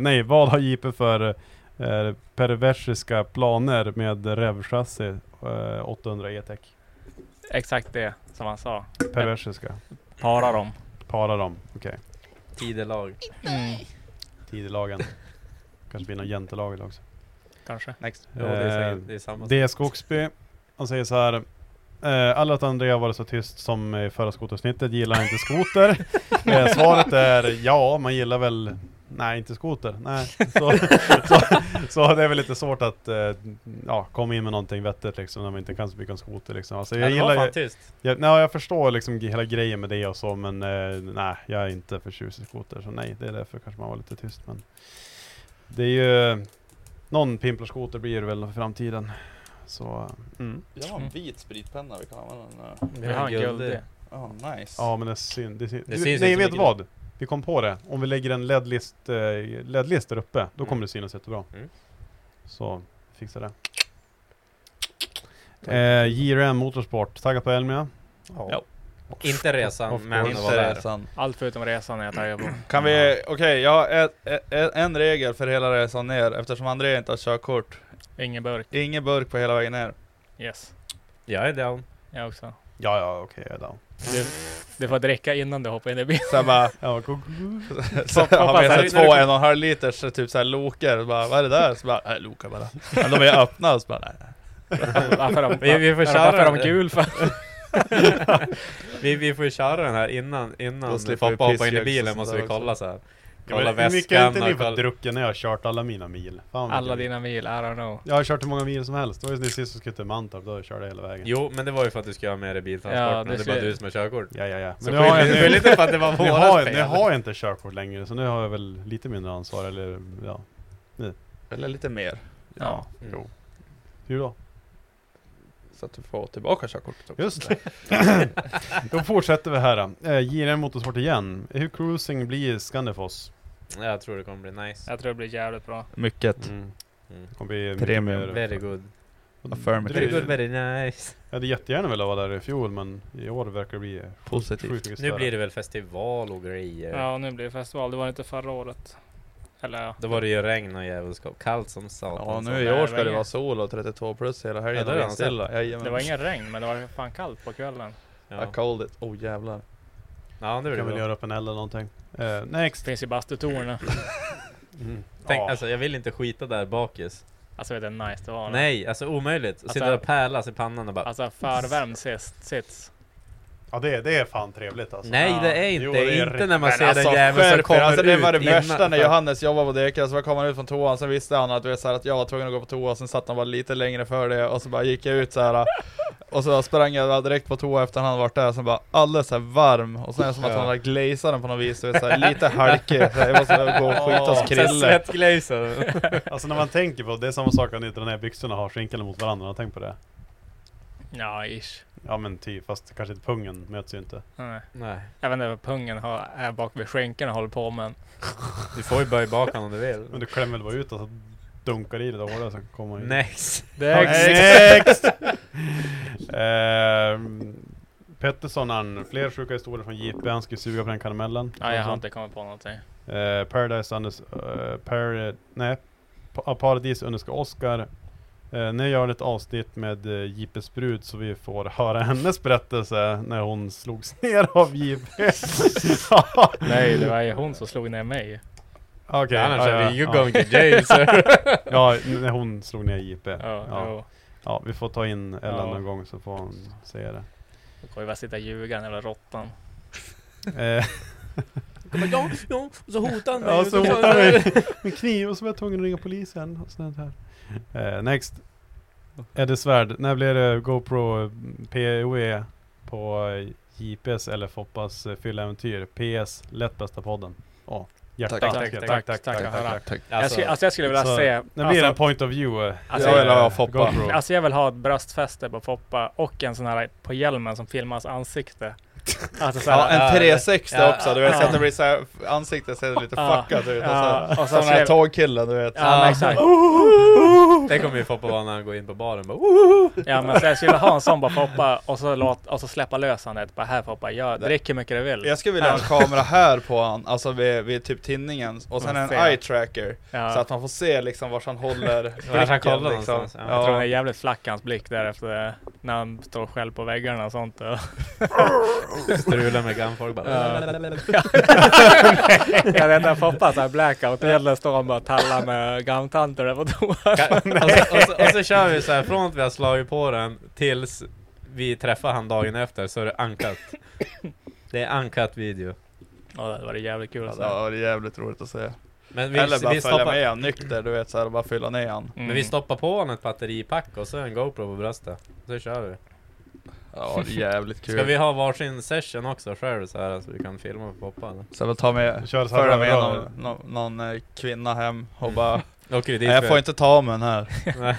(laughs) nej vad har JP för eh, perversiska planer med revchassi eh, 800 E-tech?
Exakt det som han sa.
Perversiska.
Para dem.
Para dem. Okej.
Tidelag.
Mm.
Tidelagen. Kanske blir någon jantelag idag också.
Kanske.
Next.
Ja, det är, säkert- Eh, det är samma sak.
D. Skogsby. Han säger så här. Eh, alla att André har varit så tyst som i förra skotersnittet gillar inte skoter. eh, svaret är ja, man gillar väl Nej, inte skoter. Nej. Så, (laughs) så, så det är väl lite svårt att eh, ja, komma in med någonting vettigt liksom, när man inte kan så mycket om skoter. Liksom. Alltså, jag,
Jag
gillar,
var
jag,
fan tyst.
jag, nej, jag förstår liksom g- hela grejen med det och så, men eh, nej, jag är inte förtjust i skoter. Så nej, det är därför kanske man var lite tyst. Men det är ju... Någon pimplarskoter blir det väl i framtiden. Så, mm.
Jag har en vit spritpenna vi kan använda den.
Vi har en guld.
Ja, nice.
Ja, men det syns. Det syns.
Det syns
nej,
inte
vet
mycket
du vad? Vi kom på det. Om vi lägger en LED-list eh, LED-list där uppe, då kommer
Mm.
det synas jättebra.
Mm.
Så, fixa det. Eh, JRM Motorsport, taggad på Elmia?
Ja. Inte resan,
Of
men
course.
att vara där.
Intressant.
Allt förutom resan är jag taggad på.
Kan vi, okej, jag har ett, ett, en regel för hela resan ner eftersom André inte har körkort.
Ingen burk.
Ingen burk på hela vägen ner.
Yes.
Jag är down.
Jag också.
Ja, ja, okej, jag är down.
Du, du får dricka innan du hoppar in i bilen.
(laughs)
Så jag (laughs) bara,
Ja, go-
så
Pappa,
har med
så här,
sig
när du
två
kom-
en och en halv liters typ såhär loker, Och bara, vad är det där? Så bara, äh, loker bara. Men de är öppna, så bara, nej.
Varför de,
Vi- vi får
varför
köra
varför de
det.
gul för?
(laughs) vi, vi får ju köra den här innan, innan
Då slipper vi
pappa hoppar in
pissljud
i
och
bilen
sånt
måste
där
vi kolla så här.
Ja, men
Kolla
hur mycket har inte
väskan
ni
och
fått
kolla...
drucken när jag har kört alla mina mil? Fan, vad
Alla
kul.
dina mil, I don't know.
Jag har kört hur många mil som helst. Det var ju nyss sist som skulle till Mantorp, då körde jag hela vägen.
Jo, men det var ju för att du skulle ha med dig biltransporten.
Ja,
och
det
det är
skulle-
bara du som har körkort.
Ja, ja, ja.
Så
nu har
skyll
jag-
skyll inte på att det var
(laughs) nu
vårat
har,
fel.
nu har jag inte körkort längre, så nu har jag väl lite mindre ansvar, eller ja.
Eller lite mer.
Ja.
Mm.
Jo.
Hur då? (laughs)
Så att du får tillbaka körkortet också.
Just det. då fortsätter vi här. då. Eh, JRM Motorsport igen. Hur cruising blir Scandifoss?
Mm. Jag tror det kommer bli nice.
Jag tror det blir jävligt bra.
Mycket.
Mm. Mm.
Det kommer bli mycket
Premium.
mer-
Very good.
Affirmative.
Very good, very nice.
Jag hade jättegärna velat vara där i fjol, men i år verkar det bli
Positivt.
sjukt mycket
Nu
större.
blir det väl festival och grejer.
Ja, nu blir det festival. Det var inte förra året. Eller ja.
Då var det ju regn och djävulskap. Kallt som satan.
Ja,
så.
nu i år ska det vara sol och 32 plus hela helgen.
Ja, det
och
har jag
vindstilla. Jajamän.
Det var ingen regn, men det var fan kallt på kvällen.
I
Ja,
called it. Oh jävlar.
ja det blir
Kan väl
bra.
göra upp en eld eller någonting. Eh, next!
Finns i bastutornen.
Tänk,
Ja.
alltså, jag vill inte skita där bakis.
Alltså vet du hur nice det var?
Nej, alltså omöjligt.
Alltså-
Sitta och pärlas i pannan och bara
Alltså förvärmd sist, sits.
Ja det, det är fan trevligt alltså.
Nej
Ja.
det är inte,
Jo, det är
inte när man
riktigt.
ser den jäveln som
skärp er!
kommer
Alltså
ut
det var det
innan-
värsta när Johannes jobbade på Dekra, så kom han ut från toan, sen visste han att, du vet, så här, att jag var tvungen att gå på toa, sen satt han bara lite längre för det, och så bara gick jag ut så här. Och så sprang jag bara direkt på toa efter han varit där, sen bara alldeles så här varm, och sen är det som att
Ja.
han har glazat den på något vis, du vet, så här, lite halkig, så här, jag måste gå och skita hos
Ja.
Sen
Krille.
svettglazar.
(laughs)
(laughs)
Alltså när man tänker på det, är samma sak att ni drar ner byxorna och har skinkorna mot varandra, har ni tänkt på det?
Ja, ish.
Ja men typ, fast kanske inte pungen möts ju inte.
Nej.
Nej,
Jag vet inte vad pungen har, är bak vid skänken och håller på men.
du får ju böja bakan om du
Men
vill.
du klämmer väl bara ut och så dunkar i det där hålet så kommer man in.
Next!
Next! (laughs) Ehm, Pettersson han, fler sjuka historier från JP, han ska suga på den karamellen.
Ja, jag har inte kommit på någonting.
Eh, Paradise Anders, eh, Parad- nej, pa- Paradis underskar Oscar. Eh, när jag gör ett avsnitt med eh, JP's brud så vi får höra hennes berättelse när hon slogs (laughs) ner av JP.
Nej, det var ju hon som slog ner mig.
Okej,
Annars
ja,
är
ja,
vi ju
ja.
going to jail sir.
(laughs) Ja, när hon slog ner JP.
Ja,
ja.
jo.
ja vi får ta in Ellen
Ja.
någon gång så får hon säga det.
Då kommer vi bara sitta och ljuga den jävla råttan.
Eh,
Ja, ja, så hotar han
ja, så hotade han mig (laughs) med kniv och så var jag tvungen att ringa polisen. Och sånt här. Eh, next. Eddie Svärd, när blir det GoPro POE på eh, JPS eller Foppas eh, fylleäventyr? PS, lätt bästa podden. Ja, hjärta.
Tack,
tack, tack, tack, tack, tack. jag,
Alltså,
skulle, alltså jag skulle vilja
Så,
se...
När blir det en
Alltså,
point of view? eh,
Alltså,
eh,
jag vill ha Foppa.
GoPro?
alltså jag vill ha ett bröstfäste på Foppa och en sån här på hjälmen som filmar hans ansikte. Alltså så
Ja,
här,
Ja,
en 360
ja,
också, du vet så
ja.
att det blir såhär, ansiktet ser lite
Ja,
fuckat ut och
ja,
så,
och
och
så
så, så den här
ser-
tågkillen du vet.
Ja, men exakt.
(laughs) Det kommer ju Foppa vara när han går in på baren bara
Ja men så jag skulle ha en sån bara Foppa och så, låt, och så släppa lös han ett. Bara här Foppa, jag drick hur mycket du vill.
Jag skulle vilja ha en kamera här på han, alltså vid, vid typ tinningen, och sen
Ja,
en
se.
eye tracker.
Ja.
Så att man får se liksom vart
(laughs)
han håller
han
blicken
kollar
liksom.
någonstans, ja.
Jag tror han är
Ja.
jävligt flack hans blick därefter. När han står själv på väggarna och sånt. (laughs) Och
Strular med grannfolk bara
jag vet inte, Foppa såhär blackout. Eller står han bara och tallar med gamtanter där på toan.
Ka- och, så, Alltså, och, så, och så kör vi så här från att vi har slagit på den tills vi träffar han dagen efter så är det uncut. Det är uncut video.
Ja det var jävligt kul. alltså.
Ja,
att
det
se.
var jävligt roligt att se.
Men vi,
Eller bara
vi,
följa
stoppar,
med han nykter, du vet såhär, bara fylla ner han.
Mm.
men vi stoppar på honom ett batteripack och så en GoPro på bröstet. Så kör vi.
Ja, det är jävligt kul.
Ska vi ha varsin session också själv så här så vi kan filma på poppa eller?
Så väl ta med,
Kör så här
följa med
överallt.
någon, någon, någon eh, kvinna hem och bara
Åker vi dit
Nej jag
för-
får inte ta med
(laughs)
den här.
Nej.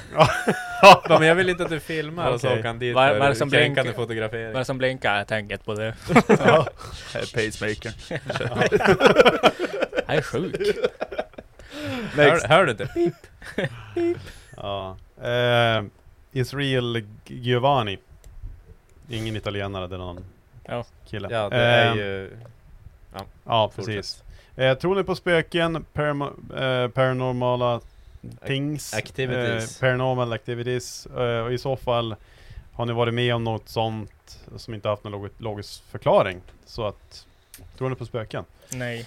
Ja, (laughs) men jag vill inte att du filmar och så
Okej.
åker han dit
Vad-
för
vad är det som
kränkande
blinkar?
fotografering.
Vad är det som blinkar? Jag tänker inte på det.
Eh, Pacemaker.
(laughs)
Jag är sjuk.
hör, hör du inte?
Ja. Eh, Israel Giovanni. Ingen italienare, det är någon
Ja.
kille.
Ja, det är
Ehm.
Eh,
ju...
ja precis.
Precis.
Eh, tror ni på spöken, paramo- eh, paranormala things?
activities.
Eh, paranormal activities. Eh, och i så fall, har ni varit med om något sånt som inte haft någon log- logisk förklaring? Så att, tror ni på spöken?
Nej.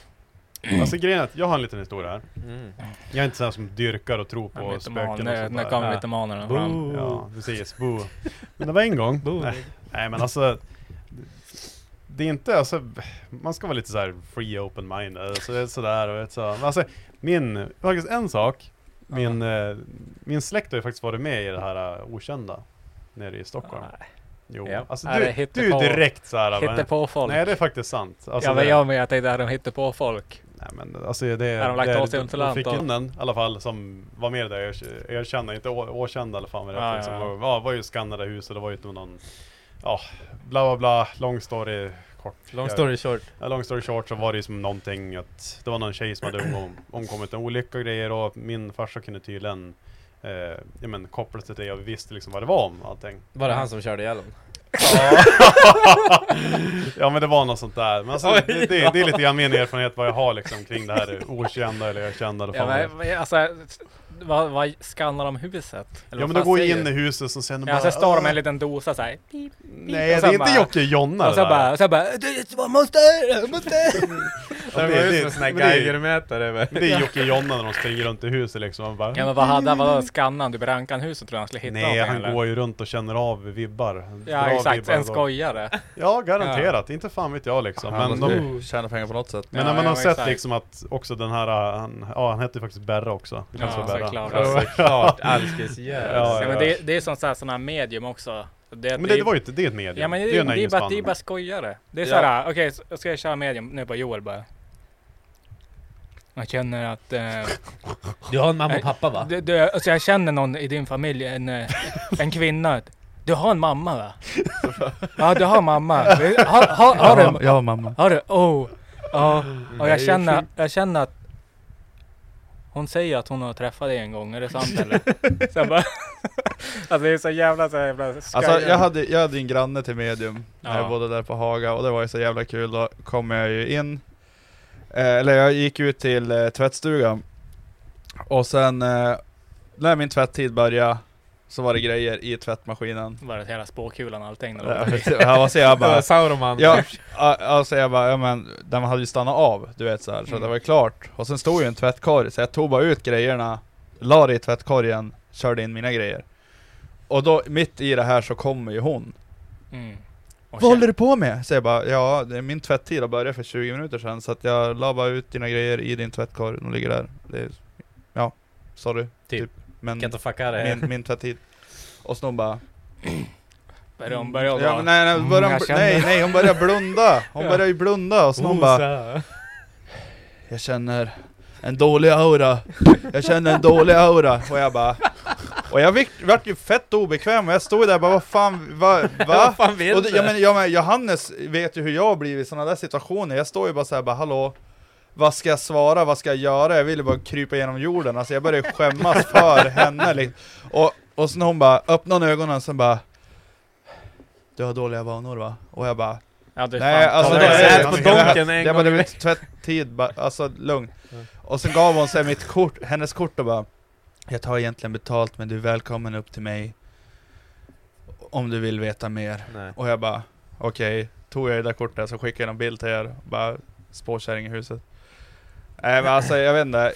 Alltså grejen är att jag har en liten historia här.
Mm.
Jag är inte sån här som dyrkar och tror på spöken
Mytoman.
och sånt
Nu, nu
där.
kommer
Ja.
mytomanerna fram.
Ja, precis. Bo. Men det var en gång. Nej, nej men alltså. det är inte, alltså, man ska vara lite så här free open mind alltså, det är sådär och vet så. Men alltså, min, faktiskt en sak, min, eh, min släkt har ju faktiskt varit med i det här eh, okända nere i Stockholm. Jo,
Ah, Ja.
alltså
Nej,
du,
det är
du är
hittepå-
direkt såhär.
hittepåfolk.
Nej, det är faktiskt sant. Alltså,
ja, men
det-
jag med. Jag tänkte, hade de hittat på folk?
Nej, men alltså det är...
Har de lagt
det är-
av sig
de
Unterland
fick
då?
ju den i alla fall som var med i det där erk- erkända, inte å- åkända eller fan vad det
Ja,
heter.
ja,
liksom.
ja.
Och, ja, var ju skannade huset, det var ju inte någon... Ja, bla bla bla, long story kort.
Long story short.
Ja, long story short så var det ju som någonting att det var någon tjej som hade omkom- omkommit i en olycka och grejer och min farsa kunde tydligen eh, ja, men kopplat till det jag visste liksom vad det var om
(laughs)
allting.
Var det han som körde ihjäl honom?
ja men det var något sånt där. Men alltså,
Oj,
det, det,
ja.
det är lite grann min erfarenhet vad jag har liksom kring det här okända eller ökända. eller
Ja,
fan vad det är.
men, men alltså, vad, vad skannar de huset? Eller
Ja
vad
men
fan
då går
säger
jag in
du?
i huset och sen
Ja,
bara,
sen står de med
"Åh."
en liten dosa såhär. Nej,
Nej det är inte Jocke och Jonna
Och så
det där.
bara, och så bara, du man måste, måste.
Ja, men
De går ut
det-
med sån här
men det är-
Geigermätare, va? (laughs)
men Det är Jocke och Jonna när de springer runt i huset liksom. Man bara,
Ja men vad hade han, vadå skannan? Du rankan huset tror jag han skulle hitta
Nej
någonting,
han
eller?
går ju runt och känner av vibbar.
Ja
Drar
exakt,
vibbar
en
då.
skojare.
Ja garanterat, inte fan vet jag liksom.
Han
Men,
måste
de,
ju
tjäna pengar på något sätt.
Men
Ja,
när man
ja,
har sett
exakt.
liksom att också den här, äh, han, ja han hette ju faktiskt Berra också.
Ja, såklart.
Ja,
Såklart, alkis jävel.
Ja,
Ja,
ja,
men det, det är som sådana medium också. Det,
Men det, det var ju inte, det är ett medium.
Ja men det,
ju
det,
en
är,
engelsk
bara,
man.
det är bara skojare. Det är
Ja.
såhär, okej så- jag ska jag köra medium nu på Joel bara. Jag känner att... Eh,
Du har en mamma och pappa, va?
Du, du, alltså jag känner någon i din familj, en, eh, en kvinna. Du har en mamma
(laughs)
va? Ja du har mamma. Har, har, har
Jag har-
du?
jag har mamma.
Har du? Oh. Ja. Och
Mm. Det är
jag
ju
känner,
sjukt.
jag känner att hon säger att hon har träffat dig en gång, är det
(laughs)
sant eller? Så jag bara, (laughs) alltså det är så jävla så jävla skoj.
Alltså jag hade, jag hade ju en granne till medium när jag
Ja.
bodde där på Haga och det var ju så jävla kul, då kom jag ju in eh, Eller jag gick ut till eh, tvättstugan Och sen eh, när min tvätttid började så var det grejer i tvättmaskinen
Var det hela spåkulan och
(laughs)
allting?
Ja, precis. Ja, vad säger jag bara?
Det var Sauroman.
Ja, a- alltså jag bara, ja men den hade ju stannat av, du vet så här, så
Mm.
det var ju klart. Och sen stod ju en tvättkorg, så jag tog bara ut grejerna, la det i tvättkorgen, körde in mina grejer. Och då, mitt i det här så kommer ju hon.
Mm. Och
Vad håller du på med? Så jag bara, ja det är min tvätttid har börjat för 20 minuter sedan, så att jag la bara ut dina grejer i din tvättkorg, de ligger där. Det är, ja, sorry.
Typ.
Men
Kan inte fucka det. (laughs)
min, min tvätttid. Och så hon bara
Börjar hon- börjar hon
ja,
bara,
men nej, nej,
"Mm,
börjar hon,
jag
bl-
känner."
nej, nej, hon börjar blunda! Hon
Ja. Oh,
börjar ju blunda och så hon bara Jag känner en dålig aura Jag känner en dålig aura Och jag bara Och jag fick, vart ju fett obekväm och jag stod där och bara vad fan,
(laughs)
va? va?
Vad fan vill
och det,
du?
jag men, jag men, Johannes vet ju hur jag har blivit i sådana där situationer Jag står ju bara såhär bara hallå vad ska jag svara, vad ska jag göra? Jag ville bara krypa genom jorden, alltså jag började skämmas för
(laughs)
henne liksom. och, och sen hon bara, öppnade hon ögonen och sen bara Du har dåliga vanor va? Och jag bara
Ja, du
Nej
fan,
alltså
kolla
det
vad
är
jag
på
ser.
det var-
Donken en
det var
gång i
det var tvätttid, bara, alltså lugn. Och sen gav hon sig mitt kort, hennes kort och bara Jag tar egentligen betalt men du är välkommen upp till mig Om du vill veta mer.
Nej.
Och jag bara okej, tog jag det där kortet så skickade jag en bild till er, bara spåkärring i huset. Nej men alltså jag vet inte,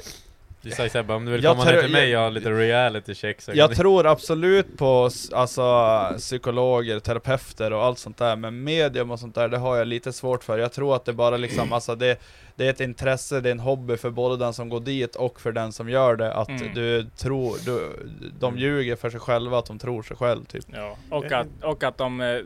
Du sa ju såhär bara, om du vill
Jag
komma
tror-
ner till mig
jag-
jag har lite reality check så
Jag
kan
tror absolut på s- alltså, psykologer, terapeuter och allt sånt där, men medium och sånt där, det har jag lite svårt för. Jag tror att det bara liksom, alltså det, det är ett intresse, det är en hobby för både den som går dit och för den som gör det, att
Mm.
du tror, du, de ljuger för sig själva att de tror sig själv typ.
Ja, och att, och att de, eh,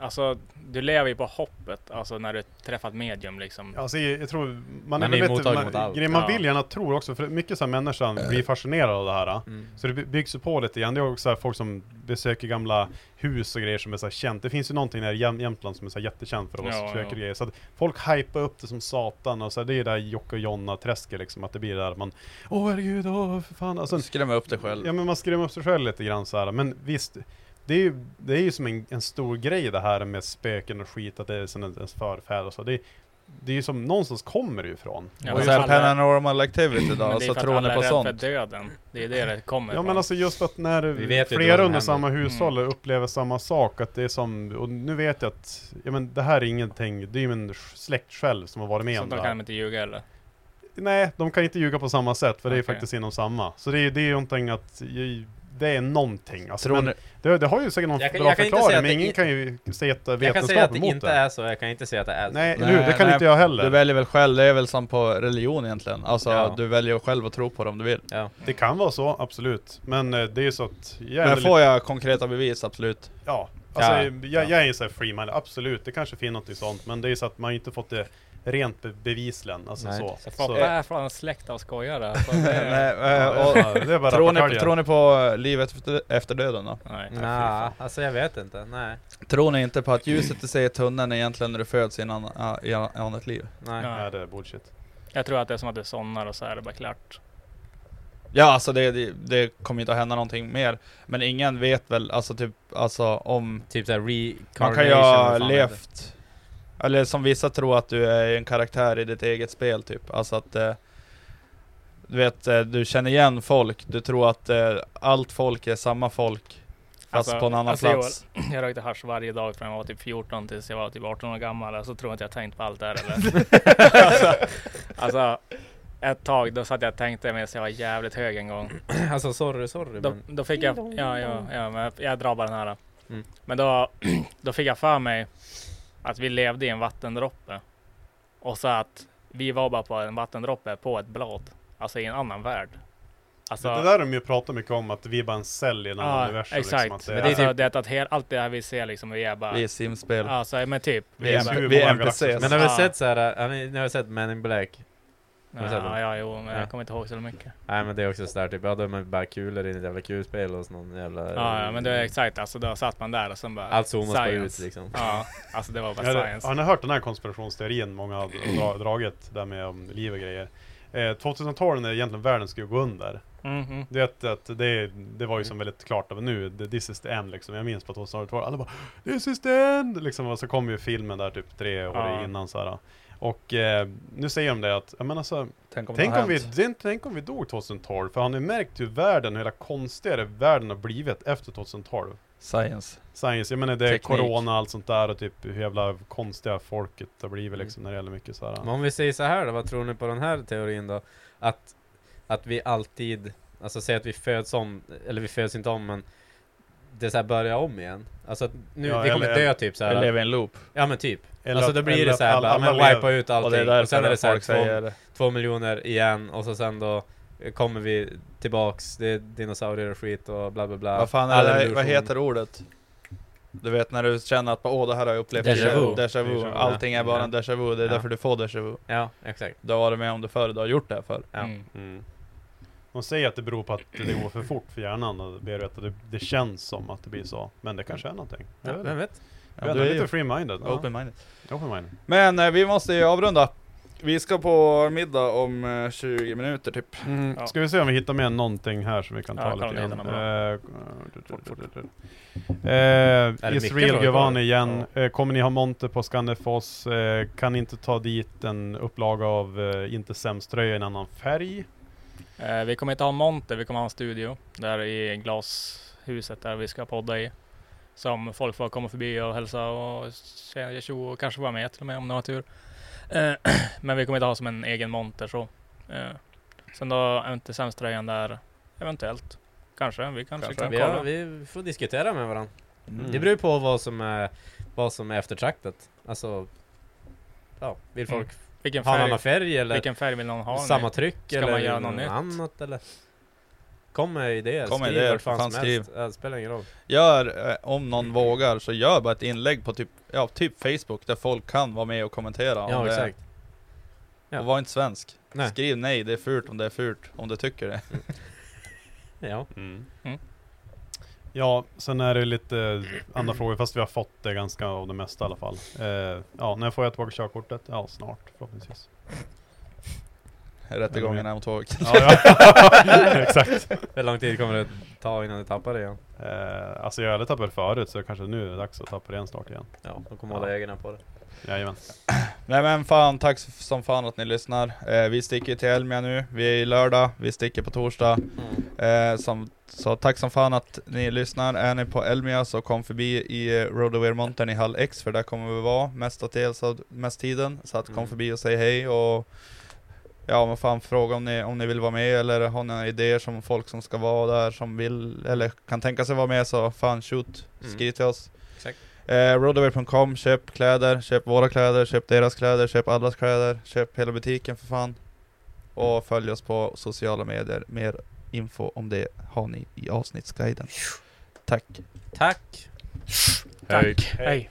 alltså du lever ju på hoppet, alltså när du träffat medium liksom.
Alltså, jag jag tror man,
Man
är
är
väl lite,
mottaglig mot
man,
allt.
grejen man
Ja.
vill gärna tror också, för mycket så här människan blir fascinerad av det här.
Mm.
Så det by- byggs ju på lite grann. Det är också så här folk som besöker gamla hus och grejer som är så här känt. Det finns ju någonting där i Jäm- Jämtland som är så här jättekänt för oss
Ja,
ja,
ja.
grejer. Så att folk hypar upp det som satan och så här, det är där Jocke och Jonna träsket liksom, att det blir där man Åh herregud, åh för fan. Alltså,
Skrämma upp dig själv.
Ja men man skrämmer upp sig själv lite grann så här. men visst det är, ju, det är ju som en, en stor grej det här med spöken och skit, att det är sen ens förfäder och så. Det, det är ju som, någonstans kommer det ju ifrån.
Ja,
och
men
så här
alla-
paranormal activity då,
Men det är
alltså
för att
tror
alla
ni
är
på
rädda
sånt?
för döden. Det är det det kommer
Ja
ifrån.
men alltså just att
Vi vet
när
ju inte vad
flera
som
under samma
händer.
hushåll upplever samma sak, att det är som, och nu vet jag att, ja men det här är ingenting, det är ju min släkt själv som har varit med
Så
om det
de
här.
kan inte ljuga eller?
Nej, de kan inte ljuga på samma sätt för det är
Okej.
faktiskt inom samma. Så det är, det är ju någonting att, det är någonting. Alltså,
Tror
men,
ni-
det, det har ju säkert någon
Jag kan-
bra
jag kan inte säga
förklaring,
att
men
det
ingen
i-
kan ju sätta
Jag kan säga att
vetenskap
det
emot
inte
det.
är så, jag kan inte säga att det är så.
Nej, eller hur? Det kan inte jag heller.
Du väljer väl själv, det är väl som på religion egentligen. Alltså
Ja.
du väljer själv att tro på det om du vill.
Det kan vara så, absolut. Men eh, det är ju så att... Jag är
Men
väl-
får jag konkreta bevis, absolut.
Ja, alltså,
Ja.
Jag, jag är ju såhär free minded, absolut, det kanske finns något i sånt, men det är ju så att man inte fått det rent be- bevisligen, alltså
Nej.
så.
Så
så.
Foppa är från en släkt av skojare. alltså. Det
(laughs)
är-
(laughs) Nej, eh,
Ja,
och,
det är- det är
(laughs)
bara
tror, ni,
rappakalja.
tror ni på eh, livet efter, efter döden då?
Nej.
Nej, alltså jag vet inte. Nej.
Tror ni inte på att ljuset i sig i tunneln egentligen när du föds i en annan- ja, i ett annat liv?
Nej.
Ja.
Nej, det är bullshit.
Jag tror att det är som att du somnar och så är det bara klart. (clears throat)
Ja alltså det, det, det kommer inte att hända någonting mer. Men ingen vet väl alltså typ, alltså om...
Typ såhär
Man kan ju
reincarnation.
ha
vad fan heter
levt... Eller som vissa tror att du är en karaktär i ditt eget spel typ. Alltså att... Eh, du vet, eh, du känner igen folk. Du tror att eh, allt folk är samma folk. Fast
Alltså,
på en annan
alltså,
plats.
Jag, jag rökte hasch varje dag från jag var typ 14 tills jag var typ 18 år gammal. Alltså tror jag inte jag tänkt på allt det här eller? (laughs) alltså, alltså, ett tag då satt jag och tänkte medan jag var jävligt hög en gång.
det? (clears throat) Alltså sorry, sorry.
Då,
men...
då fick jag, ja, ja, ja men jag, jag drar bara den här. då.
Mm.
Men då, (clears throat) då fick jag för mig att vi levde i en vattendroppe. Och så att vi var bara på en vattendroppe på ett blad. Alltså i en annan värld. Alltså,
Det där har de ju pratat mycket om, att vi är bara en cell i en annan universum.
Exakt.
Liksom, att det,
Men det är typ... det att hela, allt det här vi ser liksom, vi är bara...
Vi är simspel.
Alltså, men typ.
Vi är,
bara-
vi är NPCs.
Men har vi
Ja.
sett såhär, har ni, ni har sett Men in Black? Har ni sett
Ja,
den?
ja, jo, men
Ja.
jag kommer inte ihåg så mycket.
Nej men det är också sådär typ, ja då är man bara kulor i ett jävla kulspel och någon jävla...
Ja, ja, men det är exakt. Alltså, då satt man där och sen bara...
Allt zoomas bara
science.
ut, liksom.
Ja, alltså det var bara
Ja, det-
science.
Har ni hört den här konspirationsteorin många har dra, dragit, där med om liv och grejer? Eh, 2012 när egentligen världen skulle gå under.
Mhm.
Du vet att det, det var ju som väldigt klart av nu, the- this is the end liksom. Jag minns på 2012, alla bara this is the end! Liksom, och så kom ju filmen där typ tre år
Ja.
innan så här. Och eh, nu säger de det att, ja men alltså,
Tänk om,
tänk
det
om,
har
vi,
hänt.
tänk- tänk om vi dog 2012, för har ni märkt hur världen, hur hela konstigare världen har blivit efter 2012?
Science.
Science, jag menar det är
Teknik.
corona och allt sånt där och typ hur jävla konstiga folket har
Mm.
blivit liksom när det gäller mycket så
Men
här.
om vi säger så här då, vad tror ni på den här teorin då? Att, att vi alltid, alltså säg att vi föds om, eller vi föds inte om men det är såhär börja om igen. Alltså att nu,
Ja,
vi kommer
eller-
dö typ
Vi
såhär.
lever i en loop.
Ja men typ.
Eller
alltså
att-
då blir
eller
det
att
såhär,
alla-
alla, men
alla
wipa
lever.
ut
Och det är
allting. Och,
därför
sen är det såhär
folk
två,
säger
två miljoner igen och så sen då kommer vi tillbaks, det är dinosaurier och skit och bla bla bla.
Vad fan är
All
det, här-
evolution.
vad heter ordet? Du vet när du känner att åh det här har jag upplevt
Déjà
förut."
vu.
déjà vu.
Déjà vu,
Allting är bara en déjà vu, det är
Ja.
därför du får déjà vu
Ja, exakt.
Du har varit med om det förr, du har gjort det här förr
Ja.
Mm.
Mm. De säger att det beror på att det går för fort för hjärnan och det, vet, det, det känns som att det blir så. Men det kanske är någonting. Jag
Ja,
vet
vem
inte.
vet?
Jag vet
du
inte,
är ju
lite free-minded. Ja.
open-minded
Open-minded.
Men eh, vi måste ju avrunda Vi ska på middag om eh, 20 minuter typ
Ja.
Mm, Ska vi se om vi hittar med någonting här som vi kan
Ja,
ta
kolla
lite grann.
om det
Eh, Eh,
mycket
Israel
bra
Guvan
kvar?
igen. Eh, kommer ni ha monter på Scandifoss? Eh, kan ni inte ta dit en upplaga av eh, Inte Sämst-tröja i en annan färg?
Eh, vi kommer inte ha en monter, vi kommer ha en studio. Där i glashuset där vi ska podda i. Som folk får komma förbi och hälsa och tjena tjo och kanske vara med till och med om de har tur. Eh, (clears throat) men vi kommer inte ha som en egen monter så. Eh, sen då är inte sämströjan där eventuellt. Kanske, vi kanske,
Vi,
kan kolla.
har, vi får diskutera med varandra.
Mm.
Det beror ju på vad som är, vad som är eftertraktat. Alltså, ja, vill folk
Vilken
ha en
färg,
annan färg eller
vilken färg vill någon ha?
samma tryck
Ska
eller
man göra något nytt?
annat eller? Kom med idéer,
Kom med
skriv
idéer,
vart fan
fan,
som helst. Ja, Det spelar ingen roll.
Gör, eh, om någon vågar, så gör bara ett inlägg på typ, ja, typ Facebook där folk kan vara med och kommentera om
Ja,
det.
exakt. ja.
Och var inte svensk
Nej.
Skriv nej, det är fult om det är fult, om du tycker det
Ja.
Ja, sen är det lite andra frågor, fast vi har fått det ganska av det mesta i alla fall. Eh, ja, när får jag tillbaka körkortet? Ja, snart förhoppningsvis.
Rättegången är om två veckor. (laughs)
Ja, ja. Exakt.
Hur lång tid kommer det ta innan du tappar det igen?
Eh, alltså jag hade tappat det förut, så kanske nu är det dags att tappa det igen snart igen.
Ja, de kommer
Ja.
hålla ögonen på det.
Jajamän.
Nej men fan, tack s- som fan att ni lyssnar. Eh, vi sticker till Elmia nu, vi är i lördag, vi sticker på torsdag. Eh, som, så tack som fan att ni lyssnar. Är ni på Elmia så kom förbi i eh, Roadaware Mountain i Hall X, för där kommer vi vara mestadels av mest tiden. Så att kom
Mm.
förbi och säg hej och Ja men fan fråga om ni, om ni vill vara med eller har ni några idéer som folk som ska vara där som vill eller kan tänka sig vara med så fan shoot,
Mm.
skriv till oss.
Exakt.
Eh, Roadaway.com, köp kläder, köp våra kläder, köp deras kläder, köp allas kläder, köp hela butiken för fan.
Mm.
Och följ oss på sociala medier, mer info om det har ni i avsnittsguiden. Tack!
Tack!
Tack.
Hej.